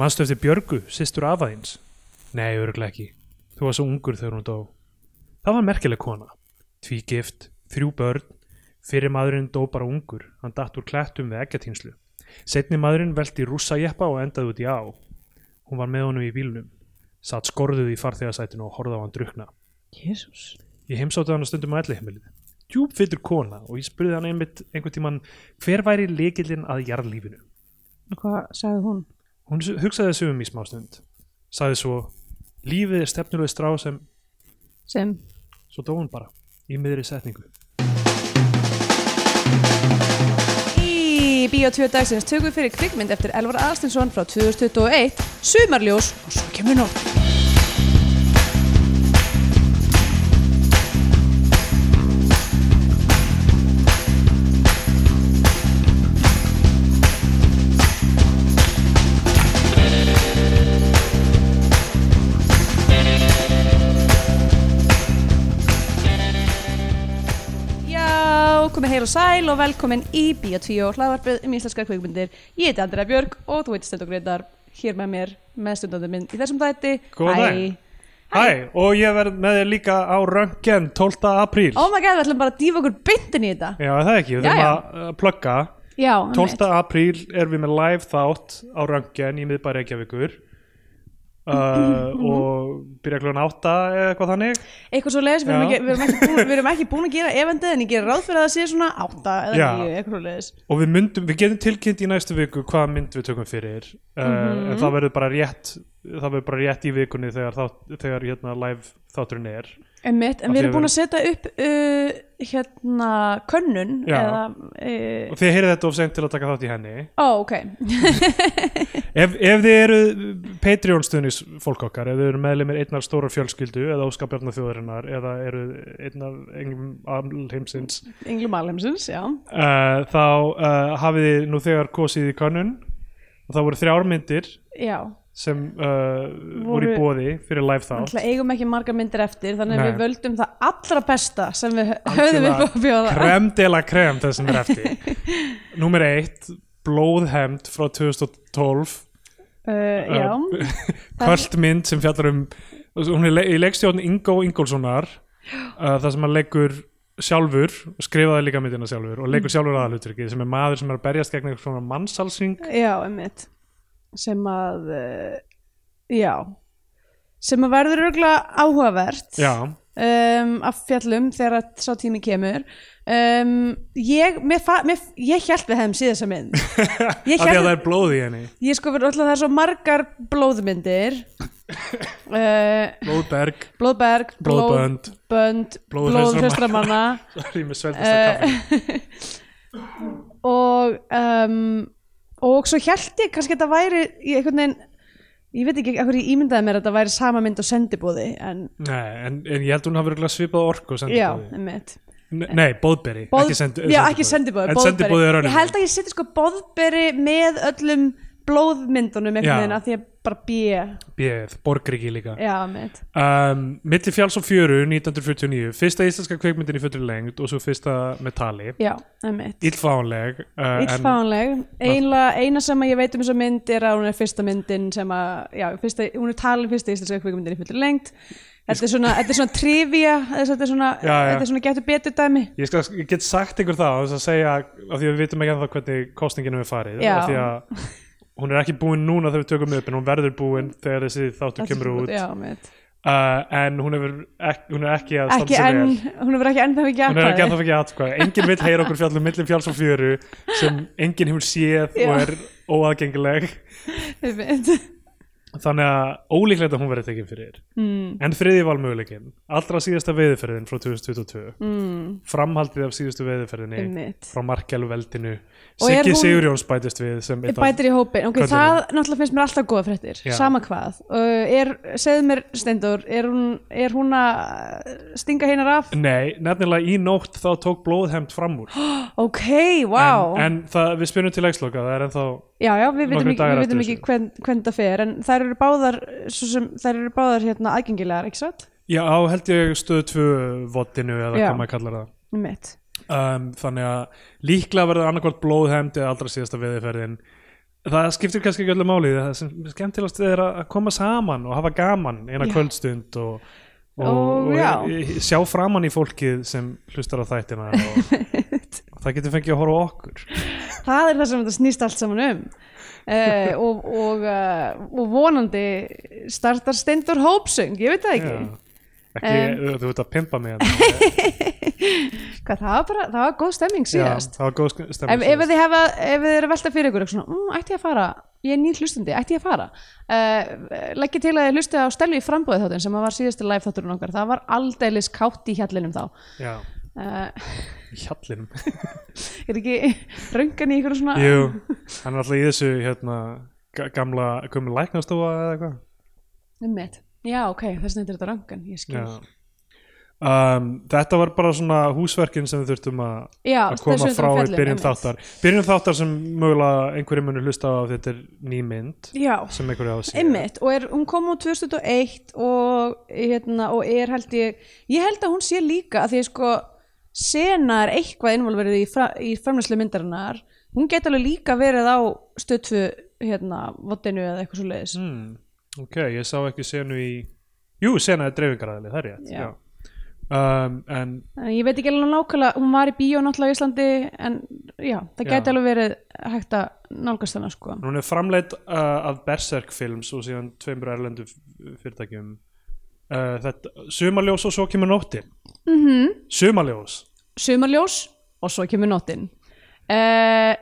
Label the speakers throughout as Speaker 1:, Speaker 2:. Speaker 1: Manstu eftir Björgu, systur afaðins? Nei, örgulega ekki. Þú var svo ungur þegar hún dó. Það var merkileg kona. Tvígift, þrjú börn, fyrir maðurinn dó bara ungur. Hann datt úr klættum við ekkjartýnslu. Setni maðurinn velti rússajeppa og endaði út í á. Hún var með honum í bílnum. Satt skorðuð í farþegasætinu og horfði á hann drukna.
Speaker 2: Jésús.
Speaker 1: Ég heimsótti hann stundum á ellihemilið. Djúpfittur kona og ég spurði hann einmitt einhvern tíman hver væri leikillinn að jarðlífinu.
Speaker 2: Og hvað sagði hún?
Speaker 1: Hún s- hugsaði þessu um í smástund. Sagði svo, lífið er stefnuleg strá sem,
Speaker 2: Sem,
Speaker 1: svo dó hún bara, í miðri setningu.
Speaker 3: Í Bíó 2 dagsins tökum við fyrir kvikmynd eftir Elvar Aðstinsson frá 2021 Sumarljós og svo kemur nótt Já, komið heil og sæl og velkomin í Bíó 2 og hlaðvarpið um íslenska kvikmyndir Ég heiti Andrea Björg og þú heitir Stendur Greitar hér með mér með stundandi minn í þessum þætti
Speaker 1: Góðan
Speaker 3: Æ.
Speaker 1: daginn. Hæ, og ég verð með þér líka á röngen 12. apríl.
Speaker 3: Oh my god, við ætlum bara að dýfa okkur beintin í þetta
Speaker 1: Já, það er ekki, við þurfum
Speaker 3: Jæja.
Speaker 1: að uh, plugga.
Speaker 3: Já,
Speaker 2: um
Speaker 1: 12. apríl erum við með live þátt á röngen í miðbæri Reykjavíkur. Uh, og byrja kljóðan átta eða eitthvað þannig
Speaker 3: eitthvað svo leiðis, við erum
Speaker 1: Já.
Speaker 3: ekki- við erum ekki búin- við erum ekki búin að gera eventið en ég gera ráð fyrir að það sé svona átta eða
Speaker 1: Já.
Speaker 3: nýju, eitthvað svo leiðis
Speaker 1: og við myndum, við getum tilkynnt í næstu viku hvaða mynd við tökum fyrir uh, en það verður bara rétt það verður bara rétt í vikunni þegar, þá, þegar hérna live þátturinn er
Speaker 3: Einmitt, en
Speaker 1: Af
Speaker 3: við
Speaker 1: því að
Speaker 3: erum búin að setja upp uh, hérna könnun
Speaker 1: Já.
Speaker 3: eða uh,
Speaker 1: og þið heyrið þetta of sent til að taka þátt í henni
Speaker 3: ó, ok,
Speaker 1: ef, ef þið eru Patreon stuðnis fólk okkar, ef þið eru meðlemið einnar stórar fjölskyldu eða óskapjarnar þjóðarinnar eða eru einnar engum alheimsins
Speaker 3: Englu Malheimsins, já
Speaker 1: uh, þá uh, hafið þið nú þegar kosið í kannun og það voru þrjár myndir
Speaker 3: já,
Speaker 1: sem uh, voru, í
Speaker 3: Voru-
Speaker 1: bóði fyrir live þátt
Speaker 3: alltaf eigum ekki margar myndir eftir þannig að
Speaker 1: Nei.
Speaker 3: við völdum það allra besta sem við höfðum upp á að bjóða
Speaker 1: krem de la krem það sem er eftir Númer eitt, Blóðhemd frá 2012
Speaker 3: uh, já,
Speaker 1: kvöld mynd sem fjallar um hún er le í leikstjórn Ingo Ingolsonar uh, það sem hann leikur sjálfur og skrifaði líka myndina sjálfur og
Speaker 3: Mm.
Speaker 1: leikur sjálfur aðalutrykkið sem er maður sem er að berjast gegn eitthvað svona mannsalsing
Speaker 3: já, einmitt sem að uh, já sem að verður örgulega áhugavert
Speaker 1: Já,
Speaker 3: um, að fjallum þegar að sá tími kemur um, ég, mér, fa- mér, ég held við hefum síðast að mynd
Speaker 1: af
Speaker 3: ég
Speaker 1: því að
Speaker 3: held,
Speaker 1: það er blóð í henni
Speaker 3: ég sko verið alltaf það er svo margar blóðmyndir uh,
Speaker 1: Blóðberg,
Speaker 3: blóðberg,
Speaker 1: Blóðbönd.
Speaker 3: blóðbönd
Speaker 1: Blóðhraustra
Speaker 3: blóðhraustra manna
Speaker 1: sorry, með sveldasta uh, kaffi
Speaker 3: uh, og um, og svo held ég kannski að þetta væri í einhvern veginn ég veit ekki hverju ég ímyndaði mér að þetta væri sama mynd og sendibúði en
Speaker 1: Nei, en, en ég held hún hafi örugglega svipað orku sendi
Speaker 3: já,
Speaker 1: bóði.
Speaker 3: einmitt
Speaker 1: Nei, bóðberi,
Speaker 3: Boð-
Speaker 1: ekki sendi
Speaker 3: já, ekki sendibóður,
Speaker 1: En sendibóði er önnur
Speaker 3: ég held að ég seti sko boðberi með öllum blóðmyndunum
Speaker 1: Já.
Speaker 3: einhvern veginn að því að bara bý
Speaker 1: Bjöð, Borgriki líka
Speaker 3: já, mitt,
Speaker 1: um, Milli fjáls og fjöru 1949, fyrsta íslenska kveikmyndin í fullri lengd og svo fyrsta með tali
Speaker 3: já, mitt
Speaker 1: Illfáanleg uh, en,
Speaker 3: Íllfáanleg, eiginlega eina sem að ég veit um þessa mynd er að hún er fyrsta myndin sem að, já, fyrsta, hún er talin fyrsta íslenska kvikmyndin í fullur lengt Þetta er svona, þetta er svona trivia, þetta er svona,
Speaker 1: Já, já.
Speaker 3: þetta er svona getur betur dæmi
Speaker 1: ég, skal, ég get sagt ykkur það á þess að segja af því að við vitum ekki ennþá hvernig kostningin hefur farið
Speaker 3: Já.
Speaker 1: af því að hún er ekki búin núna þegar við tökum upp en hún verður búin þegar þessi þáttu kemur út
Speaker 3: Já,
Speaker 1: uh,
Speaker 3: mitt
Speaker 1: en hún, hefur ek, hún er ekki að standa
Speaker 3: Ekki
Speaker 1: sig
Speaker 3: enn,
Speaker 1: vel
Speaker 3: hún er ekki enn það ekki
Speaker 1: Hún er ekki að
Speaker 3: aðkvæði
Speaker 1: það ekki aðkvæða. Enginn vill heyra okkur fjallum millin fjáls og fjöru sem enginn hefur séð
Speaker 3: Já.
Speaker 1: og er óaðgengileg. þannig að ólíklegt að hún verði tekin fyrir mm. en þriði valmöguleikin allra síðasta veiðiferðin frá 2022 mm. framhaldið af síðustu veiðiferðinni
Speaker 3: Einmitt.
Speaker 1: frá Markjálveldinu
Speaker 3: Og er
Speaker 1: Siggi
Speaker 3: hún-
Speaker 1: Sigurjóns bætist við sem einn af-
Speaker 3: Bætir í hópin, ok,
Speaker 1: Köllunum.
Speaker 3: það náttúrulega finnst mér alltaf góða fréttir,
Speaker 1: Já.
Speaker 3: sama hvað uh, er, Segðu mér, Steindór, er hún, er hún að stinga heinar af?
Speaker 1: Nei, nefnilega í nótt þá tók blóðhemd fram úr
Speaker 3: Ok, wow
Speaker 1: en, en það, við spyrum til ægsloka það er ennþá
Speaker 3: Já, já, við vitum
Speaker 1: Nokkrir
Speaker 3: ekki,
Speaker 1: dagar
Speaker 3: við
Speaker 1: eftir
Speaker 3: vitum ekki
Speaker 1: þessu.
Speaker 3: hvern, hvern það fer en þær eru báðar, svo sem, þær eru báðar hérna aðgengilegar, ekki satt?
Speaker 1: já, á held ég stöðu tvö vottinu eða
Speaker 3: Já.
Speaker 1: hvað maður kallar það
Speaker 3: Mitt.
Speaker 1: um, þannig að líklega verður annarkvort blóðhemd eða allra síðasta veðiferðin það skiptir kannski ekki öllu máli það sem skemmtilegast er að að koma saman og hafa gaman eina
Speaker 3: Já.
Speaker 1: kvöldstund og, og,
Speaker 3: Og já.
Speaker 1: og e- e- sjá framan í fólkið sem hlustar á þættina og, og það getur fengið að horfa á okkur
Speaker 3: það er það sem þetta snýst allt saman um uh, og, og, uh, og vonandi startar Steindur Hópsöng, ég veit það ekki
Speaker 1: Já. ekki, þú ert að pimpa mig hérna.
Speaker 3: Hvað, það, var bara, það var góð stemming
Speaker 1: Já,
Speaker 3: síðast
Speaker 1: það var góð sk-
Speaker 3: ef,
Speaker 1: stemning
Speaker 3: ef,
Speaker 1: síðast.
Speaker 3: þið hafa, ef þið eru að velta fyrir ykkur eitthvað svona, mmm, ætti ég að fara, ég er nýr hlustandi ætti ég að fara uh, leggja til að þið hlusti á stelu í frambúði þáttin sem að var síðasti live þátturinn okkar, það var aldeilis kátt í hjallinum þá
Speaker 1: Já,
Speaker 3: uh,
Speaker 1: í hjallinum
Speaker 3: er ekki röngan í ykkur svona
Speaker 1: Jú, hann er alltaf í þessu hérna, ga- gamla, komið læknastofa eða eitthvað
Speaker 3: Einmitt. já ok, þess vegna er þetta röngan ég skil,
Speaker 1: Já. Hérna. um, þetta var bara svona húsverkin sem við þurftum að
Speaker 3: já,
Speaker 1: að koma
Speaker 3: þess
Speaker 1: frá
Speaker 3: vegna
Speaker 1: í
Speaker 3: fjallir,
Speaker 1: byrjun
Speaker 3: einmitt.
Speaker 1: þáttar byrjun þáttar sem mögulega einhverjum munur hlusta á að þetta er ný mynd
Speaker 3: já,
Speaker 1: sem einhverju hafa séð
Speaker 3: Einmitt, og er, hún kom úr 2001 og, hérna, og er held ég ég held að hún sé líka að því að sko sena er eitthvað involverið í, fra, í framlæslu myndarinnar hún geti alveg líka verið á stöðfu hérna, vottinu eða eitthvað svo leiðis
Speaker 1: mm, ok, ég sá ekki senu í jú, sena er dreifingaræðli, það er rétt
Speaker 3: Já.
Speaker 1: já. Um, en
Speaker 3: ég veit ekki alveg nákvæmlega, hún var í bíó náttúrulega í Íslandi en já, það
Speaker 1: Já.
Speaker 3: geti alveg verið hægt að nálgast hana sko
Speaker 1: hún er framleitt uh, af Berserk Films og síðan tveimur erlendu f- fyrirtækjum uh, þetta, sumarljós og svo kemur nóttin
Speaker 3: Mhm.
Speaker 1: -hmm. sumarljós
Speaker 3: sumarljós og svo kemur nóttin uh,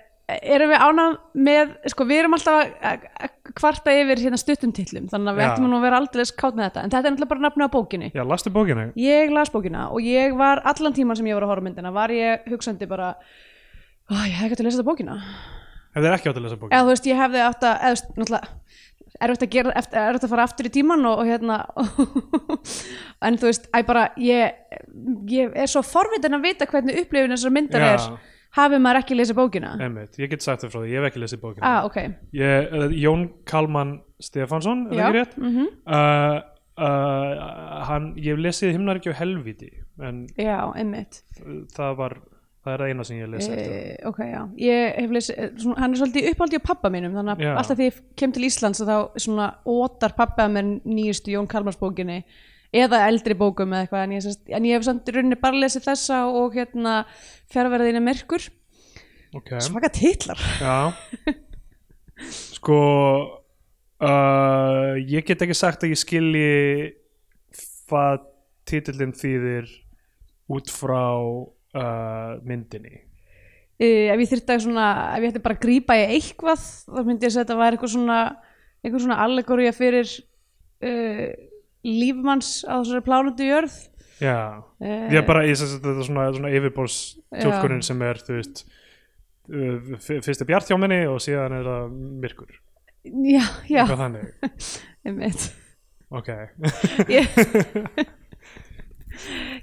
Speaker 3: erum við ánað með, sko við erum alltaf að- að að kvarta yfir hérna stuttum titlum þannig að við
Speaker 1: Já.
Speaker 3: ættum nú að vera aldrei kátt með þetta en þetta er náttúrulega bara nafnið á bókinni
Speaker 1: já, lastu bókina
Speaker 3: ég las bókina og ég var allan tíman sem ég var að horfa á myndina var ég hugsandi bara "Ó, ég hefði ekki að lesa þetta bókina
Speaker 1: ef þeir ekki átt að lesa bókina
Speaker 3: eða þú veist ég hefði átt að eða, þú veist, náttúrulega er þetta að, gera, eftir, er þetta að fara aftur í tíman og, og hérna en þú veist, æ bara ég, ég er svo forvitin að vita hvernig upplifin þessar myndar
Speaker 1: Já.
Speaker 3: er hafi maður ekki lesið bókina
Speaker 1: Einmitt, ég get sagt það frá því, ég hef ekki lesið bókina
Speaker 3: ah, ok,
Speaker 1: ég, eh, Jón Kalman Stefansson er
Speaker 3: Já, Mhm.
Speaker 1: það ekki rétt mm -hmm. uh, uh, hann, ég hef lesið himnaríki og helvíti en
Speaker 3: já, einmitt
Speaker 1: það var það er það eina sem ég hef lesið eftir það.
Speaker 3: e, ok, já, ég hef lesið eh, svona, hann er svolítið í uppáldi á pappa mínum þannig að
Speaker 1: Já.
Speaker 3: alltaf því ég kem til Íslands að þá svona ótar pappa mér nýjustu Jón Kalmars bókinni eða eldri bókum eða eitthvað en ég, sest, en ég hef samt í rauninni bara lesið þessa og hérna fjárverðinu merkur
Speaker 1: okay.
Speaker 3: svaka titlar
Speaker 1: Já Sko uh, Ég get ekki sagt að ég skilji hvað titillinn þýðir út frá uh, myndinni
Speaker 3: uh, ef ég þyrfti að svona ef ég ætti bara að grípa í eitthvað þá myndi ég að þetta var eitthvað svona eitthvað svona allegorja fyrir uh, lífmanns á þessari plánundu jörð
Speaker 1: Já,
Speaker 3: uh,
Speaker 1: ég bara ég sens að þetta er svona, svona yfirbórs tjólkunin sem er, þú veist uh, f- fyrst er bjart hjá minni og síðan er það myrkur,
Speaker 3: Eh, já, já,
Speaker 1: eitthvað þannig
Speaker 3: einmitt
Speaker 1: ok,
Speaker 3: ég,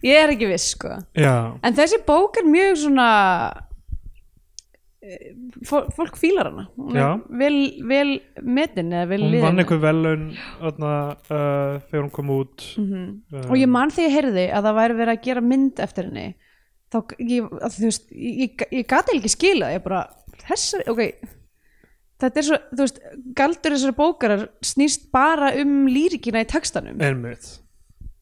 Speaker 3: ég er ekki viss sko
Speaker 1: já
Speaker 3: en þessi bók er mjög svona eh, fó- fólk fílar hana Hún er
Speaker 1: Já.
Speaker 3: vel, vel metin eða vel
Speaker 1: hún
Speaker 3: liðin
Speaker 1: vann einhver velun öðna, uh, þegar hún kom út um,
Speaker 3: Mhm. og ég man þegar ég heyrði að það væri verið að gera mynd eftir henni þá ég, að, þú veist, ég, ég, ég gati ekki skila ég bara, þessar, ok þetta er svo, þú veist, galdur þessari bókarar snýst bara um lýrikina í textanum
Speaker 1: einmitt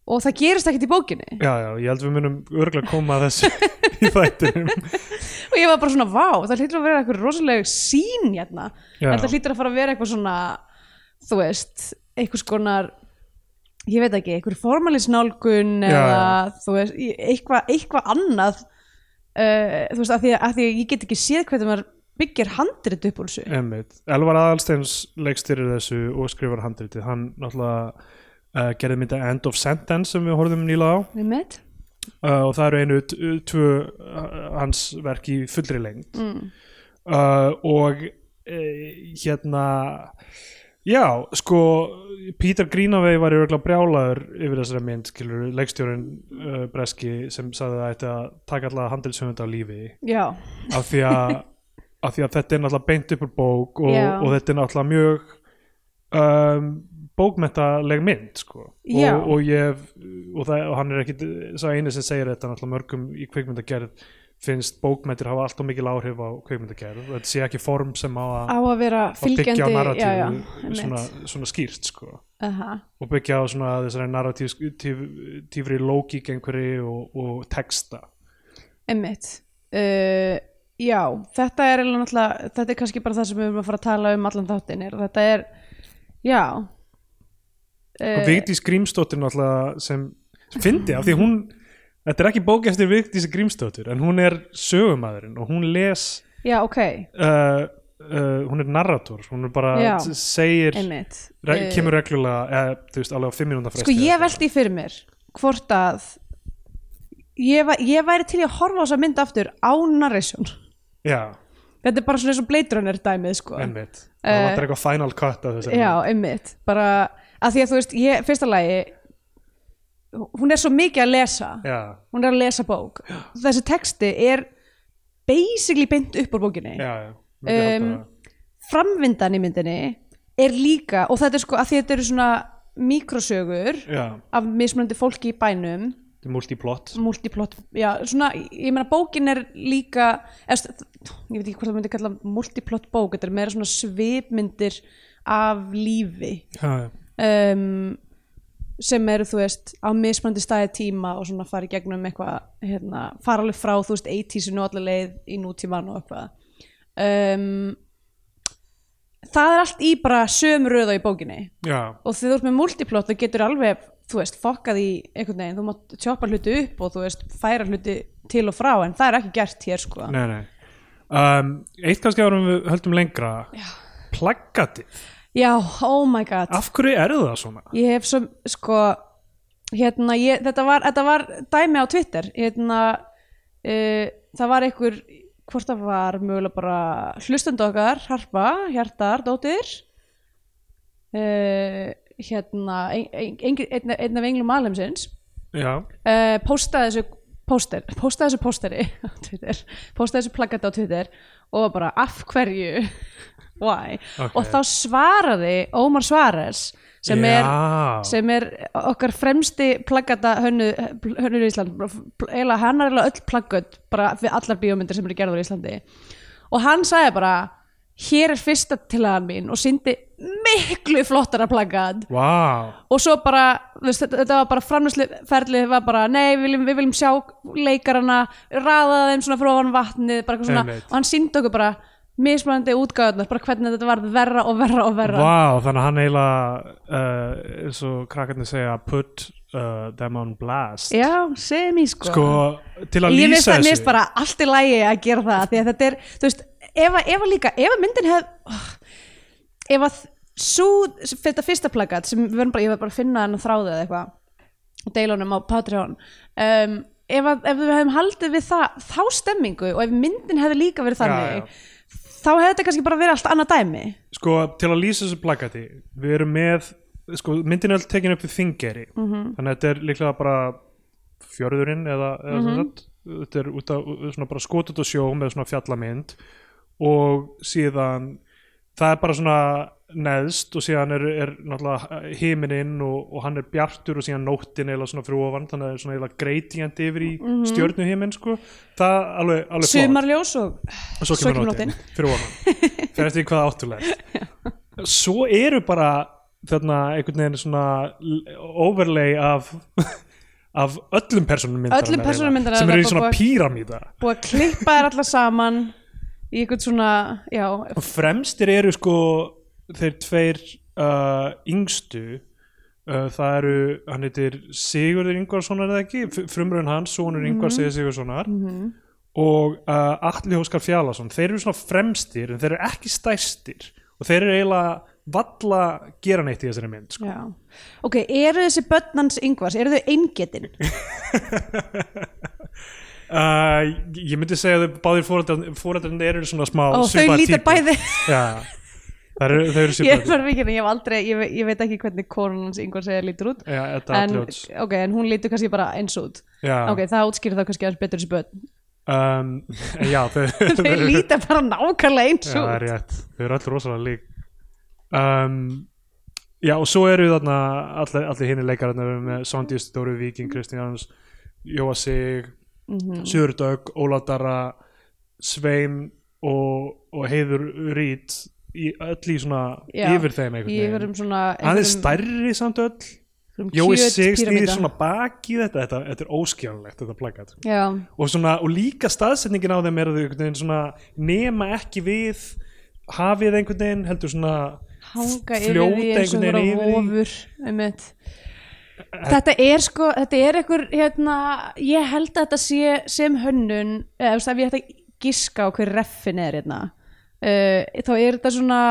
Speaker 3: og það gerist ekkert í bókinni
Speaker 1: Já, já, ég held við munum örgulega koma að þessu í þættinum
Speaker 3: og ég var bara svona, vá, það hlýtur að vera eitthvað rosalega sín hérna
Speaker 1: Já.
Speaker 3: en það hlýtur að fara að vera eitthvað svona þú veist, einhvers konar ég veit ekki, einhver formalisnálgun
Speaker 1: Já,
Speaker 3: eða
Speaker 1: já.
Speaker 3: þú veist, í- eitthvað eitthvað annað uh, þú veist, af því, að, af því að ég get ekki séð hvernig maður byggir handrit upp úr þessu
Speaker 1: Einmitt. Elvar Aðalsteins leikstýrir þessu og skrifar handritið Hann náttúrulega uh, gerði mynda End of Sentence sem við horfðum nýla á
Speaker 3: Einmitt.
Speaker 1: uh, og það eru einu t- tvö uh, hans verk í fullri lengd
Speaker 3: Mm.
Speaker 1: uh, og uh, hérna já, sko Peter Greenaway var örgulega brjálaður yfir þessari mynd, skilur, leikstjórin uh, Breski sem sagði að það ætti að taka alltaf handritshöfund af lífi
Speaker 3: já,
Speaker 1: af því að, af því að þetta er náttúrulega beint upp úr bók og,
Speaker 3: Já.
Speaker 1: og þetta er náttúrulega mjög um, bókmentaleg mynd sko.
Speaker 3: Já.
Speaker 1: og, og, ég, hef- og, það, og hann er ekki sá eini sem segir þetta náttúrulega mörgum í kvikmyndagerð finnst bókmættir hafa alltaf mikil áhrif á kveikmyndagerð og þetta sé ekki form sem á að,
Speaker 2: Á að vera
Speaker 1: að byggja á
Speaker 2: fylgjandi já, já,
Speaker 1: narratífu
Speaker 2: einmitt.
Speaker 1: svona, svona skýrt sko
Speaker 3: Aha.
Speaker 1: og byggja á svona þessari narratífri lógík einhverju og, og texta
Speaker 3: Einmitt. Uh, já, þetta er eiginlega náttúrulega, þetta er kannski bara það sem við erum að fara að tala um allan þáttinn er, þetta er, já. Eh,
Speaker 1: og Vigdís Grímsdóttir náttúrulega sem sem fyndi af því hún þetta er ekki bók eftir Vigdís Grímsdóttir en hún er sögumæðurinn og hún les
Speaker 3: Já, ok,
Speaker 1: uh, uh, hún er narrator hún er bara
Speaker 3: Já.
Speaker 1: s- segir
Speaker 3: einmitt.
Speaker 1: re
Speaker 3: Eh,
Speaker 1: kemur reglulega eða, þú veist alveg á 5 minúnda
Speaker 3: Sko, ég veldi fyrir mér hvort að ég, va ég væri til í að horfa á þess að mynd aftur á narration.
Speaker 1: já
Speaker 3: Þetta er bara svona eins og Blade Runner dæmið, sko.
Speaker 1: einmitt það
Speaker 3: Eh,
Speaker 1: vantar eitthvað final cut af þessu
Speaker 3: Já, einmitt bara að því að þú veist, ég, fyrsta lagi hún er svo mikið að lesa
Speaker 1: já
Speaker 3: hún er að lesa bók þessi texti er basically beint upp úr bókinni
Speaker 1: já, já myndi halda
Speaker 3: Um,
Speaker 1: það.
Speaker 3: framvindan í myndinni er líka, og þetta er sko að því að þetta eru svona mikrosögur
Speaker 1: já
Speaker 3: af mismunandi fólki í bænum
Speaker 1: þetta er multiplot
Speaker 3: multiplot, já, svona ég meina bókin er líka eða, ég veit ekki hvort það myndi kalla multiplot bók þetta er meira svona svipmyndir af lífi
Speaker 1: já, já
Speaker 3: um, sem eru þú veist á mismandi staði tíma og svona fara í gegnum eitthvað hérna, fara alveg frá þú veist 80-sinu allir leið í nútíman og eitthvað um, það er allt í bara sömu röða í bókinni
Speaker 1: já,
Speaker 3: og þegar þú ert með multiplot þú getur alveg þú veist fokkað í einhvern veginn, þú mátt tjópa hluti upp og þú veist færa hluti til og frá en það er ekki gert hér sko
Speaker 1: nei, nei um, eitt kannski árum við höldum lengra já plaggatið,
Speaker 3: já, oh my god
Speaker 1: af hverju eru það svona?
Speaker 3: ég hef svo sko hérna, ég, þetta, var, þetta var dæmi á Twitter hérna, uh, það var einhver hvort það var mögulega bara hlustandi okkar, Harpa, Hjartar, Dóttir uh, hérna ein, ein, ein, einn, einn af englum alheimsins
Speaker 1: Já,
Speaker 3: uh, postaði þessu póster, postaði þessu pósteri á Twitter, postaði þessu plaggati á Twitter og var bara af hverju why,
Speaker 1: Ok.
Speaker 3: og þá svaraði Ómar Svares sem er
Speaker 1: Já.
Speaker 3: sem er okkar fremsti plaggata hönnu, hönnur í Ísland eiginlega hann er eiginlega öll plaggat bara við allar bíómyndir sem eru gerður í Íslandi og hann sagði bara hér er fyrsta tillagan mín og syndi miklu flottara plaggat
Speaker 1: Vá,
Speaker 3: og svo bara, þú veist, þetta, þetta var bara framlýsluferli, var bara, nei, við viljum, við viljum sjá leikarana, raða þeim svona frá hann vatnið, bara eitthvað svona
Speaker 1: Einmitt.
Speaker 3: og hann síndi okkur bara mismunandi útgáðunar bara hvernig þetta varð verra og verra og verra
Speaker 1: vá, þannig að hann eiginlega, uh, eins og krakkarnir segja, put uh, them on blast.
Speaker 3: já, semi sko
Speaker 1: Sko, til að lýsa
Speaker 3: ég veist það, mér
Speaker 1: þessu.
Speaker 3: veist bara allt í lægi að gera það, því að þetta er þú veist, ef, að- ef að líka, ef að myndin hef oh, ef að svo, þetta fyrsta plakat sem við verðum bara, ég verð bara að finna hennar þráðið eða eitthvað og deila honum á Patreon um, ef, að, ef við hefum haldið við það, þá stemmingu og ef myndin hefði líka verið
Speaker 1: Já, já.
Speaker 3: þannig þá hefði þetta kannski bara verið allt annað dæmi
Speaker 1: Sko, til að lýsa þessu plakati, við erum með, sko, myndin er alltaf tekin upp við þingeri. -hmm. Þannig að þetta er líklega bara fjörðurinn eða, eða mm sagt, þetta er út af, svona bara skotut og sjó með svona fjallamynd og síðan, það er bara svona neðst og síðan er, er náttúrulega himininn og, og hann er bjartur og síðan nóttin eða svona fyrir ofan þannig að það er svona eiginlega greitingjandi yfir í mm sko það alveg, alveg flott
Speaker 3: sumarljós og
Speaker 1: og svo kemur nóttin fyrir ofan fyrir eftir því hvað áttulega svo eru bara þarna einhvern veginn svona l- overlay af af öllum persónum myndarinnar
Speaker 3: Öllum persónum
Speaker 1: eiginlega,
Speaker 3: myndarinnar
Speaker 1: sem eru í
Speaker 3: bara
Speaker 1: svona
Speaker 3: búið-
Speaker 1: píramíta
Speaker 3: búið að klippa þær alla saman í eitthvað svona, já,
Speaker 1: og fremstir eru sko þeir tveir uh, yngstu uh, það eru, hann heitir Sigurður Ingvarssonar eða ekki, F- frumraun hans sonur
Speaker 3: Mhm.
Speaker 1: Ingvars eða Sigurðssonar og uh, Atli Hóskar Fjálason þeir eru svona fremstir en þeir eru ekki stærstir og þeir eru eiginlega valla gera neitt í þessari mynd sko.
Speaker 3: Já, ok, eru þessi börnans yngvars, eru þau eingetin?
Speaker 1: uh, ég myndi segja að þau báðir fóreldrarnir fóreldrar eru svona smá
Speaker 3: Ó, þau
Speaker 1: svipaðar
Speaker 3: lítar
Speaker 1: týpur.
Speaker 3: bæði,
Speaker 1: já, það eru, þau eru
Speaker 3: ég er
Speaker 1: svipaðar
Speaker 3: bara vikinn, ég hef aldrei, ég, ve- ég veit ekki hvernig konunans yngvars eða lítur út
Speaker 1: já, þetta
Speaker 3: en,
Speaker 1: Atli Hóts
Speaker 3: Ok, en hún lítur kannski bara eins út
Speaker 1: já.
Speaker 3: Ok, það útskýrir þá kannski aðeins betur þessi börn
Speaker 1: um, já, þau,
Speaker 3: Þau lítar bara nákvæmlega eins
Speaker 1: já,
Speaker 3: út
Speaker 1: það er rétt, þau eru allir rosalega lík um, já og svo eru þarna allir, allir hinni leikararnir við erum með Sondi Stóru Víking, Kristján Jóa Sig Sigur Dögg, Óla Dara Svein og, og Heiður Rít í öll í svona
Speaker 3: Já,
Speaker 1: yfir þeim
Speaker 3: Ég
Speaker 1: einhvern
Speaker 3: verðum
Speaker 1: veginn
Speaker 3: svona
Speaker 1: aðeins stærri samt öll Jói Sig snýðir svona baki í þetta þetta, þetta er óskjánlegt þetta plakat
Speaker 3: Já,
Speaker 1: og, svona, og líka staðsetningin á þeim er að þau einhvern veginn svona nema ekki við hafið einhvern veginn heldur svona
Speaker 3: hanga yfir
Speaker 1: Fljóta
Speaker 3: því eins og
Speaker 1: einhvern
Speaker 3: vera
Speaker 1: veginn yfir því.
Speaker 3: ofur einmitt. Þetta er sko, þetta er einhver hérna, ég held að þetta sé sem hönnun, eða þú veist, ef ég ætti að giska á hver reffin er hérna uh, þá er þetta svona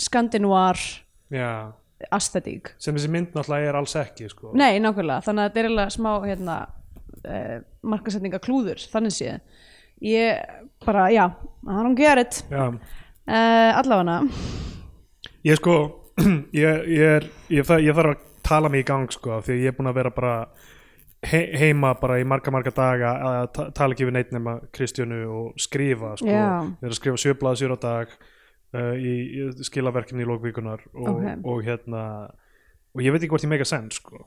Speaker 3: skandinúar
Speaker 1: já,
Speaker 3: aesthetík
Speaker 1: sem þessi mynd náttúrulega er alls ekki sko.
Speaker 3: Nei, nákvæmlega, þannig að þetta er eiginlega smá hérna, uh, markasetninga klúður þannig sé ég bara, já, hann hún gera þetta
Speaker 1: já.
Speaker 3: uh, allafana
Speaker 1: Ég sko, ég, ég, er, ég, þarf, ég þarf að tala mig í gang sko af því að ég er búin að vera bara he, heima bara í marga marga daga að ta tala ekki við neitt nema Kristjánu og skrifa sko,
Speaker 3: Já.
Speaker 1: ég er að skrifa sjöblaða sér á dag uh, í, í skilaverkefni í lókvíkunar og,
Speaker 3: Ok.
Speaker 1: og hérna og ég veit ekki hvort ég mega send sko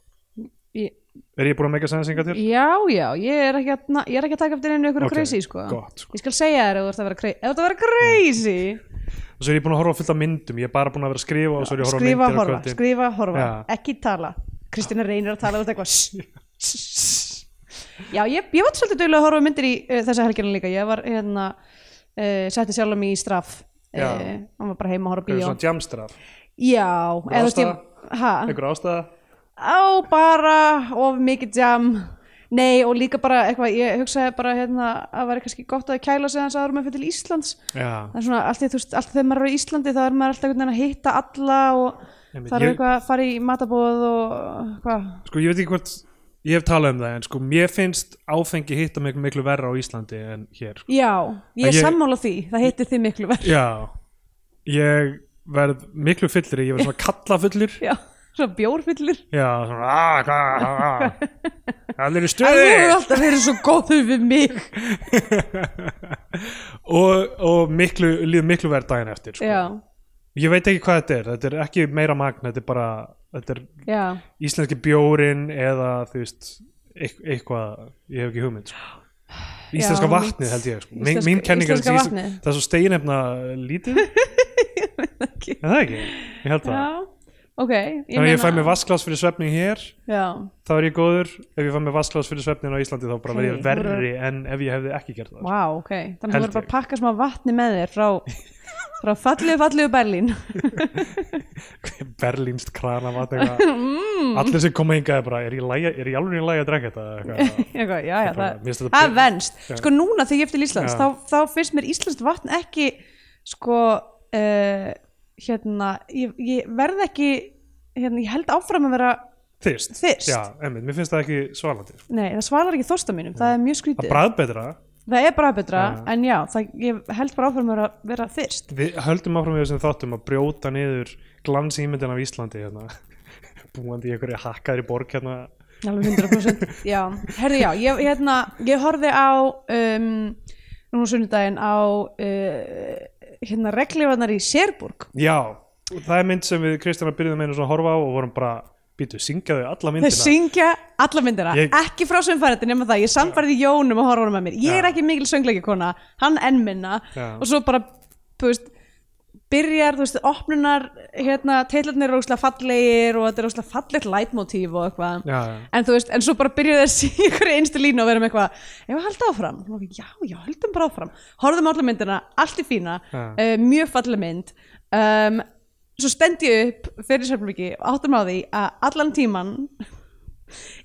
Speaker 3: Ég-
Speaker 1: Er ég búin að mega send singa til?
Speaker 3: Já, já, ég er ekki að, na, ég er ekki að taka eftir einu ykkur
Speaker 1: Ok,
Speaker 3: okay, crazy, sko
Speaker 1: Gott, sko.
Speaker 3: Ég skal segja þér ef þú ert að vera crazy Ef þú ert að vera crazy
Speaker 1: og svo er ég búin að horfa á fullt af myndum ég er bara búin að vera að skrifa og svo er ég að horfa á
Speaker 3: Skrifa,
Speaker 1: myndir á
Speaker 3: horfa,
Speaker 1: kvöldin.
Speaker 3: skrifa, horfa
Speaker 1: Já.
Speaker 3: Ekki tala Kristina reynir að tala út eitthvað Shh, shh, shh. Já, ég, ég var svolítið duglega að horfa á myndir í uh, þessa helgina líka Ég var, hérna, uh, setti sjálf mig í straff
Speaker 1: Já.
Speaker 3: uh, Hann var bara heima að horfa á
Speaker 1: Hefur
Speaker 3: bíó Ah.
Speaker 1: svona jamstraf,
Speaker 3: Já, eða þú
Speaker 1: ástæða?
Speaker 3: veist Hæ?
Speaker 1: einhver ástæða?
Speaker 3: á bara of mikið jam nei og líka bara eitthvað ég hugsaði bara hérna að það væri kannski gott að kæla sig hans aðra með fyrir til Íslands
Speaker 1: Já.
Speaker 3: það er svona alltaf, þú veist, alltaf þegar maður er á Íslandi þá er maður alltaf einhvern veginn að hitta alla og
Speaker 1: Einmitt,
Speaker 3: það er
Speaker 1: ég-
Speaker 3: eitthvað að fara í matabóð og hvað
Speaker 1: sko ég veit ekki hvort ég hef talað um það en sko mér finnst áfengi hitta mig miklu verra á Íslandi en hér sko.
Speaker 3: já, ég
Speaker 1: En ég-
Speaker 3: er sammála því það hitti þið miklu verð
Speaker 1: já ég verð miklu fullri, ég verð svona kalla fullur
Speaker 3: já, svona bjórfyllir
Speaker 1: já svona "Ah, hvað, ah, ah." allir í
Speaker 3: það
Speaker 1: stuði
Speaker 3: hefur alltaf verið svo góður við mig
Speaker 1: og, og miklu, líður miklu verð daginn eftir sko.
Speaker 3: já,
Speaker 1: ég veit ekki hvað þetta er, þetta er ekki meira magn þetta er bara, þetta er
Speaker 3: já
Speaker 1: íslenski bjórin eða þú veist eit- eitthvað, ég hef ekki hugmynd sko. íslenska
Speaker 3: Já,
Speaker 1: vatnið
Speaker 3: mitt-
Speaker 1: held ég sko.
Speaker 3: íslenska-
Speaker 1: Íslenska, mín kenning er
Speaker 3: íslenska
Speaker 1: að ísl-
Speaker 3: vatnið.
Speaker 1: það er svo steinefna lítið en
Speaker 3: ekki.
Speaker 1: það er ekki, ég held það
Speaker 3: já, ok ég
Speaker 1: ef ég fæ mér vasklas fyrir svefning hér
Speaker 3: já
Speaker 1: þá er ég góður, ef ég fæ mér vasklas fyrir svefnin á Íslandi þá bara
Speaker 3: Ok,
Speaker 1: verð ég
Speaker 3: þú
Speaker 1: verri en ef ég hefði ekki gert það
Speaker 3: Vá, ok, þannig að
Speaker 1: Held
Speaker 3: þú voru bara
Speaker 1: ég.
Speaker 3: að pakka smá vatni með þér frá, frá fallegu, fallegu Berlín
Speaker 1: sko. berlínst krana vatn
Speaker 3: Mm.
Speaker 1: allir sem koma hingað er bara er ég, lægja, er ég alveg í lagi að drekka þetta Eitthvað.
Speaker 3: eitthvað, já, já,
Speaker 1: Bara,
Speaker 3: það
Speaker 1: mér finnst þetta
Speaker 3: það venst,
Speaker 1: Já.
Speaker 3: sko núna þegar ég eftir
Speaker 1: Já.
Speaker 3: Íslands þá, þá finnst mér Íslands vatn ekki sko uh, hérna, ég, ég verð ekki hérna, ég held áfram að vera
Speaker 1: þyrst,
Speaker 3: Þyrst.
Speaker 1: Já, einmitt, mér finnst það ekki svalandi sko.
Speaker 3: nei, það svalar ekki þorsta mínum, það er mjög
Speaker 1: það
Speaker 3: skrítið
Speaker 1: bræð betra
Speaker 3: það er bara betra, en já, það, ég held bara áfram að vera, vera þyrst
Speaker 1: Við höldum áfram við þessum þáttum að brjóta niður glansýmyndin af Íslandi hérna. búandi í einhverju hakkaðri borg hérna.
Speaker 3: alveg 100% já, herði já, ég, hérna, ég horfði á um, núna sunnudaginn á uh, hérna reglifarnar í Sérburg
Speaker 1: Já, og það er mynd sem við Kristjana byrjuðum einu svona að horfa á og vorum bara býtu, syngja þau alla
Speaker 3: þau
Speaker 1: myndina
Speaker 3: syngja alla myndina
Speaker 1: Ég-
Speaker 3: ekki frá sveinfærandi nema það, ég samfærði Jónum að horfa honum að mér, ég er
Speaker 1: Já.
Speaker 3: ekki mikil söngleikikona hann enn minna
Speaker 1: Já.
Speaker 3: og svo bara, þú veist byrjar, þú veist, opnunar hérna, teitlarnir eru óslega fallegir og þetta er óslega fallegt lætmotíf og eitthvað
Speaker 1: Já, já.
Speaker 3: en þú veist, en svo bara byrjuði þessi ykkur einstu línu og verðum eitthvað, ef að halda áfram og við, já, já, höldum bara áfram, horfðum á alla myndina allt í fína,
Speaker 1: Ja.
Speaker 3: uh, mjög falleg mynd um, svo stend ég upp fyrir sérflöki og áttum á því að allan tíman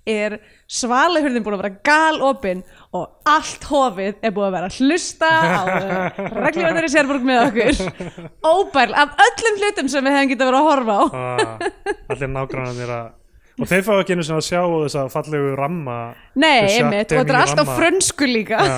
Speaker 3: er svalahurðin búin að vera galopin og allt hofið er búin að vera að hlusta á regljóðar í sérflöku með okkur óbærl af öllum hlutum sem við hefum getað verið að horfa á
Speaker 1: Ah, allir nágrannarnir að og þeir fá ekki einu sem að sjá þess að fallegu ramma
Speaker 3: Nei,
Speaker 1: Þessa
Speaker 3: einmitt, og þetta er
Speaker 1: demi
Speaker 3: allt á
Speaker 1: ramma.
Speaker 3: frönsku líka
Speaker 1: Já.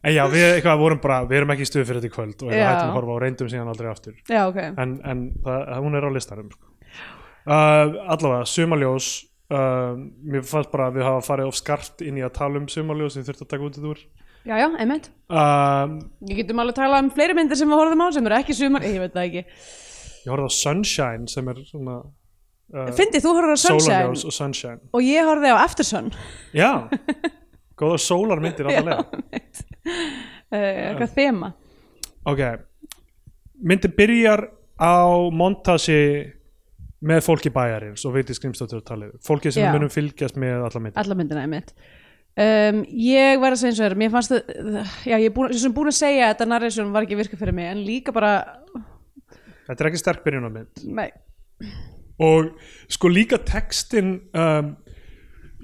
Speaker 1: En já, við eitthvað vorum bara við erum ekki í stuð fyrir þetta í kvöld og við
Speaker 3: Já.
Speaker 1: hættum að horfa og reyndum síðan aldrei aftur
Speaker 3: Já, ok.
Speaker 1: en, en það, hún er á listanum sko. uh, allavega, sumaljós uh, mér fannst bara að við hafa farið of skarpt inn í að tala um sumaljós sem þurfti að taka út þetta úr
Speaker 3: Já, já, einmitt.
Speaker 1: um,
Speaker 3: Ég getum alveg að tala um fleiri myndir sem við horfum á sem eru ekki sumar, ég veit það ekki.
Speaker 1: ég horfði á Sunshine sem er svona uh,
Speaker 3: Fyndi, þú horfður á Sunshine
Speaker 1: Sólarljós og Sunshine
Speaker 3: og ég horfði á Aftersun
Speaker 1: Já, góða sólarmyndir alltaf
Speaker 3: uh, eitthvað þema
Speaker 1: Ok, myndin byrjar á montasi með fólki bæjarins og veitir skrimstóttur að tala yfir fólki sem
Speaker 3: Já.
Speaker 1: við munum fylgjast með alla myndin
Speaker 3: alla myndina er mitt um, ég var að segja eins og þér, mér fannst það já, ég er búin, svo sem búin að segja að þetta narration var ekki virka fyrir mig, en líka bara
Speaker 1: Þetta er ekki sterk byrjun á mynd
Speaker 3: nei,
Speaker 1: og sko líka textin um,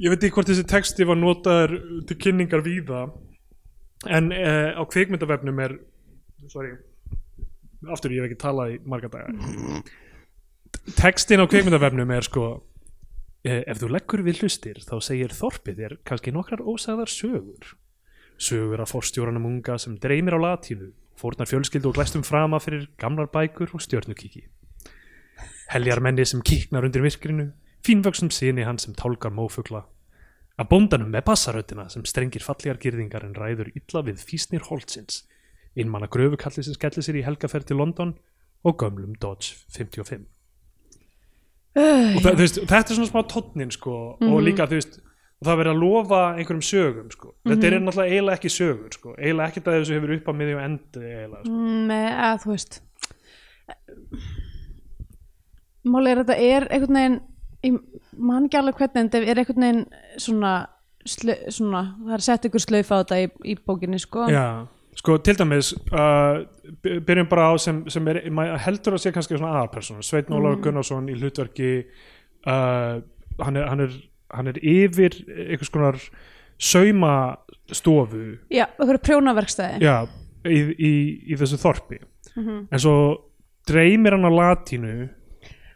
Speaker 1: ég veit ekki hvort þessi texti var notaður til kynningar víða en uh, á kvikmyndavefnum er sorry aftur ég hef ekki talað í marga daga textin á kvikmyndavefnum er sko eh, ef þú leggur við hlustir þá segir þorpið þér kannski nokkrar ósagðar sögur sögur af forstjóranum unga sem dreymir á latínu fórnar fjölskyldu og glæstum frama fyrir gamlar bækur og stjörnukiki heljarmenni sem kiknar undir virkrinu, fínvöksum sinni hann sem tálgar mófugla, að bóndanum með bassaröttina sem strengir fallegar girðingar en ræður illa við físnir holtsins, innmanna gröfukalli sem skellir sér í helgaferð til London og gömlum Dodge 55. og það, þú veist, þetta er svona smá tónnin sko, og líka þú veist, og það verið að lofa einhverjum sögum sko. þetta er náttúrulega eiginlega ekki sögur sko. eiginlega ekkert að þessu hefur upp að miðju og endi eiginlega sko.
Speaker 3: nei, að Mm, eh, þú veist máli er að þetta er einhvern veginn ég man ekki alveg hvernig en þetta er einhvern veginn svona, slu, svona það er sett ykkur slaufa á þetta í, í bókinni sko
Speaker 1: Já, sko til dæmis uh, by- byrjum bara á sem, sem er, maður heldur að sé kannski svona aðarpersonu Sveinn Ólafur Gunnarsson í hlutverki uh, hann, er, hann, er, hann er yfir einhvers konar saumastofu
Speaker 3: já okkur prjónaverkstæði
Speaker 1: já, í, í, í þessu þorpi en svo dreymir hann á latínu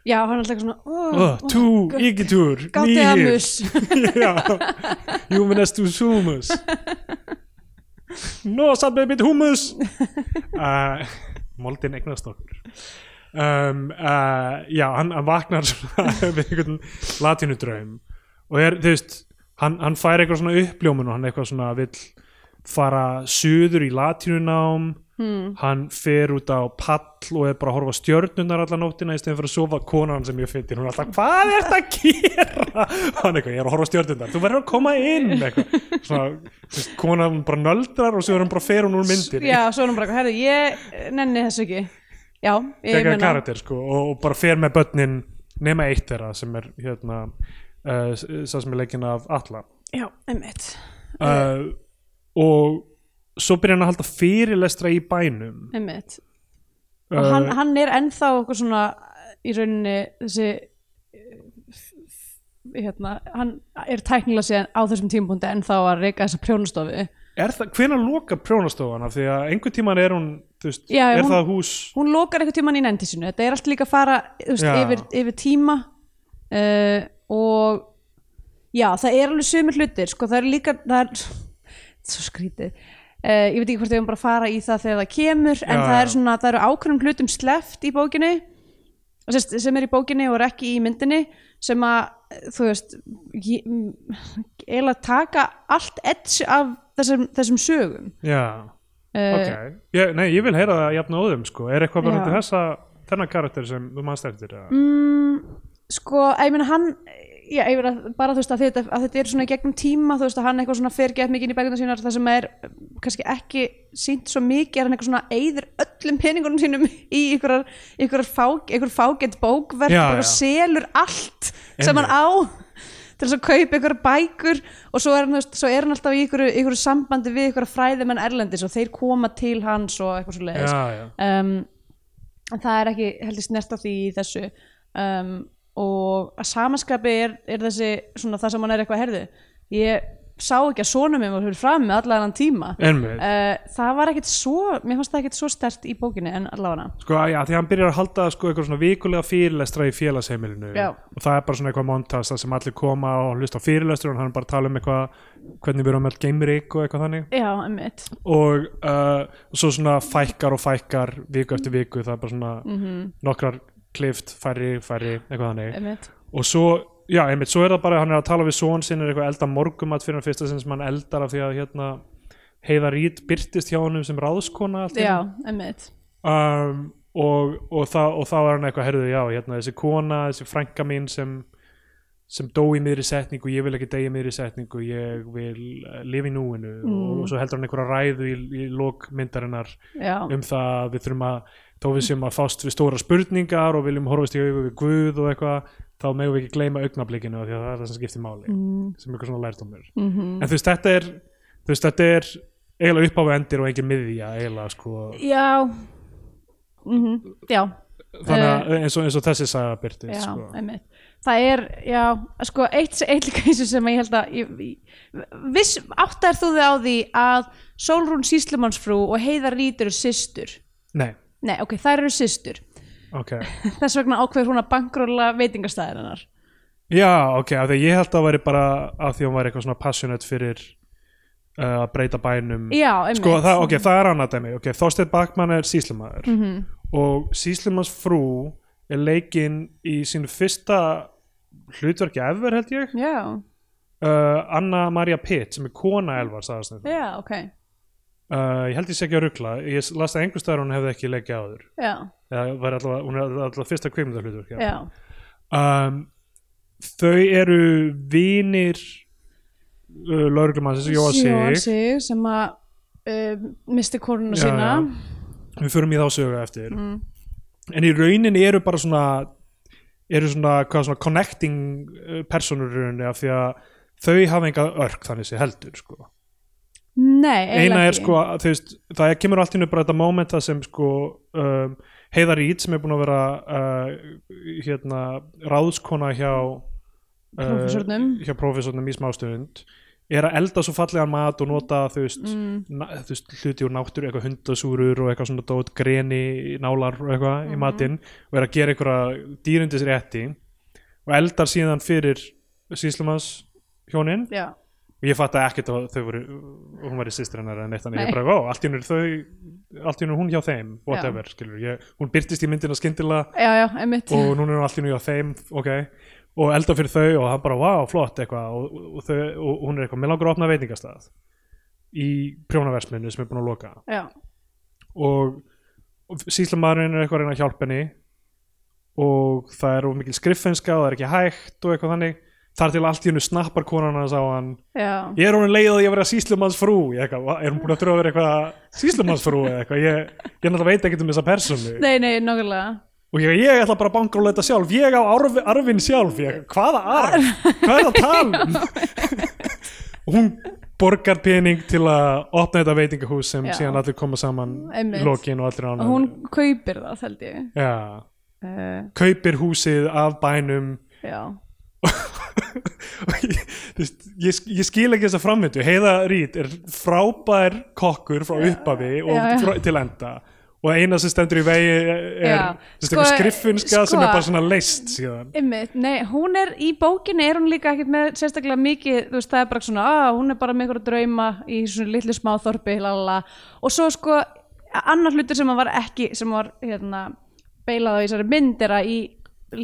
Speaker 3: já, hann er alltaf eitthvað svona
Speaker 1: oh, tú, ekki túr, nýjir
Speaker 3: gátiðamus
Speaker 1: Já, humanist to sumus No, sabbi bit humus uh, Moldin eignast okkur um, uh, Já, hann, hann vaknar svona við einhvern latínudraum og er, þú veist hann, hann fær eitthvað svona uppljómun og hann eitthvað svona vill fara suður í latínunám hmm. hann fer út á pall og er bara að horfa á stjörnunar alla nóttina í stefn fyrir að sofa konan sem ég fyndi hún er alltaf, hvað er þetta að gera hann eitthvað, ég er að horfa á stjörnunar, þú verður að koma inn eitthvað, svona, þú veist, konan bara nöldrar og svo er hann bara fer hún úr myndir
Speaker 3: já, svo er hann bara, eitthvað, herðu, ég nenni þessu ekki já, ég
Speaker 1: geggjað
Speaker 3: meina
Speaker 1: karakter sko og, og bara fer með börnin nema eitt þeirra sem er hérna uh, sá sem er leikinn af alla
Speaker 3: já, einmitt,
Speaker 1: uh, og svo byrja hann að halda fyrirlestra í bænum
Speaker 3: einmitt. og
Speaker 1: uh,
Speaker 3: hann, hann er ennþá okkur svona í rauninni þessi eh, hérna, hann er tæknilega síðan á þessum tímpúndi ennþá að reyka þessa prjónustofu
Speaker 1: er það, hvenær loka prjónastofan af því að einhver tíman er hún þú veist,
Speaker 3: Já,
Speaker 1: er
Speaker 3: hún-
Speaker 1: það hús
Speaker 3: hún lokar einhvern tímann í nendi sinu þetta er allt líka að fara þú veist,
Speaker 1: Já.
Speaker 3: yfir, yfir tíma uh, og já, það er alveg sumir hlutir sko, það er líka það er, svo skrítið uh, ég veit ekki hvort við erum bara að fara í það þegar það kemur en
Speaker 1: Já,
Speaker 3: það,
Speaker 1: já.
Speaker 3: er svona, það eru ákveðnum hlutum sleft í bókinu sem, sem er í bókinni og er ekki í myndinni sem að þú veist ég- m- eiginlega taka allt edge af þessum, þessum sögum
Speaker 1: já,
Speaker 3: uh,
Speaker 1: ok ég, nei, ég vil heyra það jafn og óðum sko er eitthvað bara
Speaker 3: Já.
Speaker 1: til þessa þennan karakter sem þú manst eftir eða?
Speaker 3: mm, sko, að ég meina hann já, ég meina bara þú veist að þetta, að þetta er svona í gegnum tíma, þú veist að hann eitthvað svona fer gett mikið inn í bækundar sínar, það sem er um, kannski ekki sínt svo mikið, er hann eitthvað svona eyðir öllum peningunum sínum í ykkurar, ykkurar fág, ykkur fágett bókverk
Speaker 1: Já,
Speaker 3: og
Speaker 1: já.
Speaker 3: selur allt sem
Speaker 1: Einmitt.
Speaker 3: hann á til þess að kaupa ykkur bækur og svo er hann, þú veist, svo er hann alltaf í ykkur, ykkur sambandi við ykkur fræðimenn erlendis og þeir koma til hans og eitthvað svo leiðis
Speaker 1: já, já,
Speaker 3: um, en það er ekki heldur snert á því í þessu um, og að samanskapi er, er þessi svona það sem hann er eitthvað herðu ég sá ekki að sonu mér var fyrir fram með allan hann tíma uh,
Speaker 1: ennmið
Speaker 3: það var ekkit svo, mér fannst það ekkit svo stert í bókinni en allavega
Speaker 1: Sko, já, því hann byrjar að halda sko eitthvað svona vikulega fyrirlestra í félagsheimilinu
Speaker 3: Já.
Speaker 1: og það er bara svona eitthvað montast þar sem allir koma og hann hlusta á fyrirlestur og hann er bara að tala um eitthvað hvernig við erum með geimrik og eitthvað þannig
Speaker 3: já, emmitt
Speaker 1: og uh, svo svona fækkar og fækkar viku eftir viku það er bara svona nokkrar klift, færri, færri, eitthvað þannig
Speaker 3: emmitt
Speaker 1: og svo, já, einmitt, svo er það bara að hann er að tala við son sinn er eitthvað að elda morgumat fyrir hann fyrsta sinn sem hann eldar af því að hérna Heiða Rít byrtist hjá honum sem ráðskona allt í einu
Speaker 3: já, emmitt
Speaker 1: um, og, og, þá, og þá er hann eitthvað herðu já, hérna, þessi kona, þessi frænka mín sem, sem dó í miðri setningu ég vil ekki deyja í miðri setningu ég vil eh, lifa í núinu og,
Speaker 3: Mm.
Speaker 1: og svo heldur hann einhverja ræðu í, í lokmyndarinnar
Speaker 3: já,
Speaker 1: um það að við þurfum að þó við séum að fást við stóra spurningar og viljum horfast í auðvitað við Guð og eitthvað þá megum við ekki gleyma augnablikinu af því að það er það sem skiptir máli
Speaker 3: Mm.
Speaker 1: sem eitthvað svona lærdomur
Speaker 3: mhm.
Speaker 1: en þú veist þetta er þú veist þetta er eiginlega uppáfu endir og engin miðja eiginlega sko
Speaker 3: já mhm, já
Speaker 1: þannig að eins og, eins og þessi saga byrti
Speaker 3: Já,
Speaker 1: sko.
Speaker 3: einmitt. Það er, já, sko, eitt, eitt líka eins og sem ég held að ég, ég, viss áttar þú þig á því að Sólrún Síslumannsfrú og Heiðar Rít eru systur
Speaker 1: nei,
Speaker 3: Nei, ok, þær eru systur
Speaker 1: ok
Speaker 3: Þess vegna ákveður hún að bankróla veitingastæðin hennar
Speaker 1: já, ok, af því að ég held að það væri bara af því að hún væri eitthvað svona passionate fyrir uh, að breyta bænum
Speaker 3: Já, einmitt
Speaker 1: sko, það, ok, það er annað dæmi ok, Þorsteinn Bakman er síslumæður -hmm. og síslumæns frú er leikinn í sínu fyrsta hlutverki ever held ég
Speaker 3: Já,
Speaker 1: uh, Anna Maria Pitt sem er kona Elvar sagðast yeah.
Speaker 3: já, ok
Speaker 1: uh, ég held ég sé ekki að rugla ég las það einhvers staðar að hún hefði ekki leikið áður
Speaker 3: Já,
Speaker 1: Eða var allavega, hún er alltaf fyrsta kveimda hlutverki
Speaker 3: já,
Speaker 1: um, þau eru vinir uh, lauruglumannsins Jóa
Speaker 3: Jóhann
Speaker 1: Sig
Speaker 3: Sig sem að uh, misti koruna
Speaker 1: Já,
Speaker 3: sína
Speaker 1: já. við förum í þá sögu eftir en í raunin eru bara svona eru svona, hvað, svona connecting uh, personur í rauninni af því að þau hafa enga örk þannig sé heldur sko.
Speaker 3: Nei, eiginlega
Speaker 1: eina er
Speaker 3: ekki.
Speaker 1: sko, að, þú veist, það kemur allt í nöfn bara þetta moment það sem sko um, Heiðar Rít sem er búin að vera uh, hérna ráðskona hjá uh,
Speaker 3: Prófessornum.
Speaker 1: hjá prófessornum í smástund er að elda svo fallegan mat og nota þú veist,
Speaker 3: Mm.
Speaker 1: na, þú veist hluti úr náttúru, eitthvað hundasúrur og eitthvað svona dót greni, nálar og eitthvað
Speaker 3: Mhm.
Speaker 1: í matinn og er að gera einhverja dýrindis rétti og eldar síðan fyrir síslumans hjónin
Speaker 3: Já,
Speaker 1: og ég fatt að ekkert að þau voru og hún var í sýstir hennar en eitt þannig ég
Speaker 3: Nei.
Speaker 1: bara, ó, allt í hennu þau allt í hennu hún hjá þeim, whatever, skilur ég, hún byrtist í myndina skyndilega
Speaker 3: já, já, einmitt
Speaker 1: og núna er hún allt í hennu hjá þeim, ok og elda fyrir þau og hann bara, wow, flott eitthvað og, og, og, þau, og hún er eitthvað, mér langar að opna veitingastað í prjónaversminu sem er búin að loka
Speaker 3: Já,
Speaker 1: og, og síslamaðurinn er eitthvað að reyna að hjálpa henni og það er of mikil skriffenska og það er ekki hægt og eitthvað þannig þar til allt í hennu snappar konan hans á hann
Speaker 3: já,
Speaker 1: ég er hún leið að ég vera síslumannsfrú ég eitthvað, "Va, er hún búin að þurfa að vera eitthvað síslumannsfrú eða eitthvað, ég, ég náttúrulega veit ekkert um þessa persónu
Speaker 3: nei, nei, nákvæmlega
Speaker 1: og ég, ég ætla bara að banka þetta sjálf ég á arf, arfin sjálf, ég, hvaða arf hvað er það að tala um og hún borgar pening til að opna þetta veitingahús sem
Speaker 3: Já.
Speaker 1: síðan allir koma saman
Speaker 3: Einmitt.
Speaker 1: í lokin og allir ánum
Speaker 3: og hún kaupir það held ég
Speaker 1: já,
Speaker 3: uh,
Speaker 1: kaupir húsið af bænum
Speaker 3: já,
Speaker 1: Og ég, þú veist, ég, ég skil ekki þessa framvindu Heiða Rít er frábær kokkur frá uppafi og
Speaker 3: já, já.
Speaker 1: Frá, til enda og eina sem stendur í vegi er
Speaker 3: Já.
Speaker 1: sko,
Speaker 3: Sko,
Speaker 1: skriffinska
Speaker 3: sko-
Speaker 1: sem er bara svona leist síðan
Speaker 3: ymmið, nei, hún er í bókinni er hún líka ekkert með sérstaklega mikið þú veist, það er bara svona, að hún er bara með einhverja drauma í svona litlu smáþorpi lala. og svo sko, annar hlutur sem var ekki, sem var hérna, beilað á í þessari mynd er að í,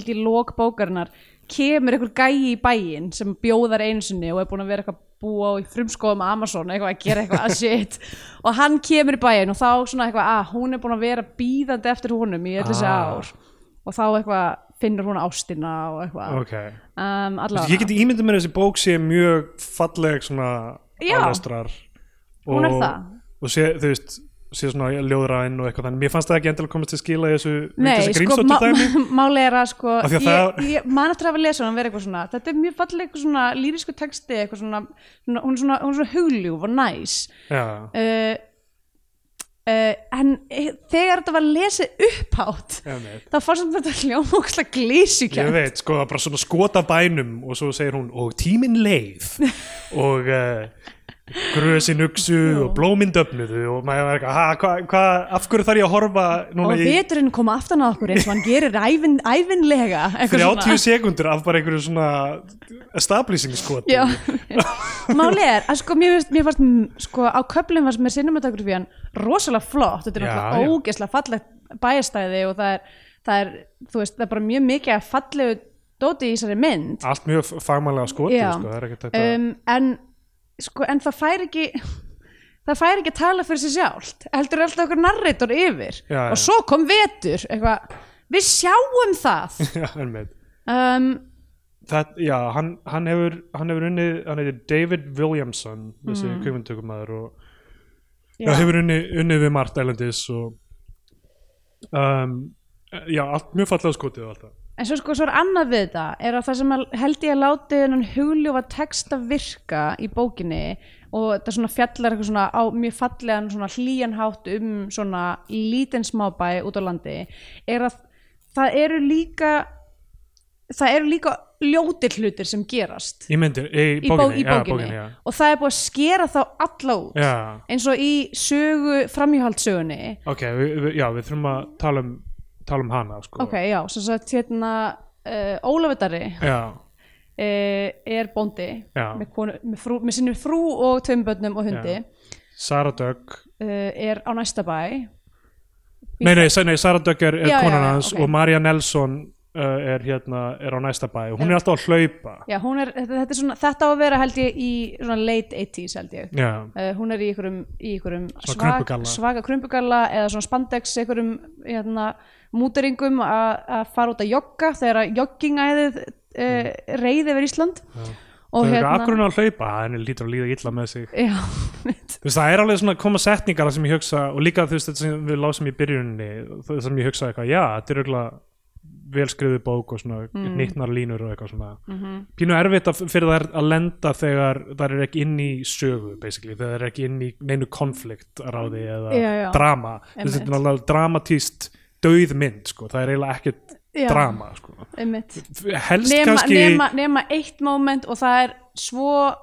Speaker 3: í lók bókarinnar kemur einhver gæi í bæinn sem bjóðar einu sinni og er búin að vera eitthvað að búa á í frumskóðum Amazon eitthvað að gera eitthvað shit og hann kemur í bæinn og þá svona eitthvað að hún er búin að vera býðandi eftir honum í öll þessi
Speaker 1: Ah.
Speaker 3: ár og þá eitthvað finnur hún ástina og eitthvað
Speaker 1: ok,
Speaker 3: um,
Speaker 1: Þessi, ég
Speaker 3: allavega,
Speaker 1: geti ímyndið mér að þessi bók sé mjög falleg svona
Speaker 3: Já.
Speaker 1: aflestrar
Speaker 3: Hún er
Speaker 1: og-
Speaker 3: það.
Speaker 1: og sé, þú veist sé svona ljóðræn og eitthvað þannig mér fannst það ekki endilega komast til skila í þessu,
Speaker 3: nei,
Speaker 1: þessu
Speaker 3: sko
Speaker 1: grímsóttu
Speaker 3: má,
Speaker 1: dæmi
Speaker 3: máli er að sko
Speaker 1: Af því að
Speaker 3: ég,
Speaker 1: það-
Speaker 3: ég man eftir að hafa lesað hann verið eitthvað svona þetta er mjög falleg eitthvað svona lýrisku texti eitthvað svona, svona, hún er svona, hún er svona hugljúf og næs
Speaker 1: já,
Speaker 3: uh, uh, en eh, þegar þetta var lesið upphátt
Speaker 1: ef neitt
Speaker 3: þá fannst mér þetta hljómókslega glísukjönd
Speaker 1: Ég veit, sko, það er bara svona skota bænum og svo segir hún, og tíminn leið og uh, grösin uksu og blóminn döfnuðu og maður er eitthvað, ha, hvað, hva, af hverju þarf ég að horfa núna
Speaker 3: og
Speaker 1: í
Speaker 3: veturinn kom aftan á okkur eins og hann gerir ævin, ævinlega eitthvað
Speaker 1: 30
Speaker 3: svona.
Speaker 1: sekundur af bara einhverju svona establishing skoti
Speaker 3: Já, máli er að sko mér finnst, mér fannst mm, sko á köflum var sem er cinematografían rosalega flott, þetta er
Speaker 1: Já,
Speaker 3: náttúrulega
Speaker 1: já.
Speaker 3: ógeðslega fallegt bæjastæði og það er, það er, þú veist, það er bara mjög mikið að fallegu dóti í þessari mynd Um,
Speaker 1: Allt mjög fagmannlega skoti,
Speaker 3: Já.
Speaker 1: sko, það er ekkert þetta
Speaker 3: um, en sko, en það fær ekki það fær ekki að tala fyrir sér sjálft heldur er alltaf okkur narrator yfir
Speaker 1: Já, já.
Speaker 3: og svo kom vetur eitthvað, við sjáum það
Speaker 1: Já, einmitt.
Speaker 3: um,
Speaker 1: Það, já, hann, hann hefur hann hefur unnið, hann heitir David Williamson þessi mm. kvikmyndtökumæður og já. hefur unnið, unnið við margt ælendis og um, já, allt mjög fallega skotið og allt það.
Speaker 3: en svo sko svo er annað við þetta er að það sem að- held ég að láti hennan hugljófa texta virka í bókinni og þetta svona fjallar eitthvað svona á mjög fallegan svona hlýjanhátt um svona lítinn smábæ út á landi er að það eru líka það eru líka ljótir hlutir sem gerast
Speaker 1: Í myndir, í,
Speaker 3: í, bó,
Speaker 1: bókinni,
Speaker 3: í
Speaker 1: já,
Speaker 3: bókinni,
Speaker 1: bókinni, já.
Speaker 3: og það er búið að skera þá alla út
Speaker 1: Já, Sko.
Speaker 3: eins og í sögu framhjóhaldsögunni
Speaker 1: ok, við, við, já, við þurfum að tala um, tala um hana, sko.
Speaker 3: ok, já, sem sagt hérna uh, Ólafudari uh,
Speaker 1: Já,
Speaker 3: Eh, er bóndi
Speaker 1: Já.
Speaker 3: með, konu, með, frú, með sinni frú og tveim börnum og hundi
Speaker 1: Já.
Speaker 3: uh,
Speaker 1: Sara Dögg,
Speaker 3: er á næsta bæ
Speaker 1: nei, nei, sa- nei Sara Dögg er, er
Speaker 3: Já, já,
Speaker 1: konan
Speaker 3: já,
Speaker 1: hans
Speaker 3: ok.
Speaker 1: og Maria Nelson uh, er hérna, er á næsta bæ og hún er alltaf að hlaupa.
Speaker 3: já, hún er, þetta, þetta, er svona, þetta á að vera held ég í svona late 80s held ég
Speaker 1: Já,
Speaker 3: Uh, hún er í einhverjum, í einhverjum
Speaker 1: Svona
Speaker 3: svag-
Speaker 1: krumpugalla.
Speaker 3: svaga krumpugalla eða svona spandex einhverjum hérna, múteringum a- að fara út að jogga þegar að joggingæðið uh, reyði yfir Ísland
Speaker 1: Mm. já.
Speaker 3: og hérna-
Speaker 1: það er akkurinn að hlaupa, henni lítur að líða illa með sig
Speaker 3: já, mitt.
Speaker 1: þú veist, það er alveg svona að koma setningar þar sem ég hugsa og líka þú veist þetta sem við lásum í byrjuninni það sem ég hugsa eitthvað, já, þetta er auðvitað velskriðu bók og svona mm. nýttnar línur og eitthvað svona
Speaker 3: Mhm.
Speaker 1: pínu erfitt að, fyrir þær að lenda þegar þær er ekki inn í sögu basically, þegar þær er ekki inn í neinu konflikt ráði eða
Speaker 3: Mm. Já, já.
Speaker 1: drama þú veist, þetta er alveg dramatíst döð mynd, sko, það er eiginlega ekkert
Speaker 3: Já.
Speaker 1: drama, sko
Speaker 3: einmitt.
Speaker 1: helst
Speaker 3: nema,
Speaker 1: kannski
Speaker 3: nema, nema eitt moment og það er svo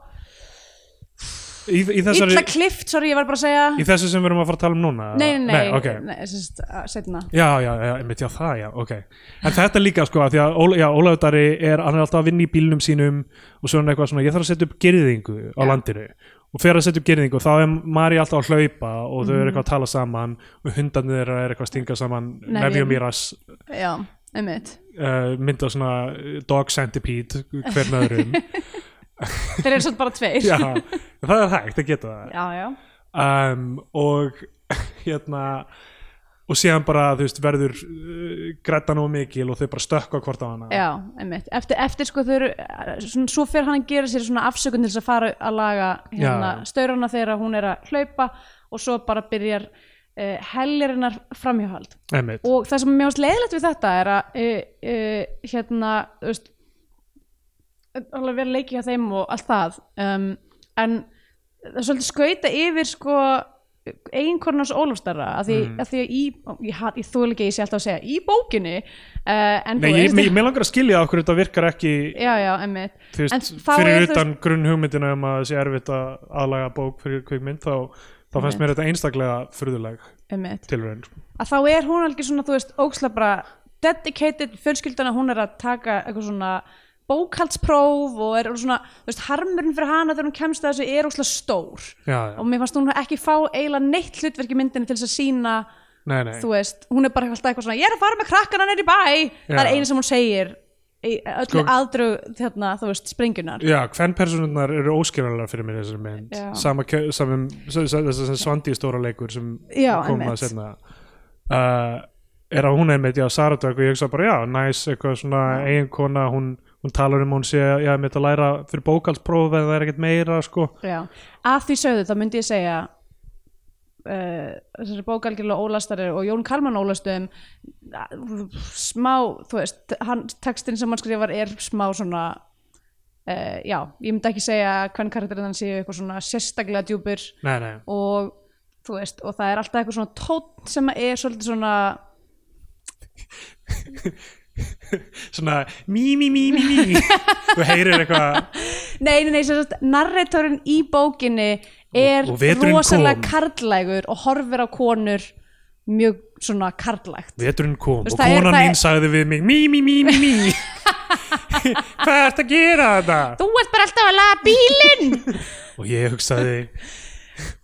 Speaker 1: í, í, þessari,
Speaker 3: illa klift, sorry ég var bara að segja
Speaker 1: í þessu sem við erum að fara að tala um núna
Speaker 3: nei, nei, nei,
Speaker 1: ok.
Speaker 3: nei uh, sérst, setna
Speaker 1: Já, já, já, einmitt, já, það, já, ok En þetta líka, sko, af því að Óla, já, Ólafur Darri er, hann er alltaf að vinna í bílnum sínum og svo er hann eitthvað svona, ég þarf að setja upp gerðingu á landinu og fyrir að setja upp gerðingu þá er Mari alltaf að hlaupa og þau eru eitthvað að tala saman og hundarnir þeirra er eitthvað að stinga saman
Speaker 3: Nefjum.
Speaker 1: nefjum í rass
Speaker 3: já, einmitt
Speaker 1: uh, mynda svona uh, dog centipede hver með öðrum
Speaker 3: þeir eru svolítið bara tveir
Speaker 1: Já, það er hægt að geta það
Speaker 3: já, já.
Speaker 1: um, og hérna og síðan bara þú veist verður uh, grætan og mikil og þau bara stökkva hvort á hana
Speaker 3: Já, einmitt. Eftir, eftir sko þau eru, svona, svo fer hann að gera sér svona afsökun til þess að fara að laga hérna,
Speaker 1: Já.
Speaker 3: staurana þegar hún er að hlaupa og svo bara byrjar uh, heljarinnar framhjáhald.
Speaker 1: Einmitt.
Speaker 3: Og það sem mér varst leiðilegt við þetta er að, uh, uh, hérna, þú veist, alveg verið leikið hjá þeim og allt það, um, en það er svolítið skauta yfir sko einhvernars Ólafstarra að því,
Speaker 1: Mm.
Speaker 3: að því að í, ég, hat- ég þúlega ekki að ég sé alltaf að segja í bókinni uh, en
Speaker 1: Nei,
Speaker 3: þú
Speaker 1: ég,
Speaker 3: veist-
Speaker 1: ég, ég langar að skilja af hverju þetta virkar ekki
Speaker 3: já, já, emmitt
Speaker 1: þú veist,
Speaker 3: En þá
Speaker 1: fyrir
Speaker 3: er, þú
Speaker 1: utan grunn hugmyndina um að það sé erfitt að aðlaga bók fyrir kvikmynd þá, þá fannst mér þetta einstaklega furðuleg
Speaker 3: emmitt
Speaker 1: tilraun sko.
Speaker 3: að þá er hún alveg svona, þú veist, óksla bara dedicated, fjölskyldana hún er að taka eitthvað svona bókaldspróf og er svona, þú veist, harmurinn fyrir hana þegar hún kemst að þessu er óksla stór
Speaker 1: Já, já,
Speaker 3: og mér fannst hún ekki fá eiginlega neitt hlutverki í myndinni til þess að sína
Speaker 1: nei, nei
Speaker 3: þú veist, hún er bara alltaf eitthvað svona ég er að fara með krakkana neyri bæ það er
Speaker 1: Já.
Speaker 3: eina sem hún segir í öllu
Speaker 1: Sko-
Speaker 3: aðdrög, þarna, þú veist, springjunar
Speaker 1: Já, hvern personurnar eru óskiljanlega fyrir mér í þessari mynd
Speaker 3: Já.
Speaker 1: sama, kjö- samum, þessar sem svandi stóra leikur sem
Speaker 3: Já,
Speaker 1: koma
Speaker 3: einmitt.
Speaker 1: að setna uh, er að hún einmitt, já, Sara Dögg og ég hugsa bara, já, næs, eitthvað svona eiginkona, hún, hún talar um að hún sé já, einmitt að læra fyrir bókalspróf en það er ekkert meira, sko
Speaker 3: Já. að því sögðu þá myndi ég segja uh, þessari bók algjörlega ólastari og Jón Kalman ólastum smá, þú veist hann, textin sem hann skrifar er smá svona uh, já, ég myndi ekki segja hvern karakterinn hann séu eitthvað svona sérstaklega djúpir
Speaker 1: Nei, nei,
Speaker 3: og þú veist, og það er alltaf eitthvað svona tótt sem er svolítið svona
Speaker 1: svona mí, mí, mí, mí, mí þú heyrir eitthvað,
Speaker 3: nei, nei, nei, sem sagt, narratorinn í bókinni er
Speaker 1: Og- og veturinn
Speaker 3: rosalega
Speaker 1: kom.
Speaker 3: karlægur og horfir á konur mjög svona karlægt
Speaker 1: veturinn kom
Speaker 3: Þú veist,
Speaker 1: og
Speaker 3: það er-
Speaker 1: konan
Speaker 3: það er-
Speaker 1: mín sagði við mig mí, mí, mí, mí, mí hvað ert að gera þetta?
Speaker 3: þú ert bara alltaf að laga bílinn
Speaker 1: og ég hugsaði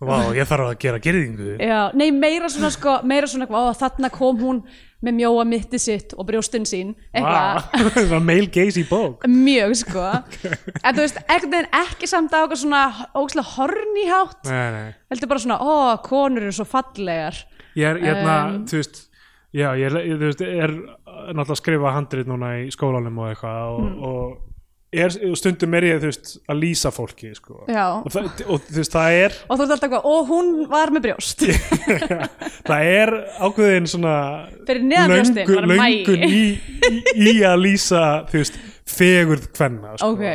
Speaker 1: Vá, ég þarf að gera gerðingu
Speaker 3: Já, nei, meira svona sko, meira svona eitthvað, "Ó, þarna kom hún með mjóa mitti sitt og brjóstin sín, eitthvað,
Speaker 1: Það var male gaze í bók
Speaker 3: mjög sko, en þú veist, ekkert en ekki samt á eitthvað svona ógæslega hornihátt,
Speaker 1: Nei, nei
Speaker 3: heldur bara svona, ó, konur eru svo fallegar,
Speaker 1: Ég er, hérna,
Speaker 3: Um.
Speaker 1: þú veist Já, ég er, ég, þú veist, er náttúrulega að skrifa handrið núna í skólanum og eitthvað og,
Speaker 3: Hmm.
Speaker 1: og er, og stundum er ég, þú veist, að lýsa fólki, sko
Speaker 3: Já.
Speaker 1: og, það, og þú veist, það er
Speaker 3: og þú ert alltaf eitthvað, ó, hún var með brjóst,
Speaker 1: það er ákveðin svona
Speaker 3: Fyrir neðan brjóstin, bara magi.
Speaker 1: löngun í, í, í að lýsa þú veist, fegurð kvenna sko.
Speaker 3: ok,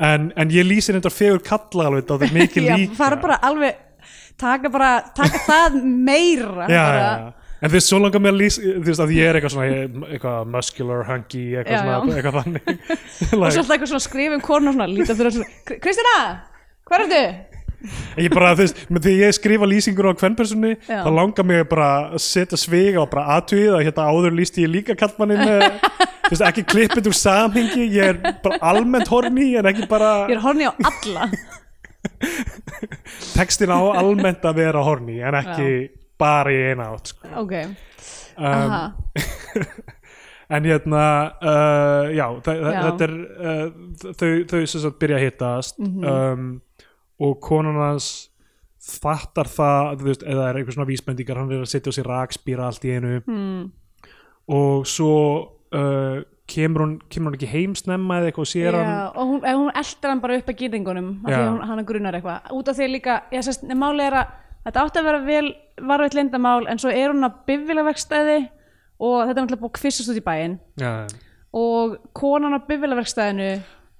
Speaker 1: en, en ég lýsi nefndar fegurð kalla alveg þá það er mikið
Speaker 3: já,
Speaker 1: líka
Speaker 3: fara bara alveg, taka bara, taka það meira,
Speaker 1: já, já,
Speaker 3: bara,
Speaker 1: já. en þú veist, svo langar mér að lýsa þú veist, að ég er eitthvað svona ég- eitthvað muscular, hunky, eitthvað,
Speaker 3: Já,
Speaker 1: svona,
Speaker 3: já.
Speaker 1: eitthvað þannig
Speaker 3: og svo
Speaker 1: like,
Speaker 3: alltaf eitthvað svona skrifum konur svona, lítið fyrir svona, "Kr- Kristina, hvað er þau?
Speaker 1: ég bara, þú veist, með því ég skrifa lýsingur á kvennpersonni,
Speaker 3: Já.
Speaker 1: þá langar mér bara að setja svega og bara aðtugið að hérna áður lýsti ég líka kallmannin þú veist, ekki klippið úr samhengi ég er bara almennt horni en ekki bara
Speaker 3: Ég er horni á alla.
Speaker 1: textin á almennt að vera horni en ekki bara í eina átt sko.
Speaker 3: Ok,
Speaker 1: um,
Speaker 3: aha.
Speaker 1: en hérna uh, já, þa þa-
Speaker 3: Já.
Speaker 1: þetta er uh, þau, þau sem sagt byrja að hittast
Speaker 3: Mhm.
Speaker 1: um, og konan hans fattar það þú veist, eða er einhver svona vísbendingar hann er að setja á sér rakspýra allt í einu mm.
Speaker 3: Hmm.
Speaker 1: og svo uh, kemur, hún, kemur hún ekki heim snemma eða eitthvað og sér hann
Speaker 3: Já, og hún, ef hún eldir hann bara upp að gýringunum af
Speaker 1: Já.
Speaker 3: því að hún, hann grunar eitthvað út af því líka, ég sérst, máli er að þetta átti að vera vel varveitt leyndamál en svo er hún að bifvila vegstæði og þetta er náttúrulega búið að kvissast út í bæinn
Speaker 1: já,
Speaker 3: og konan á bifvila vegstæðinu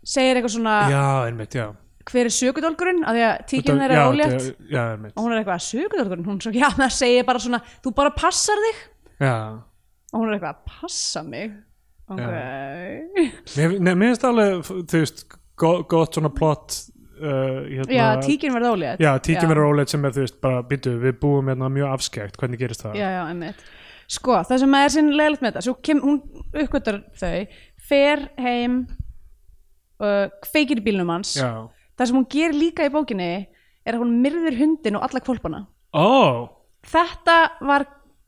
Speaker 3: segir eitthvað svona
Speaker 1: já, einmitt, já
Speaker 3: hver er sökudólkurinn af því að tíkinn
Speaker 1: Þetta-
Speaker 3: þeirra
Speaker 1: já,
Speaker 3: er ólétt
Speaker 1: þetta- já, einmitt,
Speaker 3: og hún er eitthvað sökudólkurinn, hún er svo, já, það segir bara svona þú bara passar þig
Speaker 1: já
Speaker 3: og hún er eitthvað, passa mig ok
Speaker 1: Mér, nei, mér finnst alveg, þú veist, gott, gott svona plott uh, hérna,
Speaker 3: já, tíkinn verði ólétt
Speaker 1: Já, tíkin verður óleitt sem er, þú veist, bara býtu, við búum hérna mjög afskekt, hvernig gerist það?
Speaker 3: já, já, einmitt sko, það sem er sinn leiðilegt með þetta svo kem, hún uppgötar þau fer heim uh, kveikir í bílnum hans
Speaker 1: Já.
Speaker 3: það sem hún gerir líka í bókinni er að hún myrðir hundin og alla kvolpana
Speaker 1: Ó,
Speaker 3: þetta var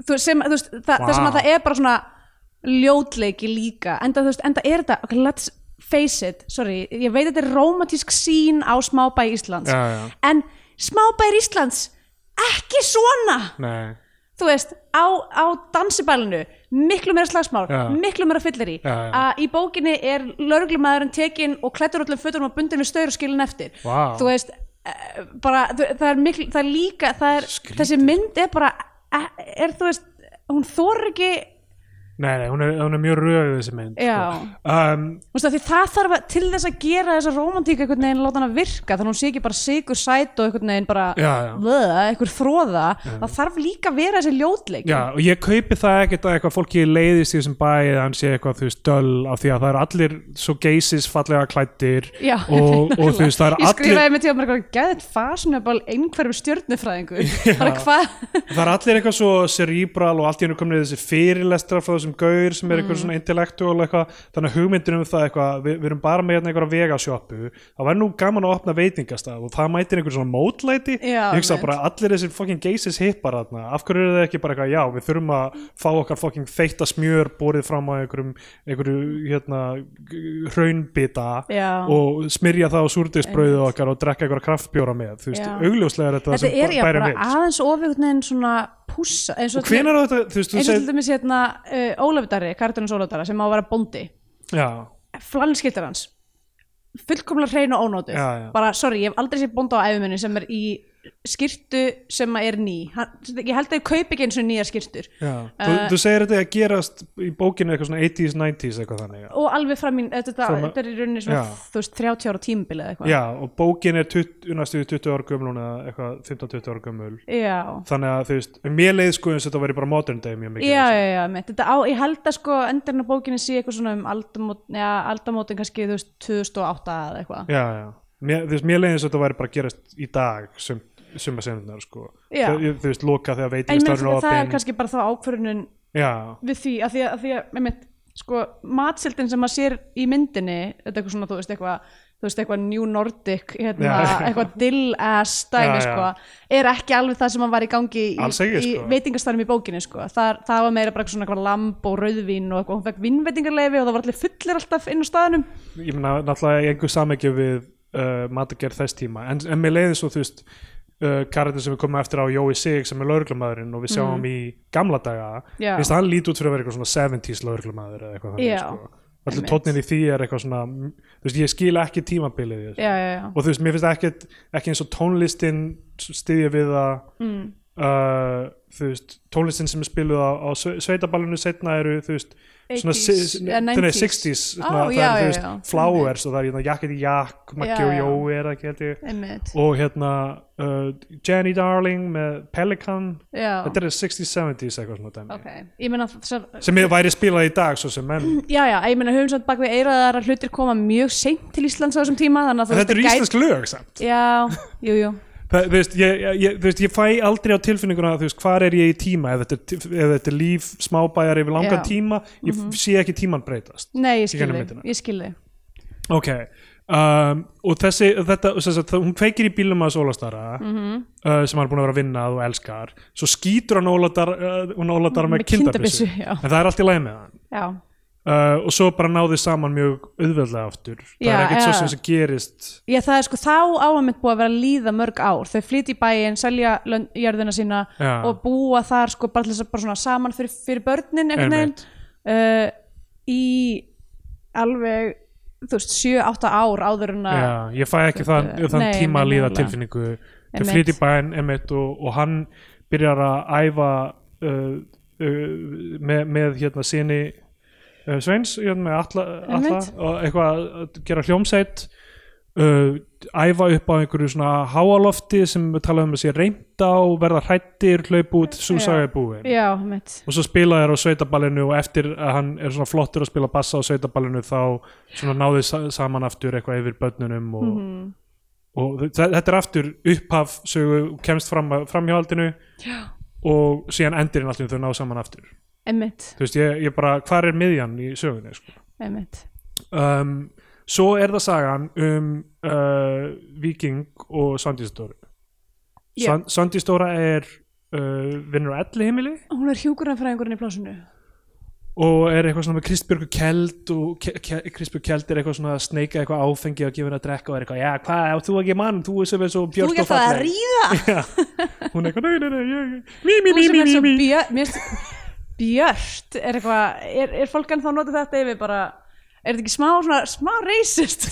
Speaker 3: þú, sem, þú veist,
Speaker 1: Vá.
Speaker 3: það, það sem að það er bara svona ljótleiki líka enda, þú veist, enda er þetta, ok, let's face it sorry, ég veit að þetta er romantísk sín á smábæ Íslands
Speaker 1: Já, já.
Speaker 3: en smábæ Íslands ekki svona
Speaker 1: nei,
Speaker 3: þú veist, á, á dansibælinu miklu meira slagsmál,
Speaker 1: Já.
Speaker 3: miklu meira fyllir í
Speaker 1: Já, já.
Speaker 3: að í bókinni er lögreglumæðurinn tekin og klættur öllum fötunum og bundin við staur og skilin eftir
Speaker 1: Vá.
Speaker 3: þú veist, eh, bara þú- það er, miklu, það er líka það er,
Speaker 1: Skrýtið.
Speaker 3: þessi mynd er bara eh, er þú veist, hún þor ekki
Speaker 1: nei, nei, hún er, hún er mjög röð þessi mynd.
Speaker 3: Já.
Speaker 1: Sko. Um,
Speaker 3: þú veist, af því það þarf að, til þess að gera þessa romantík einhvern veginn láta hana virka þannig að hún sé ekki bara sigur sæt og einhvern veginn bara
Speaker 1: Já, já.
Speaker 3: blöða, einhver þróða það þarf líka að vera þessi ljótleik
Speaker 1: já, og ég kaupi það ekkert að eitthvað fólki leiðist í þessum bæið, hann sé eitthvað, þú veist, döl af því að það eru allir svo geysis fallega klættir
Speaker 3: Já,
Speaker 1: og, og þú veist, það
Speaker 3: Ég
Speaker 1: eru allir...
Speaker 3: skrifaði með tíma mér eitthvað gæðið fashionable einhverjum stjörnufræðingu bara hvað
Speaker 1: Það er allir eitthvað svo cerebral og allt í hennu komin þessi fyrirlestra frá þessum gaur sem er eitthvað
Speaker 3: Mm.
Speaker 1: svona intellektuál eitthvað þannig að hugmyndin um það eitthvað, við, við erum bara með hérna eitthvað vegasjópu, það væri nú gaman að opna veitingastaf og það mætir einhver svona mótlæti,
Speaker 3: Já,
Speaker 1: ég hugsa
Speaker 3: einmitt.
Speaker 1: bara allir þessir fucking geysis hippar þarna, af hverju eru það ekki bara eitthvað, já, við þurfum að fá okkar fucking þeytta smjör borið fram á einhverjum, einhverju hérna hraunbita
Speaker 3: Já.
Speaker 1: og smyrja það á súrdeisbröðu okkar og drekka einhverja kraftbjóra með, þú veist,
Speaker 3: Já.
Speaker 1: augljóslega er þetta,
Speaker 3: þetta
Speaker 1: það
Speaker 3: er
Speaker 1: sem
Speaker 3: ég
Speaker 1: bæ-
Speaker 3: bara
Speaker 1: bærum við
Speaker 3: aðeins ofið en svona pússa eins og
Speaker 1: og hvenær á þetta, þú veist, þú
Speaker 3: eins og til
Speaker 1: segir
Speaker 3: dæmis hérna uh, Ólafdari, kartunins Ólafdari sem á að vera bóndi
Speaker 1: já,
Speaker 3: flanskiltar hans fullkomlega hrein og ónótu
Speaker 1: Já, já.
Speaker 3: bara sorry, ég hef aldrei séð bónda á æfuminni sem er í skirtu sem er ný Hann, ég held að ég kaup ekki eins og nýjar skirtur
Speaker 1: já. þú,
Speaker 3: Uh,
Speaker 1: þú segir þetta að gerast í bókinu eitthvað svona 80s, 90s eitthvað þannig já,
Speaker 3: og alveg fram í þetta, þetta,
Speaker 1: Fram að-
Speaker 3: er í rauninni svona
Speaker 1: Já.
Speaker 3: þú veist 30 ára tímbil eða eitthvað
Speaker 1: já og bókin er 20, næstu 20 ára gömul hún eða eitthvað 15-20 ára gömul
Speaker 3: Já.
Speaker 1: þannig að þú veist, mér leið sko eins og þetta væri bara modern day mjög mikið
Speaker 3: já, já, já, mitt. þetta á, ég held að sko endurinn á bókinni sé eitthvað svona um aldamót, já, aldamótin kannski þú veist 2008 eða eitthvað
Speaker 1: já, já. Mér, þú veist, mér leiði eins og þetta væri bara að gerast í dag sem, sem að sko
Speaker 3: Já.
Speaker 1: Þau- þú veist, loka þegar
Speaker 3: en mér
Speaker 1: veitingastæður
Speaker 3: finnst að það er kannski bara þá ákvörunin
Speaker 1: já,
Speaker 3: við því, að því að, að, því að einmitt, sko, matsildin sem maður sér í myndinni, þetta er eitthvað svona, þú veist, eitthvað þú veist, eitthvað New Nordic hérna,
Speaker 1: Já, já.
Speaker 3: eitthvað dill-ass dæmi
Speaker 1: Já, já.
Speaker 3: sko, er ekki alveg það sem hann var í gangi í,
Speaker 1: Alls ekki,
Speaker 3: í
Speaker 1: sko.
Speaker 3: veitingastanum í bókinni sko. það, það var meira bara svona eitthvað lamb og rauðvín og eitthvað, hún fekk vinnveitingarleifi og það var allir fullir alltaf inn á staðnum
Speaker 1: ég meina náttúrulega í einhver samekju við uh, matagerð þess tíma en, en mér leiði svo þú veist uh, karakter sem við komum eftir á Jói Sig sem er lauruglumæðurinn og við sjáum í gamla daga
Speaker 3: Mm. Já.
Speaker 1: finnst hann lít út fyrir að vera eitthvað svona 70s lauruglumæður eða eitthvað
Speaker 3: Já.
Speaker 1: þannig sko allir
Speaker 3: Einmitt.
Speaker 1: tónin í því er eitthvað svona mm, þú veist ég skil ekki tímabilið í þessu.
Speaker 3: já, já, já,
Speaker 1: og þú veist mér finnst ekkert ekki eins og tónlistin styðja við að
Speaker 3: mm,
Speaker 1: uh, þú veist, tónlistin sem er spiluð á, á sve- sveitaballinu setna eru þú veist, svona
Speaker 3: 80s,
Speaker 1: si-
Speaker 3: eða
Speaker 1: nei,
Speaker 3: 90s.
Speaker 1: 60s svona,
Speaker 3: Á,
Speaker 1: það
Speaker 3: eh, Oh, já,
Speaker 1: eru
Speaker 3: já,
Speaker 1: þú veist,
Speaker 3: já.
Speaker 1: flowers og það er hérna, jakkið í jakk Maggi
Speaker 3: Já,
Speaker 1: og
Speaker 3: já.
Speaker 1: Jói er það ekki held ég
Speaker 3: einmitt
Speaker 1: og hérna uh, Jenny Darling með Pelican
Speaker 3: já,
Speaker 1: þetta er 60s, 70s eitthvað svona dæmi
Speaker 3: ok, ég meina þessar
Speaker 1: sem ég væri spilað í dag svo sem menn
Speaker 3: Já, já, ég meina höfum svo bak við eiraðar að hlutir koma mjög seint til Íslands á þessum tíma þannig að þú
Speaker 1: en þetta eru
Speaker 3: það
Speaker 1: íslensk lög samt
Speaker 3: Já, jú, jú,
Speaker 1: Það, þú veist, ég, ég- ég, þú veist, ég fæ aldrei á tilfinninguna þú veist, hvar er ég í tíma ef þetta er, t- ef þetta er líf smábæjar yfir langan
Speaker 3: Já. Mhm.
Speaker 1: tíma ég sé ekki tíman breytast
Speaker 3: nei, ég skil
Speaker 1: gegnum
Speaker 3: þig,
Speaker 1: myndina.
Speaker 3: ég skil þig
Speaker 1: Ok, um, og þessi, þetta, þess að hún kveikir í bílum að Sólastara
Speaker 3: Mhm.
Speaker 1: uh, sem hann er búin að vera að vinna að og elskar, svo skýtur hann Óladar, uh, hún Óladar með,
Speaker 3: Með
Speaker 1: kindabyssu,
Speaker 3: kindabyssu, já.
Speaker 1: en það er allt í lagi með hann.
Speaker 3: Já,
Speaker 1: Uh, og svo bara náði saman mjög auðveldlega aftur, það
Speaker 3: Já,
Speaker 1: er ekkert svo
Speaker 3: já.
Speaker 1: sem sem gerist,
Speaker 3: já það er sko þá áhæmint búið að vera að líða mörg ár þau flytja í bæinn, selja lönd, jörðina sína
Speaker 1: Já.
Speaker 3: og búa þar sko bara til þess að bara svona saman fyrir, fyrir börnin einhvern veginn
Speaker 1: Einmitt.
Speaker 3: uh, í alveg þú veist, 7-8 ár áður en að
Speaker 1: já, ég fæ ekki þann,
Speaker 3: Þetta-
Speaker 1: þann
Speaker 3: Nei,
Speaker 1: tíma að
Speaker 3: nei,
Speaker 1: líða
Speaker 3: nálega.
Speaker 1: tilfinningu þau
Speaker 3: Einmitt.
Speaker 1: flytti bæinn emitt og, og hann byrjar að æfa uh, uh, með, með hérna síni uh, Sveins hérna, með alla, alla
Speaker 3: Einmitt.
Speaker 1: og eitthvað að gera hljómsætt uh, æfa upp á einhverju svona háalofti sem við talaðum að sé reynda og verða hrættir, hlaup út, svo
Speaker 3: Já.
Speaker 1: sagði búin
Speaker 3: Já, mitt
Speaker 1: og svo spila þér á sveitaballinu og eftir að hann er svona flottur að spila bassa á sveitaballinu þá svona náði sa saman aftur eitthvað yfir börnunum og, og þe- þetta er aftur upphaf sögu kemst fram framhjóhaldinu og síðan endirinn allir þau ná saman aftur
Speaker 3: Emmitt,
Speaker 1: þú veist ég, ég bara, hvar er miðjan í sögunni sko?
Speaker 3: emmitt
Speaker 1: um, svo er það sagan um uh, Viking og Sandistóra
Speaker 3: Já.
Speaker 1: yeah. Sandistóra er uh, vinnur á elli heimili
Speaker 3: Hún er hjúkurafræðingurinn í plásinu
Speaker 1: og er eitthvað svona með Kristbjörgu Kjeld og Ke- Ke- Kristbjörg Kjeld er eitthvað svona að sneika eitthvað áfengi og gefa henni að drekka og er eitthvað, já hvað, ef þú ekki mann, þú sem er svo björst og falleg
Speaker 3: ríða
Speaker 1: hún er eitthvað, nei, nei, nei, ég, mí, mí,
Speaker 3: Hún
Speaker 1: mí,
Speaker 3: sem
Speaker 1: mí,
Speaker 3: er
Speaker 1: mí,
Speaker 3: svo
Speaker 1: mí
Speaker 3: björ- mér finnst- björt er eitthvað, er, er fólk ennþá að nota þetta yfir bara, er þetta ekki smá svona, smá racist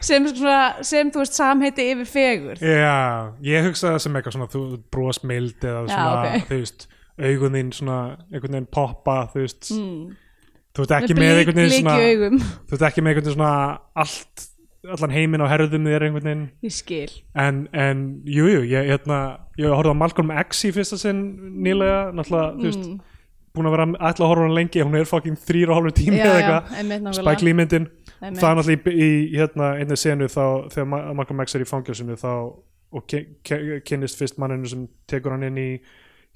Speaker 3: sem svona, sem þú veist samheiti yfir fegur
Speaker 1: já, ég hugsa það sem eitthvað svona þú brosmild eða
Speaker 3: Já,
Speaker 1: svona,
Speaker 3: ok.
Speaker 1: þú veist augun þín svona, einhvern veginn poppa þú veist,
Speaker 3: mm.
Speaker 1: þú ert ekki með einhvern veginn
Speaker 3: svona
Speaker 1: svona,
Speaker 3: augum,
Speaker 1: þú ert ekki með einhvern veginn svona allt, allan heiminn á herðum þér einhvern veginn
Speaker 3: ég skil
Speaker 1: en, en jú, jú, ég, hérna, ég horfði á Malcolm X í fyrsta sinn nýlega, náttúrulega, þú
Speaker 3: Mm.
Speaker 1: veist búin að vera ætla að horfa á hann lengi, hún er fucking þrýr og hálfur tími
Speaker 3: Já,
Speaker 1: eða
Speaker 3: já, einmitt
Speaker 1: eitthvað
Speaker 3: nákvæmlega.
Speaker 1: Spike Lee myndin,
Speaker 3: Einmitt.
Speaker 1: það er náttúrulega í, í hérna, einu senu þá, þegar Ma- Malcolm X er í fangelsinu þá, og ke- ke- kynnist fyrst manninu sem tekur hann inn í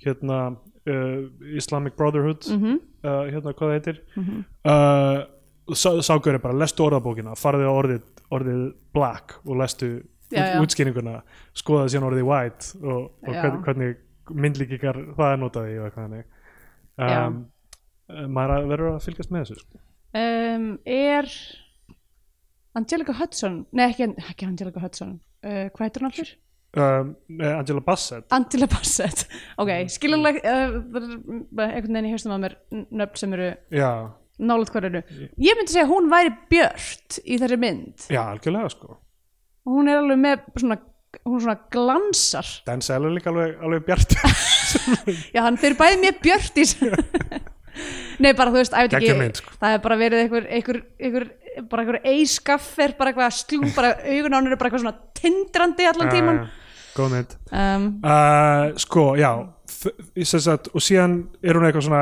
Speaker 1: hérna uh, Islamic Brotherhood
Speaker 3: Mhm.
Speaker 1: uh, hérna hvað það heitir mm -hmm. uh, sá- ságur er bara lestu orðabókina, farðu á orðið, orðið black og lestu út,
Speaker 3: Já, já.
Speaker 1: útskýringuna skoðaðu síðan orðið white og, og
Speaker 3: Já.
Speaker 1: hvernig, hvernig myndlíkingar það er notaði og eitthvað þannig
Speaker 3: Já.
Speaker 1: um, uh, maður að- verður að fylgjast með þessu sko.
Speaker 3: um, er Angelica Hudson nei ekki, ekki Angelica Hudson uh, hvað heitir hún allir?
Speaker 1: um, eh, Angela Bassett
Speaker 3: Angela Bassett
Speaker 1: Mm.
Speaker 3: ok, skiljanlega uh, bara einhvern veginn í hérstum að mér n- nöfn sem eru
Speaker 1: já,
Speaker 3: nálaðt hvað eru ég myndi segja að hún væri björt í þessari mynd
Speaker 1: já algjörlega sko
Speaker 3: og hún er alveg með svona hún svona glansar
Speaker 1: Dan Seller líka alveg, alveg bjart
Speaker 3: já, hann fyrir bæði mér björt í nei, bara þú veist, æfði ekki
Speaker 1: Geggjuð mynd, sko.
Speaker 3: það er bara verið einhver, einhver, einhver bara einhver eiskaffer, bara eitthvað slú bara augun á hann eru bara eitthvað svona tindrandi
Speaker 1: Ah.
Speaker 3: allan tíman
Speaker 1: Eh, góð mynd
Speaker 3: um,
Speaker 1: Uh, sko, já þ- sem sagt, og síðan er hún eitthvað svona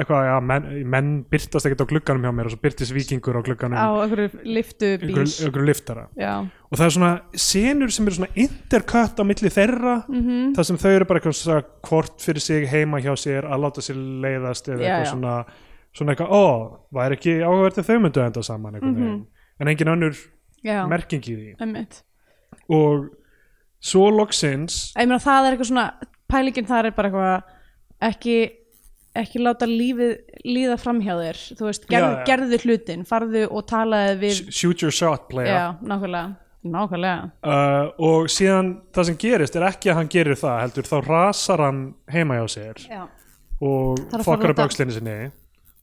Speaker 1: eitthvað, já, menn, menn byrtast ekkert á glugganum hjá mér og svo byrtist vikingur á glugganum
Speaker 3: á einhverju lyftu bíl
Speaker 1: einhverju einhverju liftara
Speaker 3: já,
Speaker 1: og það er svona senur sem eru svona intercut á milli þeirra
Speaker 3: Mhm.
Speaker 1: -hmm. þar sem þau eru bara eitthvað svona hvort fyrir sig heima hjá sér að láta sér leiðast eða
Speaker 3: Já,
Speaker 1: eitthvað
Speaker 3: já.
Speaker 1: svona svona eitthvað, ó, væri ekki áhugavert að þau myndu að enda saman einhvern
Speaker 3: Mhm.
Speaker 1: veginn en engin önnur
Speaker 3: já,
Speaker 1: merking í því
Speaker 3: emmitt
Speaker 1: og svo loksins
Speaker 3: ég meina það er eitthvað svona pælingin þar er bara eitthvað ekki, ekki láta lífið líða framhjá þér þú veist, gerð,
Speaker 1: Já, já.
Speaker 3: gerðu hlutin farðu og talaði við
Speaker 1: sh- shoot your shot player
Speaker 3: já, nákvæmlega nákvæmlega,
Speaker 1: uh, og síðan það sem gerist er ekki að hann gerir það heldur þá rasar hann heima hjá sér
Speaker 3: já,
Speaker 1: og
Speaker 3: Þarf að fara
Speaker 1: fokkar
Speaker 3: út
Speaker 1: upp
Speaker 3: að-
Speaker 1: öxlinni sinni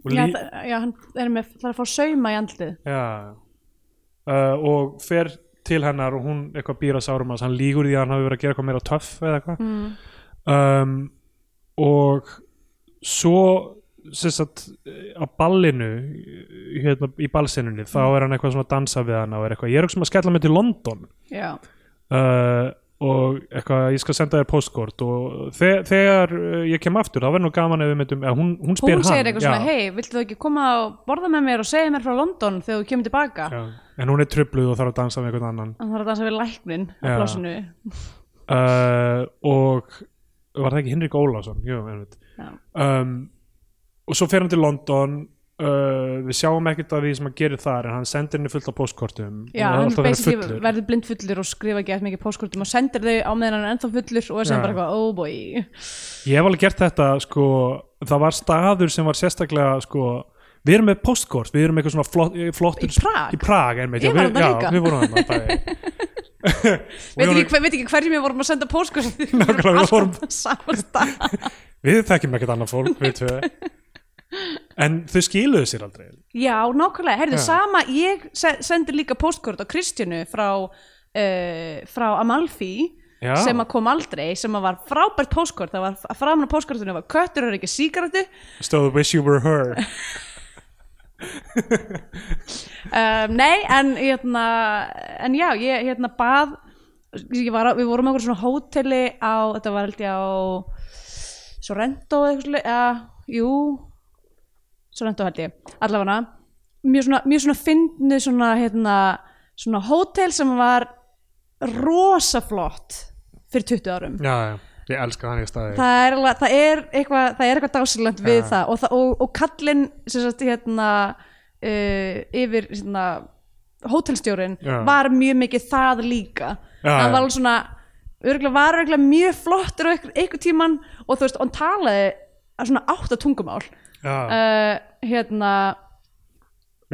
Speaker 1: og
Speaker 3: já,
Speaker 1: lí-
Speaker 3: það, já hann er með, það er að fá sauma í andlið
Speaker 1: Já uh, og fer til hennar og hún eitthvað býr að sárum hans, hann lígur því að hann hafi verið að gera eitthvað meira töff eða eitthvað
Speaker 3: mm.
Speaker 1: um, og svo sem sagt, eh, á ballinu eh, hérna, í ballsinunni, þá
Speaker 3: Mm.
Speaker 1: er hann eitthvað svona að dansa við hann og er eitthvað, ég er eitthvað sem að skella mig til London
Speaker 3: já,
Speaker 1: uh, og eitthvað, ég skal senda þér postkort og þe þegar eh, ég kem aftur, þá verður nú gaman ef við myndum, eða hún, hún spyr
Speaker 3: hún
Speaker 1: hann
Speaker 3: segir eitthvað
Speaker 1: já,
Speaker 3: svona hei, viltu þú ekki koma og borða með mér og segja mér frá London þegar þú kemur tilbaka
Speaker 1: já, en hún er trubluð og þarf að dansa við einhvern annan
Speaker 3: hann þarf að dansa við læknin á
Speaker 1: Já.
Speaker 3: plássinu
Speaker 1: uh, og var það ekki Henrik Ólafsson jú, einmitt.
Speaker 3: Já.
Speaker 1: um, og svo fer hann til London uh, við sjáum ekkert af því sem hann gerir þar en hann sendir henni fullt af postkortum
Speaker 3: Já,
Speaker 1: og
Speaker 3: hann
Speaker 1: alltaf verið
Speaker 3: basically
Speaker 1: fullur
Speaker 3: verður blind fullur og skrifa ekki eftir mikið póskortum og sendir þau á meðan hann er ennþá fullur og er sem
Speaker 1: Já.
Speaker 3: bara eitthvað, oh boy
Speaker 1: ég hef alveg gert þetta sko, það var staður sem var sérstaklega sko, við erum með postkort, við erum eitthvað svona flott, eh, flottur
Speaker 3: Í Prag?
Speaker 1: í Prag einmitt, já,
Speaker 3: Ég var
Speaker 1: við,
Speaker 3: þarna
Speaker 1: já,
Speaker 3: líka.
Speaker 1: við vorum þarna bæði. Og
Speaker 3: veit
Speaker 1: við
Speaker 3: ekki,
Speaker 1: vorum-
Speaker 3: hver, veit ekki hverjum við vorum að senda póskort
Speaker 1: Nákvæmlega, við vorum-
Speaker 3: saman stað
Speaker 1: við þekkjum ekkert annað fólk við tvö en þau skiluðu sér aldrei
Speaker 3: Já, nákvæmlega, heyrðu,
Speaker 1: Já.
Speaker 3: sama ég se- sendir líka póstkort á Kristjánu frá, uh, frá Amalfi
Speaker 1: Já.
Speaker 3: sem að kom aldrei sem að var frábært póstkort það var að framan á póstkortinu var köttur er ekki síkartu
Speaker 1: stóðu wish you were her
Speaker 3: um, nei, en hérna en já, ég hérna bað ég var, á- við vorum á einhverju svona hóteli á, þetta var held ég á Sorrento eða eitthvað svolítið, ja, jú Sorrento held ég, allavega mjög svona, mjög svona fyndnu svona hérna, svona hótel sem var rosa flott fyrir 20 árum
Speaker 1: já, já, ég elska þannig staði
Speaker 3: það er, alveg, það er eitthvað það er eitthvað dásilegt við
Speaker 1: Já.
Speaker 3: það og, það, og, og kallinn sem sagt hérna uh, yfir hérna hótelstjórin
Speaker 1: Já.
Speaker 3: var mjög mikið það líka
Speaker 1: Já,
Speaker 3: hann
Speaker 1: já.
Speaker 3: var alveg svona örgulega, var örgulega mjög flottur á einhver, einhver tíman og þú veist, hann talaði að svona átta tungumál
Speaker 1: já,
Speaker 3: uh, hérna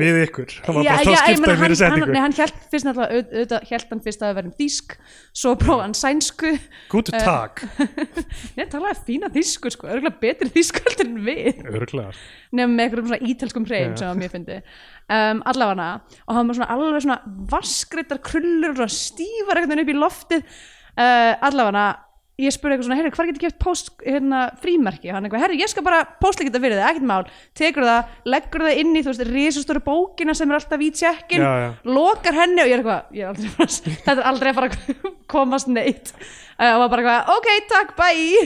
Speaker 1: við ykkur það var
Speaker 3: Já,
Speaker 1: bara það
Speaker 3: já, ég
Speaker 1: skipta
Speaker 3: meina,
Speaker 1: mér
Speaker 3: hann,
Speaker 1: í
Speaker 3: hann,
Speaker 1: setningu
Speaker 3: nei, hann held fyrst náttúrulega auð- auðvitað held hann fyrst að það verðum þýsk svo prófaði hann sænsku
Speaker 1: gútu takk,
Speaker 3: Nei, talaði fína þýsku sko, örgulega betri þýsku heldur en við
Speaker 1: örglega
Speaker 3: nefnum með einhverjum svona ítalskum hreim
Speaker 1: Já.
Speaker 3: sem var mjög fyndi um, allafana og hann var svona alveg svona vaskreittar krullur og svona stífar einhvern veginn upp í loftið uh, allafana ég spurði eitthvað svona, herri, hvar getur ég keft post, hérna, frímerki, hann eitthvað, herri, ég skal bara postleikita fyrir þig, ekkert mál, tekur það leggur það inn í, þú veist, risastóru bókina sem er alltaf í tjekkin,
Speaker 1: Já, já.
Speaker 3: lokar henni og ég er eitthvað, ég er aldrei að fara að- þetta er aldrei að fara að komast neitt uh, og var bara eitthvað, ok, takk, bye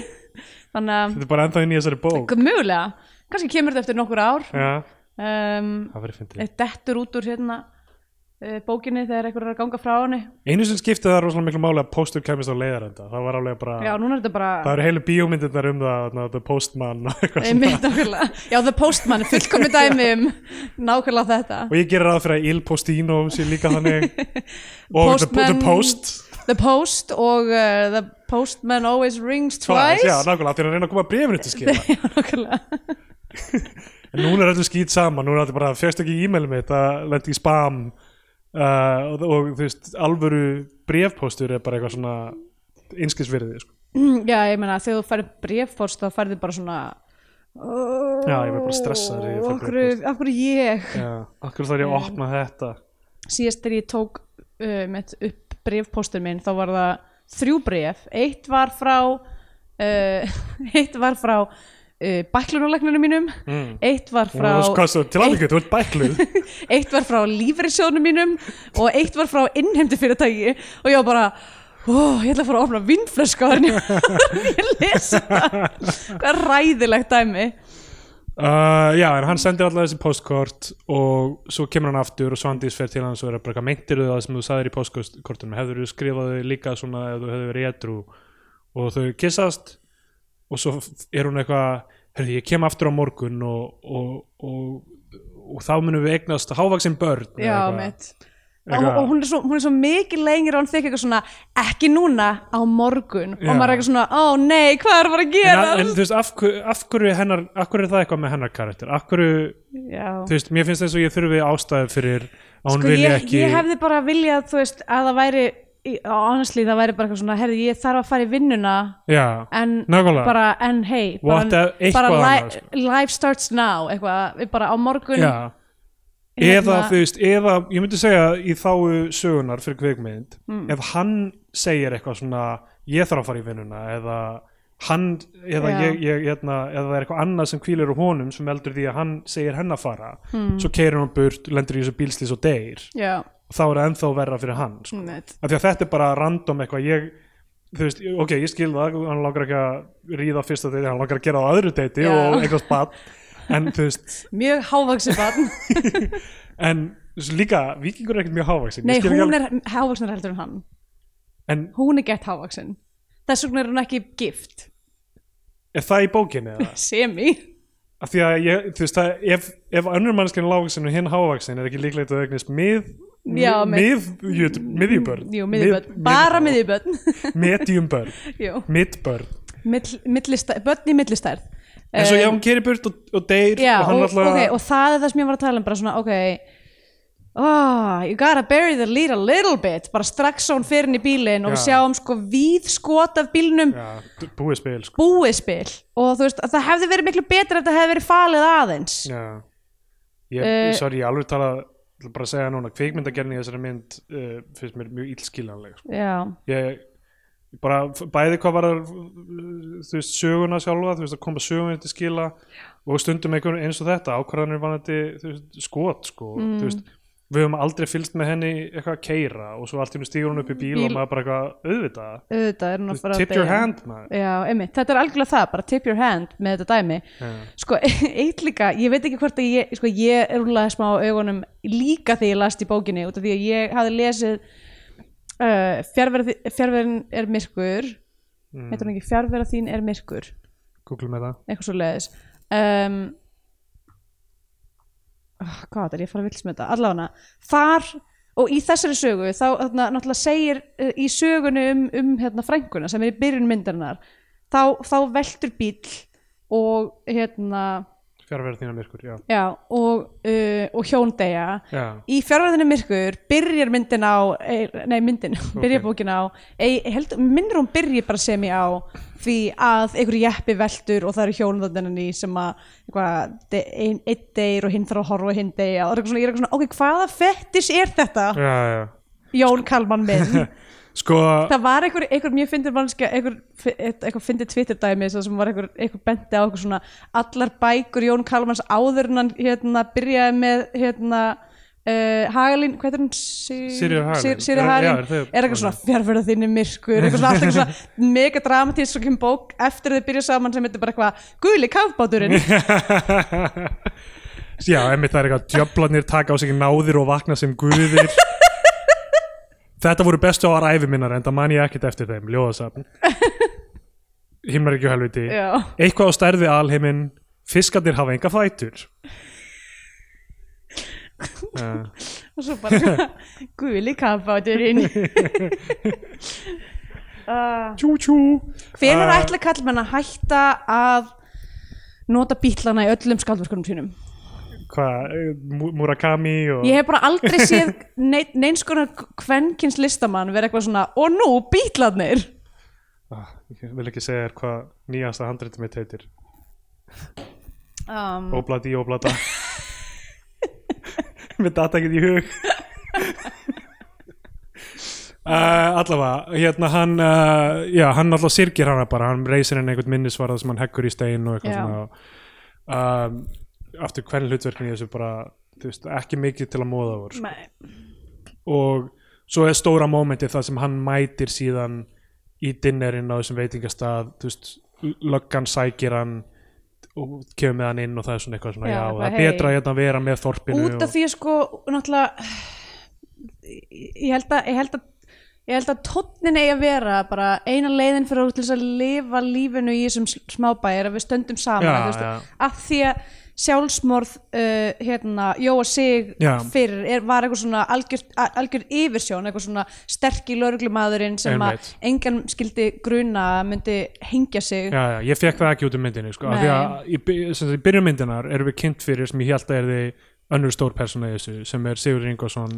Speaker 3: þannig að
Speaker 1: þetta er bara ennþá inn í þessari bók
Speaker 3: Gu- mögulega, kannski kemur þetta eftir nokkur ár
Speaker 1: já,
Speaker 3: um,
Speaker 1: það verið fyndið
Speaker 3: eitt dettur út úr hérna uh, bókinni þegar einhver er að ganga frá henni
Speaker 1: einu sem skiptið það rosalega miklu máli að póstur kemist á leiðarenda það var alveg bara,
Speaker 3: já, núna er þetta
Speaker 1: Ah. það
Speaker 3: bara
Speaker 1: eru heilu bíómyndirnar um það þarna, the postman og eitthvað svona.
Speaker 3: einmitt nákvæmlega já, The Postman, er fullkomi dæmi um nákvæmlega þetta
Speaker 1: og ég gerir ráð fyrir að Il Postino sé líka þannig og the,
Speaker 3: Postman-
Speaker 1: the Post
Speaker 3: The Post og uh, The Postman Always Rings Twice
Speaker 1: já, nákvæmlega, þegar hann reyna að koma brefinu til skila
Speaker 3: já, nákvæmlega
Speaker 1: en núna er öllu skýt saman núna er þetta bara, fegst ekki e-mail mitt að lendi í spam uh, og, og þú veist, alvöru brefpóstur er bara eitthvað svona einskisverði sko.
Speaker 3: já, ég meina, þegar þú færið brefpost þá færið bara svona "Oh,
Speaker 1: Já, ég verð bara stressaður þegar ég fæ
Speaker 3: Af hverju- af hverju ég
Speaker 1: Já, akkur þarf ég að opna þetta
Speaker 3: síðast þegar ég tók um, upp brefpóstur minn þá var það þrjú bref eitt var frá uh, eitt var frá uh, bæklunulegnunum mínum
Speaker 1: Mm.
Speaker 3: eitt var
Speaker 1: Frá,
Speaker 3: frá
Speaker 1: hvað, svo, til aðeins, þú ert bækluð
Speaker 3: eitt var frá lífrisjónum mínum og eitt var frá innheimti fyrirtæki og ég var bara Ó, ég ætla að fara að opna vinnflösku á henni ég lesa það hvað ræðilegt dæmi
Speaker 1: uh, Já, en hann sendir alltaf þessi postkort og svo kemur hann aftur og Svandís fer til hans og er að braka meintir þau það sem þú sagðir í postkortunum hefur þú skrifað þau líka svona ef þú hefur verið edru og þau kissast og svo f- er hún eitthvað herrðu, ég kem aftur á morgun og, og, og, og þá munum við eignast hávaksin börn eða
Speaker 3: já,
Speaker 1: eitthvað.
Speaker 3: mitt og,
Speaker 1: Eitthvað.
Speaker 3: og hún, er svo, hún er svo mikið lengir og hann þykir eitthvað svona, ekki núna á morgun
Speaker 1: Já.
Speaker 3: og maður er eitthvað svona, ó nei, hvað er bara að
Speaker 1: En,
Speaker 3: gera
Speaker 1: að- en þú veist, af, hver- af, hverju hennar, af hverju er það eitthvað með hennar karakter? Af hverju,
Speaker 3: já.
Speaker 1: þú veist, mér finnst þess að ég þurfi ástæðu fyrir að hún
Speaker 3: sko,
Speaker 1: vilji
Speaker 3: ég,
Speaker 1: ekki
Speaker 3: ég hefði bara viljað, þú veist, að það væri í- honestly, það væri bara eitthvað svona, herði, ég þarf að fara í vinnuna
Speaker 1: Já,
Speaker 3: en
Speaker 1: nákvæmlega
Speaker 3: bara, en hei
Speaker 1: What
Speaker 3: bara,
Speaker 1: a- eitthvað
Speaker 3: bara
Speaker 1: annað,
Speaker 3: li,
Speaker 1: sko.
Speaker 3: life starts now eitthvað, við bara á morgun
Speaker 1: Já, eða
Speaker 3: hérna-
Speaker 1: þú veist, eða ég myndi segja í þáu sögunar fyrir kveikmynd,
Speaker 3: Mm.
Speaker 1: ef hann segir eitthvað svona, ég þarf að fara í vinnuna eða hann eða,
Speaker 3: Já.
Speaker 1: ég, ég, hérna, eða það er eitthvað annað sem hvílir á honum sem eldur því að hann segir henn að fara
Speaker 3: Mm.
Speaker 1: svo keirir hann burt, lendur í þessu bílslís og deyr
Speaker 3: já,
Speaker 1: þá er það ennþá verra fyrir hann sko.
Speaker 3: einmitt.
Speaker 1: af því að þetta er bara random eitthvað ég, þú veist, ok, ég skil það hann langar ekki að ríða á fyrsta deiti hann langar að gera það á öðru deiti
Speaker 3: Já.
Speaker 1: og eitthvað spatt en þú veist,
Speaker 3: mjög hávaxi barn
Speaker 1: en þú veist, líka vikingur er ekkert mjög hávaksin
Speaker 3: nei, hún er hávaxnar heldur en hann
Speaker 1: en
Speaker 3: hún er gett hávaxin þess vegna er hún ekki gift
Speaker 1: er það í bókinni eða?
Speaker 3: semi
Speaker 1: af því að ég, þú veist, það, ef, ef önnur mannskinn lágaksin og hinn hávaksin er ekki líklegt að eignast mið
Speaker 3: Já,
Speaker 1: mið, mið, miðjubörn
Speaker 3: Jú, miðjubörn, bara miðjubörn
Speaker 1: miðjubörn,
Speaker 3: Jú,
Speaker 1: middbörn
Speaker 3: mill, millista, börn í millistærð
Speaker 1: en svo já, hún keirir burt og, og deyr
Speaker 3: Eh, Já,
Speaker 1: og hann
Speaker 3: og,
Speaker 1: alltaf
Speaker 3: ok, og það er það sem ég var að tala um bara svona, ok oh, you gotta bury the lead a little bit bara strax svo hún fyrir inn í bílinn og
Speaker 1: Já.
Speaker 3: við sjáum sko víð skot af bílnum
Speaker 1: Já, d- búið spil sko.
Speaker 3: búið spil og þú veist, að það hefði verið miklu betra ef það hefði verið falið aðeins
Speaker 1: Já. Ég,
Speaker 3: Eh,
Speaker 1: sorry, ég alveg tala ætla bara að segja núna, kvikmyndagerni í þessari mynd uh, finnst mér mjög illskiljanleg sko.
Speaker 3: Já,
Speaker 1: ég bara f- bæði hvað var þú veist, söguna sjálfa, þú veist, að koma söguna til skila og stundum einhvern eins og þetta ákvarðanir vanandi þú veist, skot sko,
Speaker 3: Mm.
Speaker 1: þú veist við höfum aldrei fylst með henni eitthvað að keira og svo allt í hennu stígur hún upp í bíl,
Speaker 3: Bíl.
Speaker 1: og maður bara eitthvað auðvitað,
Speaker 3: auðvitað er hún
Speaker 1: Þú
Speaker 3: að
Speaker 1: veist,
Speaker 3: fara að
Speaker 1: tip your
Speaker 3: deyja.
Speaker 1: hand maður
Speaker 3: Já, einmitt, þetta er algjörlega það, bara tip your hand með þetta dæmi
Speaker 1: Já.
Speaker 3: Sko, eitt líka, ég veit ekki hvort að ég, sko, ég rúlaði smá augunum líka þegar ég last í bókinni út af því að ég hafði lesið uh, fjarverð- Fjarverðin er myrkur, heitir hún ekki Fjarverða þín er myrkur,
Speaker 1: googlum þetta
Speaker 3: eitthvað svo leiðis. Um, oh, hvað er ég að fara að vills með þetta? Allána, þar og í þessari sögu þá þarna, náttúrulega segir uh, í sögunni um, um hérna, frænguna sem er í byrjun myndarinnar, þá, þá veltur bíll og hérna
Speaker 1: fjárverð þína myrkur, já,
Speaker 3: Já, og, uh, og hjóndegja
Speaker 1: já.
Speaker 3: í fjárverðinu myrkur byrjar myndin á eh, nei myndin, byrjar
Speaker 1: Ok.
Speaker 3: bókin á ei, held, minnir hún byrji bara sem ég á því að einhverju jeppi veltur og það eru hjónðaninn í sem að eitthvað, de- ein- einn deyr og hinn þarf að horfa á hinn deyja og það er eitthvað svona, ég er eitthvað svona, ok, hvaða fettis er þetta,
Speaker 1: já, já.
Speaker 3: Jón Kalman minn
Speaker 1: sko,
Speaker 3: það var einhver, einhver mjög fyndið mannskja einhver, einhver fyndið Twitter dæmi sem var einhver, einhver bendi á einhver svona allar bækur Jón Kalmans áður en hann hérna byrjaði með hérna uh, Hagalín, hvað er hann?
Speaker 1: Sigríður Hagalín.
Speaker 3: Sýri
Speaker 1: Já,
Speaker 3: Hagalín
Speaker 1: já, þau-
Speaker 3: er eitthvað svona fjárverða þinni myrkur eitthvað svona, alltaf eitthvað svona mega dramatísk og kemur bók eftir þau byrja saman sem heitir bara eitthvað guli kafbáturinn
Speaker 1: já, emmi það er eitthvað djöflarnir taka á sig náðir og vakna sem guðir þetta voru bestu ára æfi minnar en það man ég ekkert eftir þeim, ljóðasafn himnar ekki og helviti
Speaker 3: Já.
Speaker 1: eitthvað á stærði alheiminn fiskarnir hafa enga fætur Eh, Já.
Speaker 3: og svo bara guli kafbáturinn uh,
Speaker 1: tjú tjú
Speaker 3: Hvenær
Speaker 1: Uh,
Speaker 3: ætla kallmenn að hætta að nota bítlana í öllum skaldverkunum sínum?
Speaker 1: hvað, eh, Mu- Murakami og
Speaker 3: Ég hef bara aldrei séð neinn- neins konar kvenkins listamann vera eitthvað svona og nú bítlanir
Speaker 1: ah, ég vil ekki segja þér hvað nýjasta handriti mitt heitir
Speaker 3: um,
Speaker 1: Óbladi, óblada Mér data ekkert í hug uh, Allavega Hérna hann uh, Já, hann alltaf sirgir hana bara Hann reysir henni einhvern minnisvarða sem hann heggur í stein og eitthvað
Speaker 3: Já.
Speaker 1: svona um, Aftur hvern hlutverkin í þessu bara þú veist, ekki mikið til að móða voru sko.
Speaker 3: nei,
Speaker 1: og svo er stóra mómentið það sem hann mætir síðan í dinnerinn á þessum veitingastað þú veist, löggan sækir hann og kemur með hann inn og það er svona eitthvað svona,
Speaker 3: Já,
Speaker 1: já,
Speaker 3: eitthvað,
Speaker 1: það er
Speaker 3: hey.
Speaker 1: betra hérna að vera með þorpinu
Speaker 3: Út af
Speaker 1: og,
Speaker 3: því að sko náttúrulega ég held að, ég held að Ég held að tónnin eigi að vera bara eina leiðin fyrir okkur til þess að lifa lífinu í þessum sl- smábæ er að við stöndum saman
Speaker 1: Já,
Speaker 3: þú veist,
Speaker 1: já.
Speaker 3: að því að sjálfsmorð uh, hérna, Jóa Sig
Speaker 1: Já.
Speaker 3: fyrir er, var eitthvað svona algjör, algjör yfirsjón, eitthvað svona sterki lauruglumadurinn sem að
Speaker 1: Einmitt.
Speaker 3: engan skildi gruna að myndi hengja sig
Speaker 1: já, já, ég fekk það ekki út um myndinni sko, af því að í, by- sem sagt, í byrjum myndinar erum við kynnt fyrir sem ég held að er þið önnur stór persóna í þessu sem er Sigur Ringarsson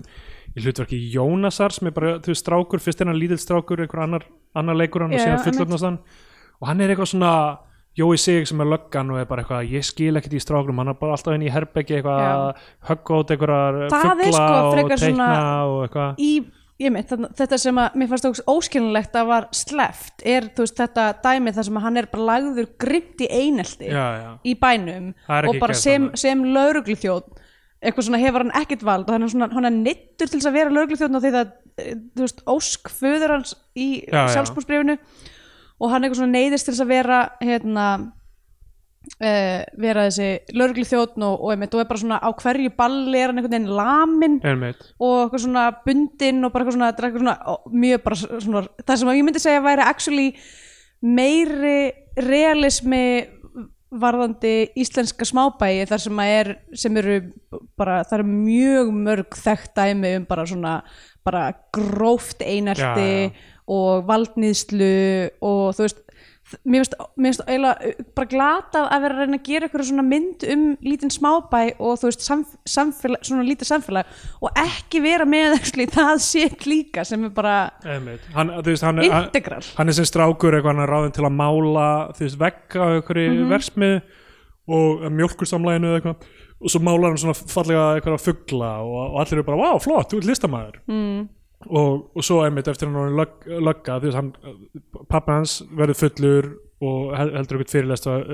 Speaker 1: í hlutverki Jónasar sem er bara, þú veist, strákur, fyrst er hann lítill strákur einhver annar, annar leikur hann og
Speaker 3: Já,
Speaker 1: síðan
Speaker 3: já,
Speaker 1: fullorðnast hann og hann er eitthvað svona Jói Sig sem er löggan og er bara eitthvað ég skil ekkert í stráknum, hann er bara alltaf inn í herbeggi eitthvað
Speaker 3: Já.
Speaker 1: að högga út einhverjar
Speaker 3: Það er
Speaker 1: fugla
Speaker 3: sko
Speaker 1: og
Speaker 3: frekar
Speaker 1: teikna
Speaker 3: svona-
Speaker 1: og eitthvað
Speaker 3: í ég mitt, þarna- þetta sem að mér fannst óks- óskiljanlegt að var sleft er þú veist þetta dæmi þar sem að hann er bara lagður grimt í einelti
Speaker 1: já, já,
Speaker 3: í bænum
Speaker 1: Það er
Speaker 3: og
Speaker 1: ekki
Speaker 3: bara
Speaker 1: gert
Speaker 3: sem,
Speaker 1: þarna.
Speaker 3: sem laurugluþjóð eitthvað svona hefur hann ekkert vald og hann er, svona, hann er neittur til þess að vera laurugluþjóðn á því það, eh, þú veist, ósk föður hans í
Speaker 1: Já, já.
Speaker 3: sjálfsbúrsbrifinu og hann eitthvað svona neyðist til þess að vera hérna uh, vera þessi laurugluþjóðn og, og, einmitt, og er bara svona á hverju balli er hann einhvern veginn lamin
Speaker 1: einmitt
Speaker 3: og eitthvað svona bundinn og bara eitthvað svona, þetta er eitthvað svona ó, mjög bara svona, það sem ég myndi segja væri actually meiri realismi varðandi íslenska smábæi þar sem að er, sem eru bara, það eru mjög mörg þekkt dæmi um bara svona bara gróft einelti
Speaker 1: Já, já.
Speaker 3: og valdnýðslu og þú veist þ- mér finnst, mér finnst eiginlega uh, bara glatað að vera að reyna að gera eitthvað svona mynd um lítinn smábæ og þú veist samf samfélag, svona lítið samfélag og ekki vera með actually, það sétt líka sem er bara
Speaker 1: Einmitt. Hann, þú veist, hann, hann,
Speaker 3: integral
Speaker 1: hann er sem strákur eitthvað hann er ráðin til að mála þú veist, vegga á einhverju mm og mjölkursamlæginu eða eitthvað og svo málar hann svona fallega eitthvað fugla og, og allir eru bara, vá, flott, þú ert listamæður mm. og, og svo einmitt eftir hann er orðinn lögg, lögga, þú veist, hann pappa hans verður fullur og hel- heldur eitthvað fyrirlestur,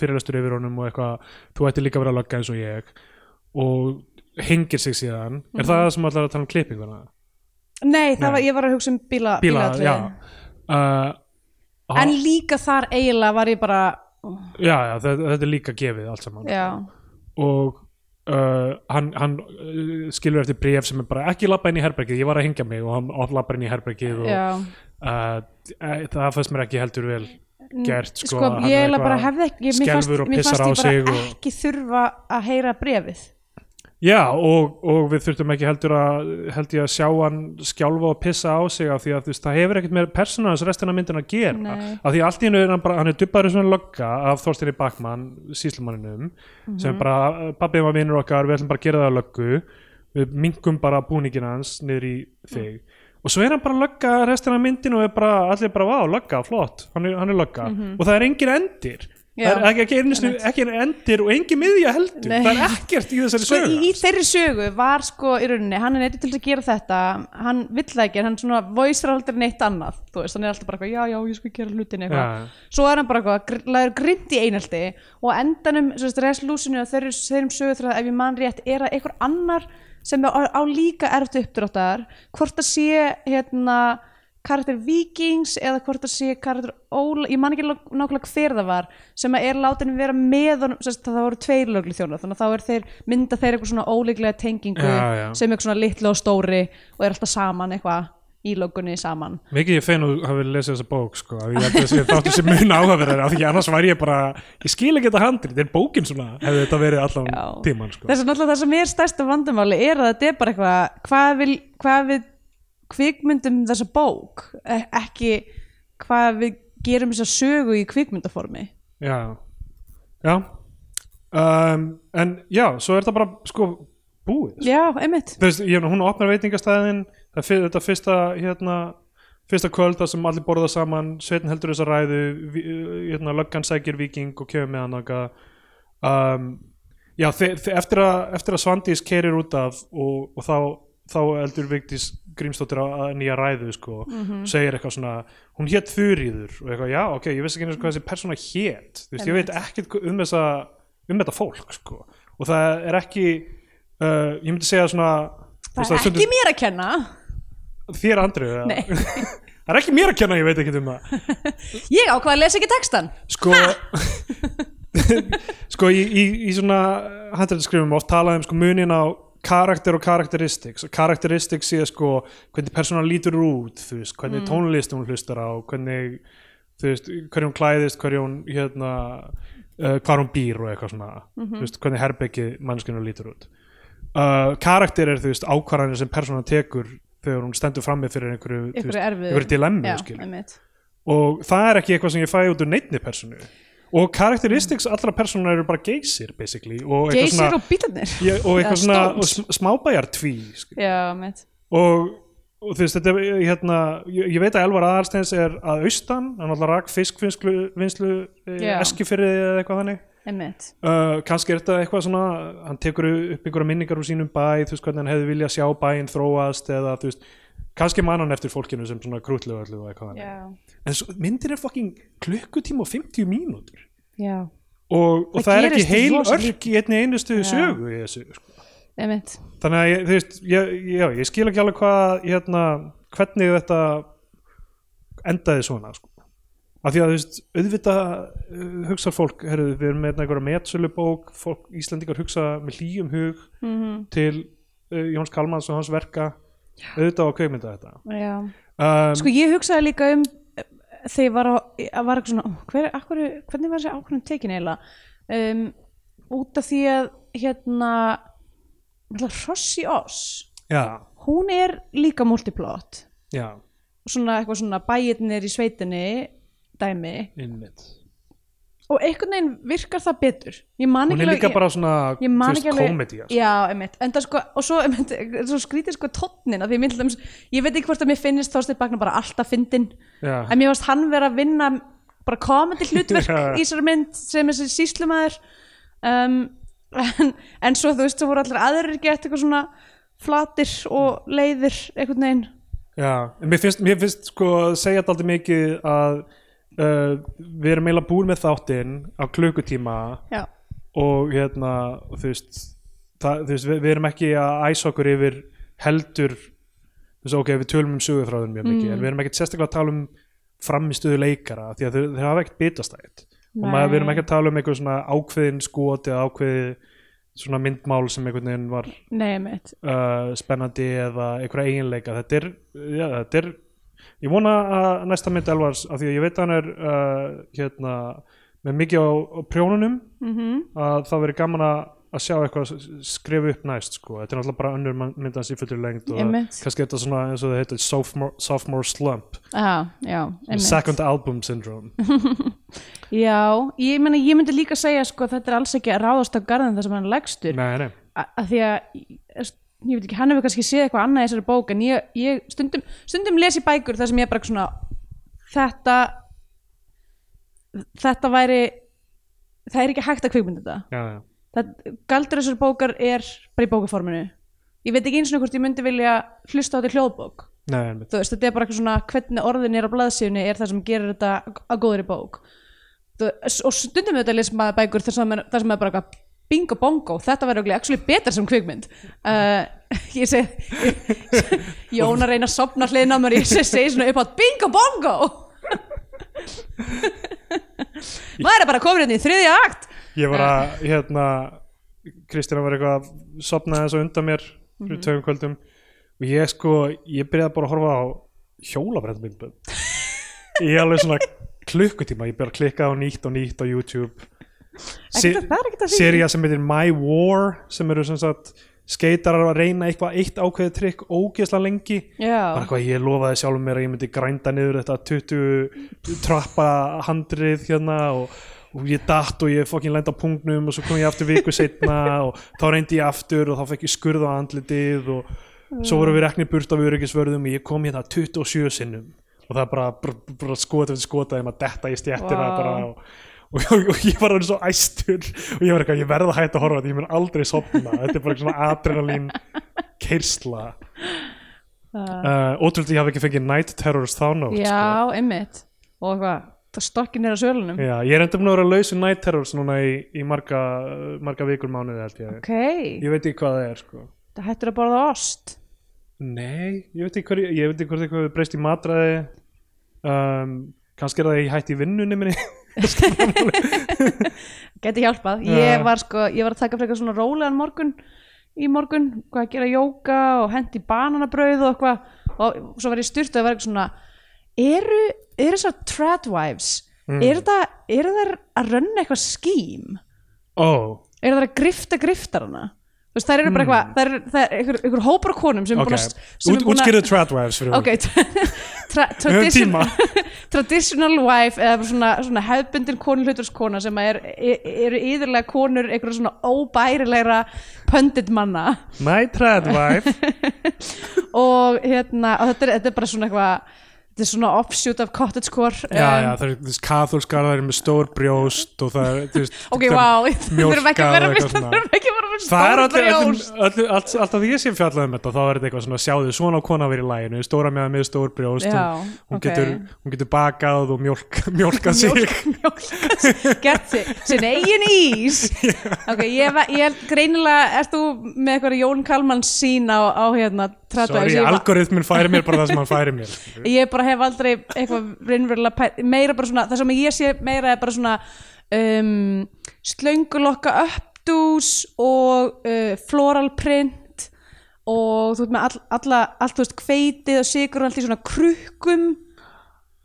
Speaker 1: fyrirlestur yfir honum og eitthvað, þú ætti líka að vera lögga eins og ég og hengir sig síðan, er það það sem allar að tala um klippinguna?
Speaker 3: nei, það
Speaker 1: Nei.
Speaker 3: var, ég var að hugsa um bíla,
Speaker 1: Bíla,
Speaker 3: bílaatriði.
Speaker 1: já uh,
Speaker 3: en líka þar eiginlega var ég bara
Speaker 1: já, já þetta, þetta er líka gefið allt saman
Speaker 3: já,
Speaker 1: og uh, hann, hann uh, skilur eftir bréf sem er bara ekki labba inn í herbergið, ég var að hengja mig og hann og labba inn í herbergið og
Speaker 3: já
Speaker 1: uh, e, það fannst mér ekki heldur vel gert sko,
Speaker 3: sko,
Speaker 1: hann
Speaker 3: ég
Speaker 1: er
Speaker 3: eiginlega bara
Speaker 1: eitthvað-
Speaker 3: hefði ekki mér fannst,
Speaker 1: skelfur og
Speaker 3: mér
Speaker 1: pissar
Speaker 3: fannst ég
Speaker 1: á sig
Speaker 3: bara
Speaker 1: og-
Speaker 3: ekki þurfa að heyra brefið
Speaker 1: Já, og, og við þurftum ekki heldur að held ég að sjá hann skjálfa og pissa á sig af því að þú veist, það hefur ekkert með persónans restina myndin að gera
Speaker 3: Nei.
Speaker 1: af því að allt í einu er hann bara, hann er dubbaður svona logga af Þorstinni Bakman, síslumanninum sem
Speaker 3: Mhm.
Speaker 1: er bara, pappið var vinur okkar við ætlum bara að gera það að löggu við minkum bara búningin hans niður í þig
Speaker 3: Mm.
Speaker 1: og svo er hann bara að lögga restina af myndinu og er bara, allir bara, vá, lögga flott, hann er, hann er lögga og það er engin endir
Speaker 3: Mhm. Já.
Speaker 1: Það er ekki, ekki, einu sinni- ekki einu endir og engin miðja heldur,
Speaker 3: Nei.
Speaker 1: það er ekkert í þessari
Speaker 3: sko,
Speaker 1: sögu
Speaker 3: í, í þeirri sögu var sko í rauninni, hann er neitt til þess að gera þetta hann vill það ekki, en hann svona voisar aldrei neitt annað, þú veist, hann er alltaf bara eitthvað, já, já, ég skal gera hlutin eitthvað
Speaker 1: Já, já.
Speaker 3: svo er hann bara eitthvað, gr- lagður grind í einhaldi og á endanum, svo veist, reslúsinu og þeirri, þeirrim sögu þrjóð, ef ég man rétt er að einhver annar sem er á, á líka erft uppdráttar, hvort að sé hérna karakter vikings eða hvort að sé karakter Óla, ég man ekki lok- nákvæmlega hver það var sem að er látin vera með honum, sem sagt, það voru tveir löglu þjónar þannig að þá er þeir, mynda þeir eitthvað svona óleiklega tengingu
Speaker 1: Já, já.
Speaker 3: sem eitthvað svona litlu og stóri og er alltaf saman eitthvað í löggunni saman
Speaker 1: Mikið ég fein að hafa lesið þessa bók sko, af því ég held að þessi þáttu sem mun áhugaverðar af því annars væri ég bara, ég skil ekki þetta handrið er bókin svona, hefði þetta verið allan
Speaker 3: Já.
Speaker 1: tíman sko.
Speaker 3: þess að náttúrulega það sem er stærsta vandamáli er að þetta er bara eitthvað hvað við, hvað við kvikmyndum þessa bók eh, ekki hvað við gerum þessa sögu í kvikmyndaformi
Speaker 1: Já, já um, en já, svo er þetta bara sko búið sko.
Speaker 3: já, einmitt
Speaker 1: Þess, ég, hún opnar veitingastæðin það er fyr- þetta fyrsta hérna, fyrsta kvöld þar sem allir borða saman Sveitn heldur þess að ræðu vi- hérna, löggan sækir viking og kemur með hann þangað. um, já, þe- þe- eftir, að, eftir að Svandís kerir út af og, og þá, þá eldur Vigdís Grímsdóttir að að nýja ræðu sko,
Speaker 3: Mhm.
Speaker 1: segir eitthvað svona hún hétt Þuríður og eitthvað, já, ok, ég vissi ekki einu sinni hvað þessi persóna hétt, þú veist, ég veit ekkert hva- um þessa, um þetta fólk sko, og það er ekki uh, ég myndi segja svona þú
Speaker 3: það
Speaker 1: veist,
Speaker 3: er ekki mér að kenna
Speaker 1: þér andrið
Speaker 3: Nei.
Speaker 1: það er ekki mér að kenna, ég veit ekki um það
Speaker 3: ég ákvað að lesa ekki textan
Speaker 1: sko sko í, í, í svona handrættaskrifum oft talað um sko munin á karakter og karakteristiks og karakteristiks sé sko hvernig persónan lítur út þú veist, hvernig tónlist hún hlustar á hvernig, þú veist, hvernig hún klæðist hvernig hún, hérna uh, hvar hún býr og eitthvað svona þú veist, hvernig herbeggi mannskinu lítur út uh, karakter er, þú veist, ákvarðanir sem persónan tekur þegar hún stendur frammi fyrir einhverju, þú
Speaker 3: ykkur
Speaker 1: veist,
Speaker 3: er erfið
Speaker 1: einhverju dilemmi, skilur og það er ekki eitthvað sem ég fæ út úr neittni personu og karakteristiks allra persóna eru bara geysir basically og eitthvað
Speaker 3: geysir
Speaker 1: svona,
Speaker 3: og bílarnir
Speaker 1: ég, og eitthvað
Speaker 3: eða
Speaker 1: svona og
Speaker 3: stones.
Speaker 1: sm- smábæjar tví sko.
Speaker 3: já, mitt
Speaker 1: og, og þú veist þetta er, hérna, ég, ég veit að Elvar Aðarsteins er að austan, hann alltaf rak fiskvinnslu vinslu,
Speaker 3: Já.
Speaker 1: eskifyrði eða eitthvað þannig
Speaker 3: Einmitt.
Speaker 1: Uh, kannski er þetta eitthvað svona hann tekur upp einhverja minningar úr sínum bæ þú veist hvernig hann hefði viljað sjá bæinn þróast eða þú veist, kannski man hann eftir fólkinu sem svona krútlegu öllu og eitthvað þannig
Speaker 3: Já.
Speaker 1: en svo, myndin er fucking klukkutíma og 50 mínútur
Speaker 3: Já.
Speaker 1: og, og það,
Speaker 3: Það
Speaker 1: er ekki
Speaker 3: gerist
Speaker 1: heil
Speaker 3: rosa
Speaker 1: örk í einni einustu
Speaker 3: Já.
Speaker 1: sögu í þessu, sko.
Speaker 3: Einmitt.
Speaker 1: þannig að ég, þú veist ég, já, ég skil ekki alveg hvað hérna, hvernig þetta endaði svona sko. af því að þú veist, auðvitað uh, hugsar fólk, herrðu, við erum með einhverja metsölubók, fólk, Íslendingar hugsa með hlýjum hug
Speaker 3: Mm
Speaker 1: til uh, Jóns Kalmans og hans verka auðvitað á kveikmynda þetta
Speaker 3: Já.
Speaker 1: um,
Speaker 3: Sko ég hugsaði líka um eh, þegar ég var, á, að var eitthvað svona ó, hver, akkur, hvernig var þessi ákvörðum tekin eiginlega um, út af því að hérna ætla, Rossi Oss
Speaker 1: já,
Speaker 3: hún er líka multiplot
Speaker 1: já,
Speaker 3: svona eitthvað svona bæirnir í sveitinni dæmi
Speaker 1: innmitt
Speaker 3: og einhvern veginn virkar það betur ég man
Speaker 1: hún
Speaker 3: ekki
Speaker 1: er líka
Speaker 3: alveg-
Speaker 1: bara svona
Speaker 3: ég man
Speaker 1: þú veist,
Speaker 3: ekki alveg
Speaker 1: komedía sko.
Speaker 3: já, einmitt, en það sko og svo, einmitt, svo skrítið sko tónnin af því ég, myndi til dæmis- ég veit ekki hvort að mér finnist Þorsteinn Bagnar bara alltaf fyndin
Speaker 1: Já.
Speaker 3: en mér varst hann vera að vinna bara komandi hlutverk
Speaker 1: Já.
Speaker 3: í þessari mynd sem þessi síslumæður um, en, en svo þú veist svo voru allir aðrir gett eitthvað svona flatir og leiðir einhvern veginn
Speaker 1: Já, en mér finnst, mér finnst sko að segja þetta aldrei mikið að uh, við erum eiginlega búin með þáttinn á klukkutíma
Speaker 3: já,
Speaker 1: og hérna, og þú veist, það, þú veist við, við erum ekki að æsa okkur yfir heldur, þú veist, ok, við tölum um sögufráðun mjög mikið, en við erum ekkert sérstaklega að tala um framistöðu leikara, því að þeir, þeir hafa ekkert bitastætt og maður, við erum ekki að tala um einhver svona ákveðin skot eða ákveðið svona myndmál sem einhvern veginn var
Speaker 3: nei, einmitt
Speaker 1: uh, spennandi eða einhverja eiginleika þetta er, já, þetta er ég vona að næsta mynd Elvars af því að ég veit að hann er uh, hérna, með mikið á, á prjónunum
Speaker 3: mm -hmm.
Speaker 1: að það veri gaman að að sjá eitthvað skrifa upp næst sko. þetta er náttúrulega bara önnur man- mynd hans í fullur lengt og
Speaker 3: Einmitt.
Speaker 1: kannski þetta svona eins og það heitir sophomore, sophomore slump
Speaker 3: já,
Speaker 1: second album syndrome
Speaker 3: Já, ég, meni, ég myndi líka segja sko, að þetta er alls ekki að ráðast á garðin þar sem hann er legstur
Speaker 1: nei, nei.
Speaker 3: að því að ég veit ekki, hann hefur kannski séð eitthvað annað í þessari bók en ég, ég stundum, stundum les ég bækur þar sem ég er bara svona þetta þetta væri það er ekki hægt að kvikmynda þetta
Speaker 1: Já, já.
Speaker 3: það, galdur þessar bókar er bara í bókaforminu ég veit ekki eins og hvort ég myndi vilja hlusta á þetta í hljóðbók
Speaker 1: nei einmitt.
Speaker 3: þú veist, þetta er bara eitthvað svona hvernig orðin er á blaðsíðunni er það sem gerir þetta að góðri bók þú, og stundum auðvitað lesum maður bækur þar sem er, þar sem er bara eitthvað bingo bongo, þetta verður actually betra sem kvikmynd uh, ég segi Jón að reyna að sopna hliðin á mér ég segi, segi svona upp átt bingo bongo maður er bara komin hérna í þriðja akt
Speaker 1: ég var
Speaker 3: Eh.
Speaker 1: að hérna Kristina var eitthvað að sopna þess að undan mér fyrir
Speaker 3: Mhm.
Speaker 1: tveim kvöldum og ég sko, ég byrjaði bara að horfa á hjólabrættamindbönd ég alveg svona klukkutíma ég byrja að klikka á nýtt og nýtt á YouTube
Speaker 3: Ekkert að- það er ekkert að því.
Speaker 1: Serja sem heitir My War sem eru sem sagt skeitarar að reyna eitthvað eitt ákveðið trikk ógeðslega lengi bara
Speaker 3: já,
Speaker 1: eitthvað ég lofaði sjálfum mér að ég myndi grænda niður þetta 20 trappa handrið hérna og, og ég datt og ég fokkin lenda pungnum og svo kom ég aftur viku setna og þá reyndi ég aftur og þá fekk ég skurð á andlitið og svo vorum við reknir burt af öryggisvörðum og ég kom hérna 27 sinnum og það er bara, bara, bara skot eftir skota þegar maður detta í stjættina
Speaker 3: Vá.
Speaker 1: bara og, og, og, ég var orðin svo æstur og ég var eitthvað, ég verð að hætta að horfa á þetta, ég mun aldrei sopna þetta er bara svona adrenalín keirsla
Speaker 3: það-
Speaker 1: uh, ótrúlega ég hafi ekki fengið Night Terrors þá nótt sko.
Speaker 3: já, einmitt og hvað, það stokkin er á sölunum
Speaker 1: Já, ég er enda búin að vera að lausa Night Terrors núna í, í marga, marga vikur mánuði held ég
Speaker 3: ok,
Speaker 1: ég veit ekki hvað það er sko
Speaker 3: það hættur að borða ost
Speaker 1: nei, ég veit ekki hvað ég veit ekki hvort eitthvað hefur breyst í matræði um, kannski er það að ég hætti í vinnunni minni
Speaker 3: geti hjálpað,
Speaker 1: Já.
Speaker 3: ég var sko ég var að taka frekar svona rólegan morgun í morgun hvað að gera jóka og hendi bananabrauð og eitthvað og svo var ég styrt að vera eitthvað svona eru, eru þessar tradwives
Speaker 1: Mm.
Speaker 3: eru, það, eru þær að runna eitthvað skím
Speaker 1: Ó,
Speaker 3: eru þær að grifta griftar hana þú veist þær eru bara
Speaker 1: Mm.
Speaker 3: eitthvað þær, eru- þær, einhver, einhver hópar af konum sem er
Speaker 1: ok.
Speaker 3: búin að- sem er
Speaker 1: Út,
Speaker 3: búin að
Speaker 1: útskýrðu Tradwives fyrir
Speaker 3: ok, tra tra
Speaker 1: Við höfum
Speaker 3: tradition
Speaker 1: tíma.
Speaker 3: traditional wife eða bara svona, svona hefbundin konulhuturskona sem er, e- eru yðurlega konur einhverja svona óbærilegra pöndit manna
Speaker 1: My Tradwife.
Speaker 3: og hérna og þetta, er, þetta er bara svona eitthvað þetta er svona offshoot af cottagecore
Speaker 1: já,
Speaker 3: um,
Speaker 1: já, það er þessi katholskar, það er með stór brjóst og það er, þú veist.
Speaker 3: ok,
Speaker 1: það-
Speaker 3: wow,
Speaker 1: mjólkað
Speaker 3: þurfum ekki að vera
Speaker 1: og
Speaker 3: með
Speaker 1: eitthvað svona.
Speaker 3: þurfum ekki að vera með
Speaker 1: Það er
Speaker 3: stór
Speaker 1: allir, allir,
Speaker 3: brjóst
Speaker 1: allir, allt, alltaf því ég sem fjallaði um þetta þá er þetta eitthvað svona, sjáðu, svona á kona verið í læginu stóra meða með stór brjóst
Speaker 3: Já,
Speaker 1: hún, hún,
Speaker 3: ok.
Speaker 1: getur, hún getur bakað og mjólk, mjólkað sig
Speaker 3: Mjólk- mjólkað- gert sig sin eigin ís ok, ég, va- ég held greinilega ert þú með eitthvað Jón Kalman sín á, á hérna tradvæs,
Speaker 1: Sorry,
Speaker 3: ég, va-
Speaker 1: algoritmin færi mér bara það sem hann færi mér
Speaker 3: ég bara hef aldrei eitthvað raunverulega pæ- meira bara svona, það sem ég sé meira er bara svona um, slöngulokka uppdús og uh, floral print og þú veist með all, alla, allt þú veist hveitið og sigur og allt í svona krukkum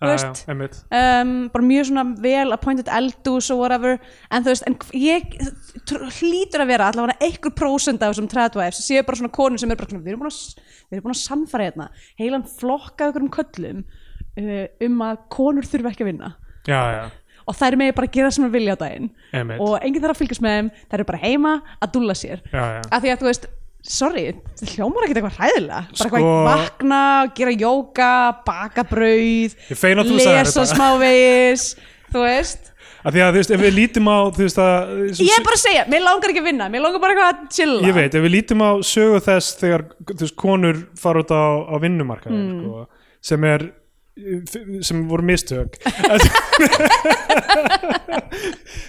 Speaker 3: Þú
Speaker 1: Já,
Speaker 3: veist.
Speaker 1: já, einmitt.
Speaker 3: um, bara mjög svona vel appointed eldús og whatever en þú veist, en ég tr- hlýtur að vera allavega einhver prósend af þessum tradwives séu bara svona konur sem er bara svona við erum búin að, s- við erum búin að samfara hérna heilan flokka af einhverjum köllum uh, um að konur þurfa ekki að vinna
Speaker 1: já, já,
Speaker 3: og þær megi bara gera sem að vilja á daginn
Speaker 1: einmitt
Speaker 3: og enginn þarf að fylgjast með þeim þær eru bara heima að dúlla sér
Speaker 1: já, já.
Speaker 3: að því að þú veist sorry, það hljómar ekkert eitthvað hræðilega bara
Speaker 1: Sko-
Speaker 3: eitthvað vakna, gera jóka baka brauð
Speaker 1: Ég fein að þú sagðir
Speaker 3: lesa
Speaker 1: þetta.
Speaker 3: smávegis þú veist,
Speaker 1: Af því að þú veist, ef við lítum á þú veist að
Speaker 3: ég er bara að segja mér langar ekki að vinna, mér langar bara eitthvað að chilla
Speaker 1: ég veit, ef við lítum á sögu þess þegar þú veist, konur fara út á, á vinnumarkaðin
Speaker 3: Hmm.
Speaker 1: sko, sem er sem voru mistök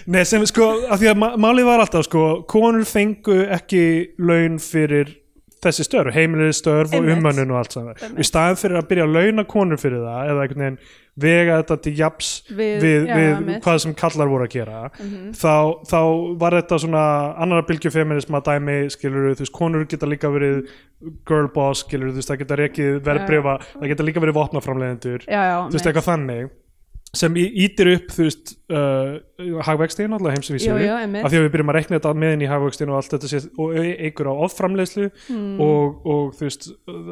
Speaker 1: Nei, sem sko af því að ma- málið var alltaf sko konur fengu ekki laun fyrir þessi störf, heimilis störf og
Speaker 3: Einmitt.
Speaker 1: umönnun og allt saman
Speaker 3: Einmitt.
Speaker 1: og í staðin fyrir að byrja að launa konur fyrir það eða einhvern veginn vega þetta til japs
Speaker 3: Við-
Speaker 1: við,
Speaker 3: já,
Speaker 1: við
Speaker 3: einmitt.
Speaker 1: hvað sem kallar voru að gera
Speaker 3: Mhm.
Speaker 1: þá, þá var þetta svona annara bylgju feminisma dæmi skilur þú veist, konur geta líka verið girl boss skilur þú veist, það geta rekið verðbrifa, það geta líka verið vopnaframlegendur
Speaker 3: já, já,
Speaker 1: þú veist, eitthvað þannig sem í- ýtir upp, þú veist uh, hagvextin alltaf heimsvísu
Speaker 3: Jú, jú, einmitt.
Speaker 1: af því að við byrjum að rekna þetta meðin í hagvextin og allt þetta sé, og e- eigur á offramleiðslu
Speaker 3: Hmm.
Speaker 1: og, og þú veist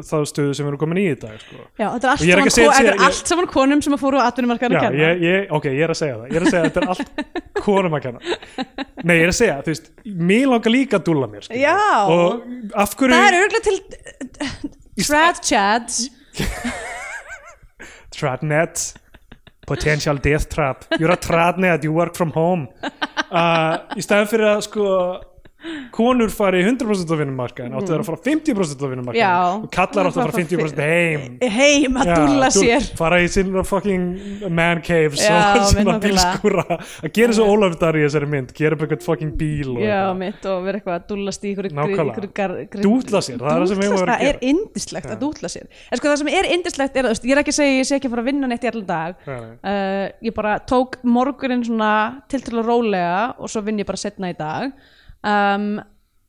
Speaker 1: þá stöðu sem við erum komin í í dag sko.
Speaker 3: já, þetta er allt,
Speaker 1: Og ég er ekki
Speaker 3: saman,
Speaker 1: að segja-
Speaker 3: ko- þetta
Speaker 1: ég-
Speaker 3: er allt saman konum sem að fóru á atvinnumarkaðan
Speaker 1: Já,
Speaker 3: að kenna
Speaker 1: ég, ég, ok, ég er að segja það ég er að segja að þetta er allt konum að kenna nei, ég er að segja, þú veist, mér langar líka að dúlla mér, skilur.
Speaker 3: Já.
Speaker 1: og af hverju
Speaker 3: það er örgulega til trad chads
Speaker 1: Tradnet Potential death trap You're a tradnet, you work from home uh, Í staðan fyrir að sko konur fari 100% af vinnumarkaðin áttu þær að fara 50% af
Speaker 3: Já.
Speaker 1: vinnumarkaðin og kallar áttu að fara 50% heim
Speaker 3: heim að
Speaker 1: Já,
Speaker 3: dúlla
Speaker 1: dúll-
Speaker 3: sér
Speaker 1: fara í sinna fucking man caves
Speaker 3: Já,
Speaker 1: og svona
Speaker 3: mitt nákvæmlega.
Speaker 1: bílskúra að gera svo Ólaf Dar í þessari mynd gera upp eitthvað fucking bíl og
Speaker 3: Já,
Speaker 1: eitthvað.
Speaker 3: mitt og vera eitthvað að dúllast í ykkur,
Speaker 1: Nákvæmlega. Dútla sér, það er það sem við eigum að vera að
Speaker 3: Það er
Speaker 1: gera.
Speaker 3: indislegt að dútla sér En sko það sem er indislegt er, þú veist, ég er ekki að segja, ég sé ekki að fara að vinna neitt í allan dag
Speaker 1: Nei, nei.
Speaker 3: uh, Ég bara tók morgunin svona til til að rólega og svo vinn ég bara setna í dag um,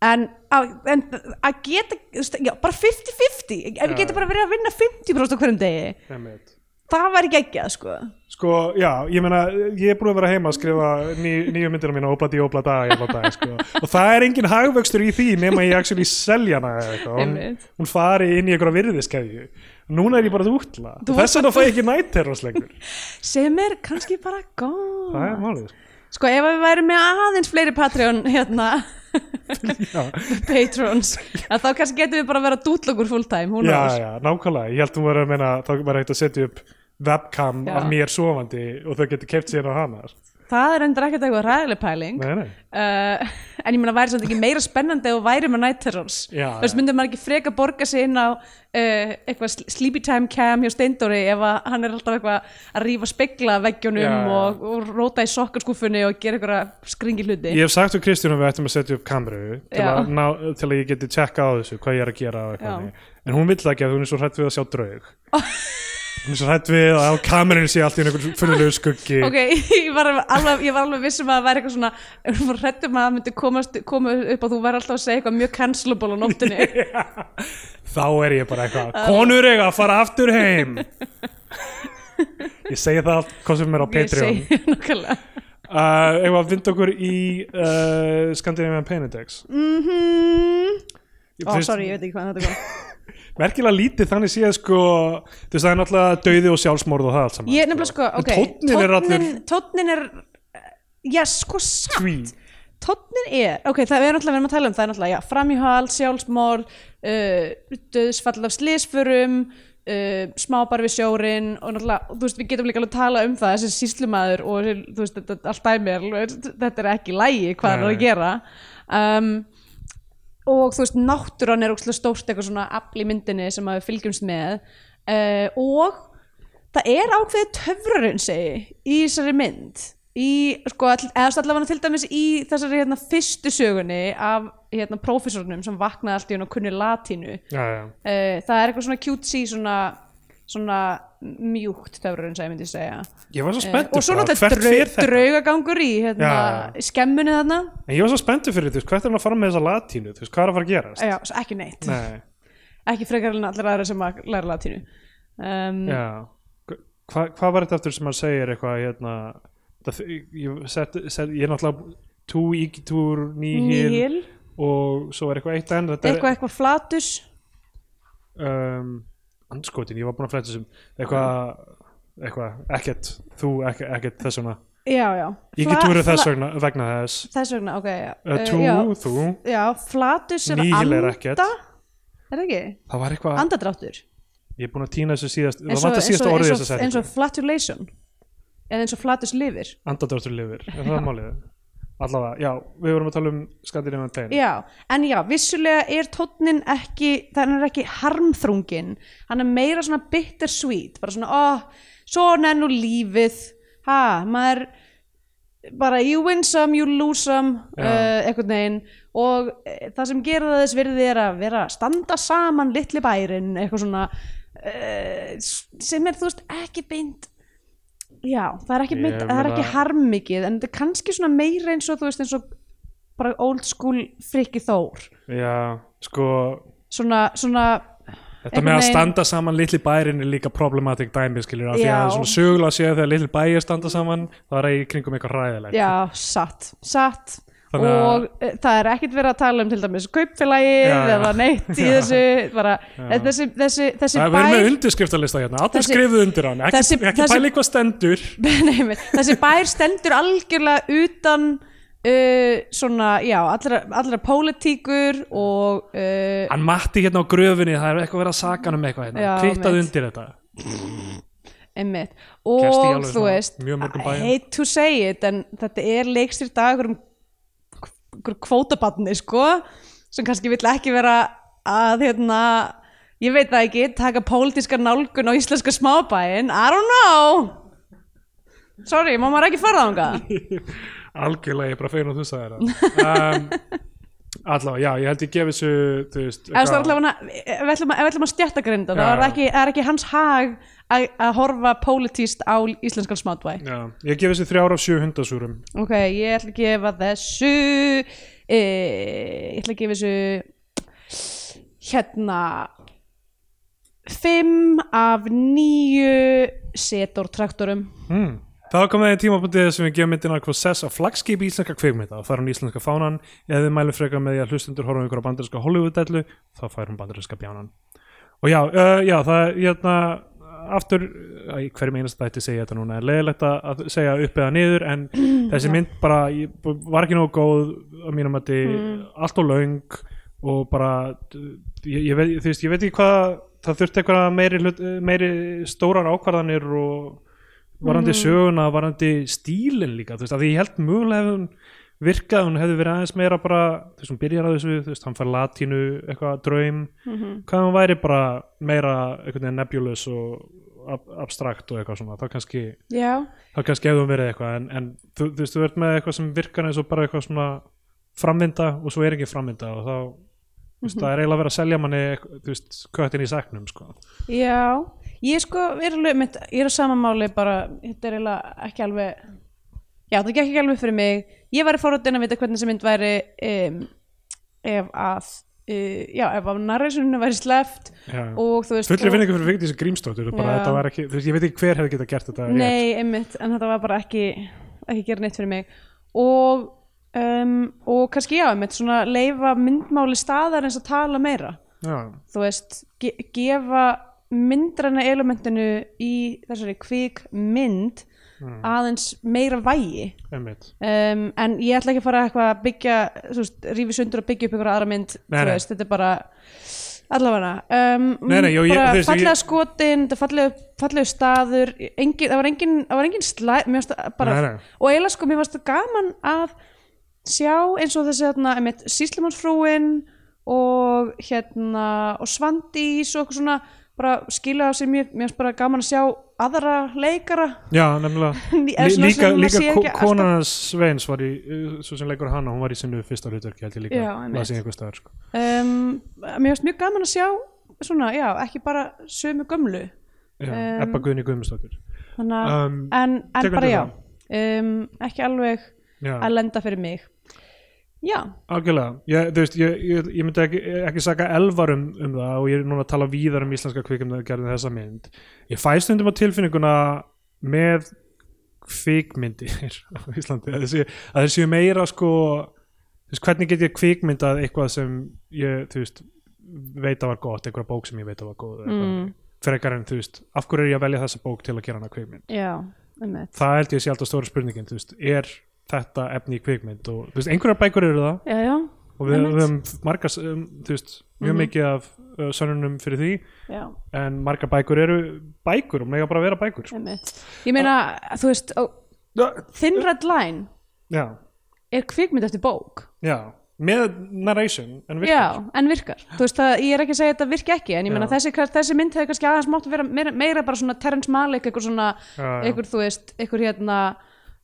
Speaker 3: En, á, en að geta, þú veist, já, bara 50-50 Ef
Speaker 1: Já.
Speaker 3: ég geti bara verið að vinna 50% á hverjum degi
Speaker 1: Einmitt.
Speaker 3: Það væri geggjað, sko
Speaker 1: Sko, já, ég meina, ég er búin að vera heima að skrifa ný, nýju myndina mína óbladi, óblada, óblada, sko. Og það er engin hagvöxtur í því nema ég actually selja hana eða eitthvað. Hún,
Speaker 3: Einmitt.
Speaker 1: hún fari inn í einhverja virðiskeðju. Núna er ég bara að útla.
Speaker 3: Þú
Speaker 1: Þess vegna fæ ég ekki nætt herros lengur.
Speaker 3: Sem er kannski bara góð
Speaker 1: Það er málið. sko.
Speaker 3: Sko ef við værum með aðeins fleiri Patreon hérna
Speaker 1: Já,
Speaker 3: patrons að þá kannski getum við bara að vera dútlokur fulltime hún
Speaker 1: já,
Speaker 3: knows?
Speaker 1: já, nákvæmlega. Ég held hún verið að meina, þá var hægt að setja upp webcam
Speaker 3: Já.
Speaker 1: af mér sofandi og þau getur keft sér á hana.
Speaker 3: það er endur ekkert eitthvað ræðileg pæling uh,
Speaker 1: Nei, nei.
Speaker 3: en ég meina væri samt ekki meira spennandi og væri með night terrors
Speaker 1: Já,
Speaker 3: þú veist
Speaker 1: já.
Speaker 3: myndum maður ekki freka borga sig inn á uh, eitthvað sl- sleepy time cam hjá Steindóri ef að hann er alltaf eitthvað að rífa spegla af veggjunum
Speaker 1: Já, já.
Speaker 3: Og, og róta í sokkarskúfunni og gera eitthvað skringi hluti
Speaker 1: Ég hef sagt við Kristján að við ættum að setja upp kameru til,
Speaker 3: Já.
Speaker 1: að, ná, til að ég geti tjekka á þessu hvað ég er að gera og
Speaker 3: Já.
Speaker 1: eitthvað þannig. en hún vill það ekki að hún er svo hrætt við að sjá draug Hún er svo hrætt við að á kamerunni sé allt í einu einhvern fyrðulegu skuggi
Speaker 3: ok, ég var alveg, ég var alveg vissum að það væri eitthvað svona, hún var hrettum um að það myndi komast, koma upp og þú væri alltaf að segja eitthvað mjög cancelable á nóttinni
Speaker 1: Þá er ég bara eitthvað Konur eiga að fara aftur heim Ég segi það allt hvað sem er á
Speaker 3: ég
Speaker 1: Patreon
Speaker 3: segi nokkulega
Speaker 1: uh, Ef að vinda okkur í uh, Scandinavian Penedex
Speaker 3: mhm,
Speaker 1: Ég
Speaker 3: ó,
Speaker 1: finnst-
Speaker 3: sorry, ég veit ekki hvað þetta kom
Speaker 1: Merkilega lítið þannig séð sko þú veist það er náttúrulega dauði og sjálfsmorð og það allt saman
Speaker 3: ég nefnilega sko,
Speaker 1: En
Speaker 3: ok
Speaker 1: tónninn er allur
Speaker 3: tónninn- tónninn er já, sko samt
Speaker 1: tví
Speaker 3: tónnin er, ok, það er náttúrulega við erum að tala um það er náttúrulega, já, framhjóhald, sjálfsmorð uh, döðsfall af slísförum uh, smábar við sjórin og náttúrulega, og þú veist, við getum líka alveg að tala um það þessi síslumaður og þessi, þú veist, þetta allt dæmi er, alveg- þetta er ekki lægi hvað hann er
Speaker 1: Nei.
Speaker 3: að gera um, og þú veist, náttúran er ókslega stórt eitthvað svona afl í myndinni sem að við fylgjumst með uh, og það er ákveðið töfrarinn segi í þessari mynd í, sko, all, eða þú veist, allavega til dæmis í þessari hérna, fyrstu sögunni af hérna, prófessornum sem vaknaði allt í hún og kunni latínu uh,
Speaker 1: Já, já.
Speaker 3: það er eitthvað svona cutesy svona, svona mjúkt töfrarinn segi myndi ég segja
Speaker 1: Ég var svo
Speaker 3: Eh,
Speaker 1: spenntur
Speaker 3: og svo
Speaker 1: bara,
Speaker 3: náttúrulega
Speaker 1: hvert
Speaker 3: draug,
Speaker 1: fer þetta?
Speaker 3: draugagangur í hérna,
Speaker 1: Já, já.
Speaker 3: skemmunni þarna
Speaker 1: En ég var svo spenntur fyrir þú veist hvert er hann að fara með þessa latínu þú veist hvað er að fara að gerast
Speaker 3: já, svo ekki neitt,
Speaker 1: Nei,
Speaker 3: ekki frekar en allir aðra sem að læra latínu um,
Speaker 1: já Hva, Hvað var þetta eftir sem hann segir eitthvað hérna það, ég, set, set, ég er náttúrulega tú ígitúr nýhil
Speaker 3: nýhil,
Speaker 1: og svo er eitthvað eitt enn þetta er-
Speaker 3: eitthvað eitthvað flatus
Speaker 1: um, andskotin, ég var búin að flæta þessum eitthvað eitthvað, ekkert, þú ekkert, ekkert þess vegna
Speaker 3: já, já
Speaker 1: ég
Speaker 3: Fla-
Speaker 1: get úr þess
Speaker 3: fla-
Speaker 1: vegna, vegna þess
Speaker 3: þess vegna, ok, já,
Speaker 1: uh,
Speaker 3: Eh,
Speaker 1: tú,
Speaker 3: já,
Speaker 1: þú,
Speaker 3: já flatus er
Speaker 1: nýhil er
Speaker 3: anda
Speaker 1: ekkert
Speaker 3: er það ekki,
Speaker 1: það var eitthvað,
Speaker 3: andadráttur
Speaker 1: ég er búin að týna þessu síðast
Speaker 3: eins
Speaker 1: það
Speaker 3: og,
Speaker 1: vant að
Speaker 3: eins,
Speaker 1: síðasta
Speaker 3: og,
Speaker 1: orðið
Speaker 3: eins,
Speaker 1: þess
Speaker 3: og,
Speaker 1: að
Speaker 3: eins
Speaker 1: segja
Speaker 3: og flatulation eða eins og flatus lifir
Speaker 1: andadráttur lifir, er það málið allavega, já, við vorum að tala um skandinavian pain
Speaker 3: já, en já, vissulega er tónnin ekki, þannig er ekki harmþrungin, hann er meira svona bittersweet, bara svona, oh svona er nú lífið, ha maður, bara you win some, you lose some
Speaker 1: Já.
Speaker 3: uh, einhvern veginn og uh, það sem gera það þess virði er að vera að standa saman litli bærin, eitthvað svona uh, sem er þú veist ekki beint Já, það er ekki,
Speaker 1: Ég
Speaker 3: mynd, það er
Speaker 1: meina-
Speaker 3: ekki harmikið en þetta er kannski svona meira eins og þú veist eins og bara old school frikki þór
Speaker 1: já, sko
Speaker 3: svona, svona
Speaker 1: Þetta
Speaker 3: Einhvern
Speaker 1: með að
Speaker 3: veginn-
Speaker 1: standa saman litli bærin er líka problematic dæmi skilur af því að
Speaker 3: Já.
Speaker 1: það er svona sögulega að segja þegar litli bæir standa saman þá er það í kringum eitthvað ræðilegt
Speaker 3: já, satt, satt
Speaker 1: Þannig að-
Speaker 3: og e, það er ekkert verið að tala um til dæmis kaupfélagið
Speaker 1: Já, já.
Speaker 3: eða neitt í þessu bara, e,
Speaker 1: Já.
Speaker 3: þessi, þessi, þessi
Speaker 1: Það er verið með undirskriftalista hérna, allir
Speaker 3: Þessi-
Speaker 1: skrifuð undir hann ekki,
Speaker 3: þessi-
Speaker 1: ekki
Speaker 3: þessi-
Speaker 1: pæli hvað stendur
Speaker 3: Nei, einmitt. þessi bær stendur algjörlega utan uh, svona, já, allra, allra pólitíkur og uh,
Speaker 1: Hann matti hérna á gröfinni, það er eitthvað verið að saka hann um eitthvað hérna,
Speaker 3: Já,
Speaker 1: kvittað
Speaker 3: mitt.
Speaker 1: undir þetta
Speaker 3: einmitt
Speaker 1: Gerst í
Speaker 3: og
Speaker 1: alveg
Speaker 3: þú
Speaker 1: svona
Speaker 3: veist
Speaker 1: mjög mörgum
Speaker 3: I
Speaker 1: bæjum.
Speaker 3: hate to say it en þetta er leikstýr dagur um kvótabatni sko sem kannski vill ekki vera að hérna ég veit það ekki, taka pólitíska nálgun á íslenska smábæin, I don't know sorry, má maður ekki fara þangað
Speaker 1: Algjörlega, ég er bara fegin og þú sagði þetta um, Allavega, já, ég held ég gefi þessu, þú veist
Speaker 3: ef það er allavega, ef við ætlum að, ef við ætlum að stjættagrinda þá
Speaker 1: Já,
Speaker 3: er
Speaker 1: já.
Speaker 3: ekki, er ekki hans hag að, að horfa pólitíst á íslenskan smábæ
Speaker 1: Já, ég gefi þessu þrjár af sjö hundasúrum
Speaker 3: Ok, ég ætla að gefa þessu e, Ég ætla að gefa þessu Hérna Fimm af níu Setor traktorum
Speaker 1: hmm. Það komið í tímabundið sem við gefum myndina hvað sess á flagskipi íslenska kvikmynda og það er hún íslenska fánan eða við mælum frekar með því að hlustundur horfum ykkur á bandarinska Hollywood-dellu þá fær hún bandarinska bjánan og já, uh, já það er hérna aftur, uh, í hverjum einasta þætti segja þetta núna, er leiðilegt að- að segja upp eða niður en þessi mynd bara ég, b- var ekki nógu góð að mínum að allt og löng og bara d- ég, ég, veit, þú veist, ég veit ekki hvað það þurfti eitthvað meiri, hlut, meiri stórar ákvarðanir og varandi söguna, varandi stílinn líka, þú veist, að ég held mögulega hefði hún virkað, hún hefði verið aðeins meira bara, þú veist, hún byrjar að þessu, þú veist, hann fær latínu, eitthvað, draum hvað hann væri bara meira einhvern veginn nebulous og ab abstrakt og eitthvað svona, þá kannski
Speaker 3: Já
Speaker 1: þá kannski hefðum verið eitthvað en, en þú, þú veist, þú ert með eitthvað sem virkar eins og bara eitthvað svona framvinda og svo er ekki framvinda og þá þú veist, það er eiginlega verið að selja manni eitthvað, þú veist, köttin í sæknum sko.
Speaker 3: Já, Ég sko, er alveg, mitt, ég er á sama máli bara, þetta er eiginlega ekki alveg já, það gekk ekki alveg upp fyrir mig ég væri fórhóttin að vita hvernig þessi mynd væri um, ef að uh, já, ef að narrationinu væri sleppt
Speaker 1: Já.
Speaker 3: og þú veist
Speaker 1: Fullri
Speaker 3: og,
Speaker 1: vinningu fyrir Vigdísi Grímsdóttur bara,
Speaker 3: Já.
Speaker 1: þetta var ekki, þú veist, ég veit ekki hver hefði getað gert þetta rétt.
Speaker 3: Nei, einmitt, en þetta var bara ekki ekki gera neitt fyrir mig og, um, og kannski já, einmitt svona leifa myndmáli staðar eins að tala meira
Speaker 1: Já.
Speaker 3: þú veist, ge gefa myndræna elementinu í þessari kvík mynd
Speaker 1: Mm.
Speaker 3: aðeins meira vægi
Speaker 1: einmitt
Speaker 3: um, en ég ætla ekki að fara eitthvað að byggja þú veist, rífi sundur og byggja upp einhverja aðra mynd
Speaker 1: Nei,
Speaker 3: þú
Speaker 1: nei.
Speaker 3: veist, þetta er bara allavega um,
Speaker 1: Nei, nei, já, ég-
Speaker 3: bara
Speaker 1: þú veist,
Speaker 3: fallega
Speaker 1: ég-
Speaker 3: skotin, þetta er fallega, fallega staður engin, það var engin, það var engin slæ mér varst bara,
Speaker 1: Nei, nei.
Speaker 3: og eiginlega sko mér varst gaman að sjá eins og þessi þarna, einmitt, síslimannsfrúin og hérna og Svandís og eitthvað svona bara skila á sig mjög, mér varst bara gaman að sjá aðra leikara
Speaker 1: Já, nefnilega
Speaker 3: Ný- eða
Speaker 1: Lí-
Speaker 3: svona
Speaker 1: Líka,
Speaker 3: sem maður sér
Speaker 1: líka
Speaker 3: ekki
Speaker 1: ko-
Speaker 3: alltaf.
Speaker 1: konan hans Sveins var í, uh, svo sem leikur hana, hún var í sinnu fyrsta hlutverki held ég líka,
Speaker 3: Já, einmitt.
Speaker 1: las ég einhvers staðar sko.
Speaker 3: um, mér finnst mjög gaman að sjá svona, já, ekki bara sömu gömlu
Speaker 1: Já,
Speaker 3: Um,
Speaker 1: Ebba Guðni Guðmundsdóttur
Speaker 3: þannig að,
Speaker 1: um,
Speaker 3: en, en
Speaker 1: tekur
Speaker 3: bara
Speaker 1: undir
Speaker 3: já um, ekki alveg
Speaker 1: Já,
Speaker 3: að lenda fyrir mig já,
Speaker 1: algjörlega ég, þú veist, ég, ég, ég myndi ekki, ekki saka elvar um, um það og ég er núna að tala víðar um íslenska kvikmyndagerðin þessa mynd ég fæ stundum á tilfinninguna með kvikmyndir á Íslandi að þeir séu, að þeir séu meira sko þú veist, hvernig get ég kvikmyndað eitthvað sem ég þú veist, veit að var gott einhverja bók sem ég veit að var góð mm.
Speaker 3: Mm.
Speaker 1: frekar en þú veist, af hverju er ég að velja þessa bók til að gera hana kvikmynd
Speaker 3: já, einmitt
Speaker 1: það held ég sé alltaf stóra spurningin þú veist, er þetta efni í kvikmynd og þú veist, einhverjar bækur eru það
Speaker 3: já, já,
Speaker 1: og við,
Speaker 3: Einmitt.
Speaker 1: við höfum margar um, þú veist, mjög
Speaker 3: Mhm.
Speaker 1: mikið af uh, sönnunum fyrir því,
Speaker 3: já,
Speaker 1: en margar bækur eru bækur og mega bara vera bækur sko.
Speaker 3: einmitt ég meina, þú veist, ó, Thin Red Line
Speaker 1: já,
Speaker 3: er kvikmynd eftir bók
Speaker 1: já, með narration en virkar,
Speaker 3: já, en virkar, þú veist að ég er ekki að segja að þetta virki ekki, en ég meina
Speaker 1: Já.
Speaker 3: þessi, þessi mynd hefði kannski aðeins mátt að vera meira, meira bara svona Terrence Malick, eitthvað svona
Speaker 1: já, já.
Speaker 3: einhver, þú veist, einhver hérna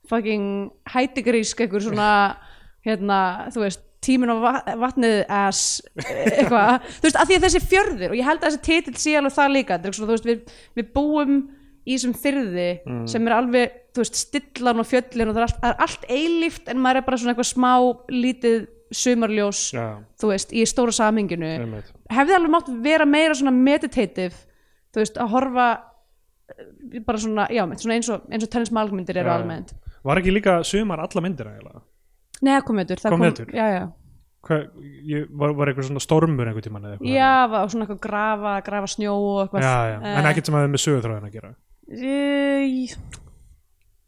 Speaker 3: fucking hætigrísk einhver svona, hérna, þú veist tíminn á va- vatnið ass eitthvað, þú veist, af því að þessi fjörður og ég held að þessi titill sé alveg það líka þetta er svona, þú veist, við, við búum í þessum fyrði
Speaker 1: Mm.
Speaker 3: sem er alveg þú veist, stillan og fjöllin og það er allt, það er allt eilíft en maður er bara svona eitthvað smá lítið sumarljós
Speaker 1: já,
Speaker 3: þú veist, í stóra samhenginu
Speaker 1: einmitt.
Speaker 3: hefði alveg mátt vera meira svona meditative þú veist, að horfa eh, bara svona, já, með, svona eins og, eins og tennis málgmyndir eru
Speaker 1: Já, já.
Speaker 3: almennt
Speaker 1: var ekki líka sumar alla myndir eiginlega
Speaker 3: Nei, það kom veitur, það
Speaker 1: Kom
Speaker 3: kom,
Speaker 1: vetur?
Speaker 3: já, já,
Speaker 1: Hva, ég, var, var eitthvað svona stormur einhvern tímann eða eitthvað
Speaker 3: já, eh. var svona eitthvað grafa, grafa snjó og eitthvað
Speaker 1: já, já. en ekkert sem að við með sögutráðin að gera
Speaker 3: ekki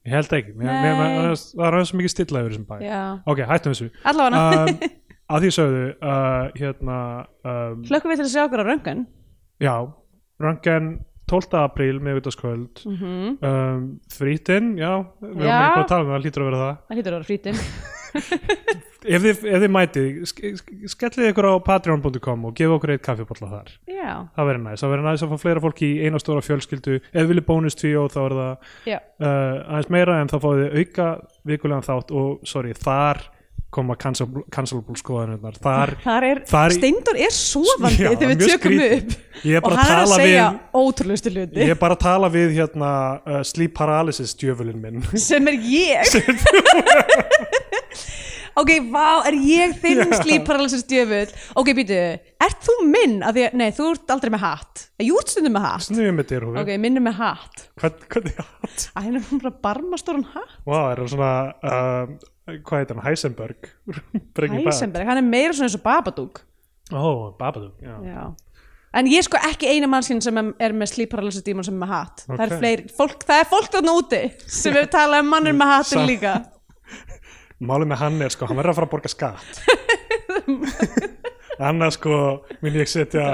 Speaker 1: ég held ekki, mér,
Speaker 3: Nei.
Speaker 1: mér, mér, það er aðeins mikið stilla yfir þessum bæ
Speaker 3: Já,
Speaker 1: ok, hættum þessu
Speaker 3: allavega uh,
Speaker 1: um, að því sögðu uh, hérna um,
Speaker 3: hlökkum við til að sjá okkur á röngan
Speaker 1: já, rangan 12. apríl miðvítaskvöld
Speaker 3: mm
Speaker 1: um, frítinn, já við erum
Speaker 3: Já.
Speaker 1: eitthvað að tala um það, hlýtur að vera það
Speaker 3: það hlýtur að vera frítin
Speaker 1: ef þið, ef þið mætið, sk- sk- skellið ykkur á patreon.com og gefa okkur eitt kaffibólla þar
Speaker 3: Já,
Speaker 1: það verður næst, það verður næst að fá fleira fólk í eina stóra fjölskyldu, ef þið viljið bónustvíó þá er það
Speaker 3: já,
Speaker 1: uh, aðeins meira en þá fáið þið auka vikulegan þátt og sorry, þar koma cancel- cancelable skoðanirnar þar,
Speaker 3: þar er,
Speaker 1: Þar-
Speaker 3: Steindor er sofandi
Speaker 1: Já,
Speaker 3: þegar við
Speaker 1: mjög
Speaker 3: tökum
Speaker 1: skrítið.
Speaker 3: upp
Speaker 1: ég er
Speaker 3: og
Speaker 1: bara að
Speaker 3: hann er að
Speaker 1: tala
Speaker 3: segja
Speaker 1: við
Speaker 3: ótrúlustu hluti
Speaker 1: Ég er bara að tala við hérna uh, sleep paralysis djöfulinn minn
Speaker 3: sem er ég ok, vá, er ég þinn yeah. slíparalysis djöfull ok, býtu, ert þú minn af því að, nei, þú ert aldrei með hatt Eh, jú ert stundum með hatt,
Speaker 1: Snuðum með þér
Speaker 3: ok,
Speaker 1: hófi
Speaker 3: minn er með hatt
Speaker 1: Hvernig hatt?
Speaker 3: að henni er hún bara barmastóran hatt
Speaker 1: Vá, er það svona uh, Hvað heitir hann? Heisenberg? Breaking Bad
Speaker 3: Heisenberg, hann er meira svona eins og Babadook
Speaker 1: Ó, Babadook já.
Speaker 3: já En ég er sko ekki eina mannskinn sem er með slíparalysis dímon sem er með hatt. Það, er
Speaker 1: Ok.
Speaker 3: fleiri, fólk, það er fólk þarna úti sem hefur talað um mannir með hattin
Speaker 1: Sam-
Speaker 3: líka.
Speaker 1: Málið með hann er sko, hann verður að fara að borga skatt Annars sko mun ég setja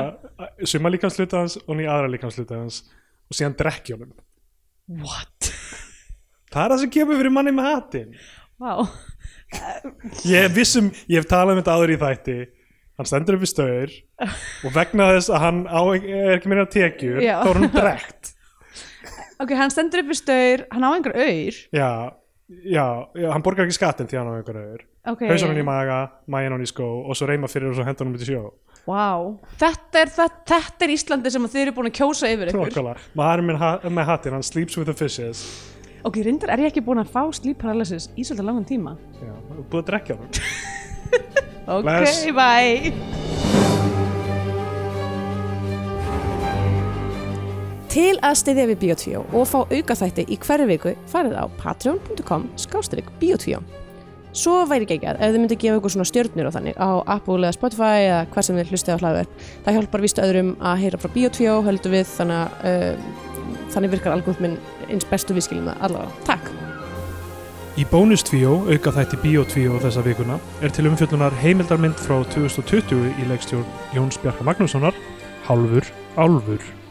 Speaker 1: suma líkamsluta hans og nýja aðra líkamsluta hans og síðan drekki honum
Speaker 3: What?
Speaker 1: Það er það sem kemur fyrir manni með hattin
Speaker 3: Vá.
Speaker 1: Ég er viss um, ég hef talað um þetta áður í þætti Hann stendur upp í stöður og vegna þess að hann á, er ekki meira tekjur,
Speaker 3: Já.
Speaker 1: þá er hann drekt
Speaker 3: Ok, hann stendur upp við staur, hann á einhver auður.
Speaker 1: já, já, já, hann borgar ekki skattin því hann á einhverju öður
Speaker 3: ok
Speaker 1: hausanum í maga, maginn hann í skó og svo reyma fyrir og svo hendanum út í sjó
Speaker 3: wow. þetta, er, það, þetta er Íslandi sem þið eru búin að kjósa yfir ykkur
Speaker 1: Nókala, maður minn ha með hattinn, hann sleeps with the fishes
Speaker 3: ok, reyndar er ég ekki búin að fá sleep paralysis í svolítið langan tíma
Speaker 1: Já, búið að drekja hann
Speaker 3: ok,
Speaker 1: Bless.
Speaker 3: bye
Speaker 4: Til að styðja við Bíotvíó og fá aukaþætti í hverju viku farið á patreon.com skástrík Bíotvíó. Svo væri geggjað ef þið myndið gefa ykkur svona stjörnur og þannig á Apple eða Spotify eða hvað sem þið hlustið á hlaðverð. Það hjálpar víst öðrum að heyra frá Bíotvíó, höldum við, þannig, að, uh, þannig virkar algoritminn eins bestu viðskilum það allavega. Takk!
Speaker 1: Í bónustvíó, auka þætti bíotvíó þessa vikuna, er til umfjöllunar heimildarmynd frá 2020 í leikstjórn Jóns Bjarka Magnússonar, Hálfur Álfur.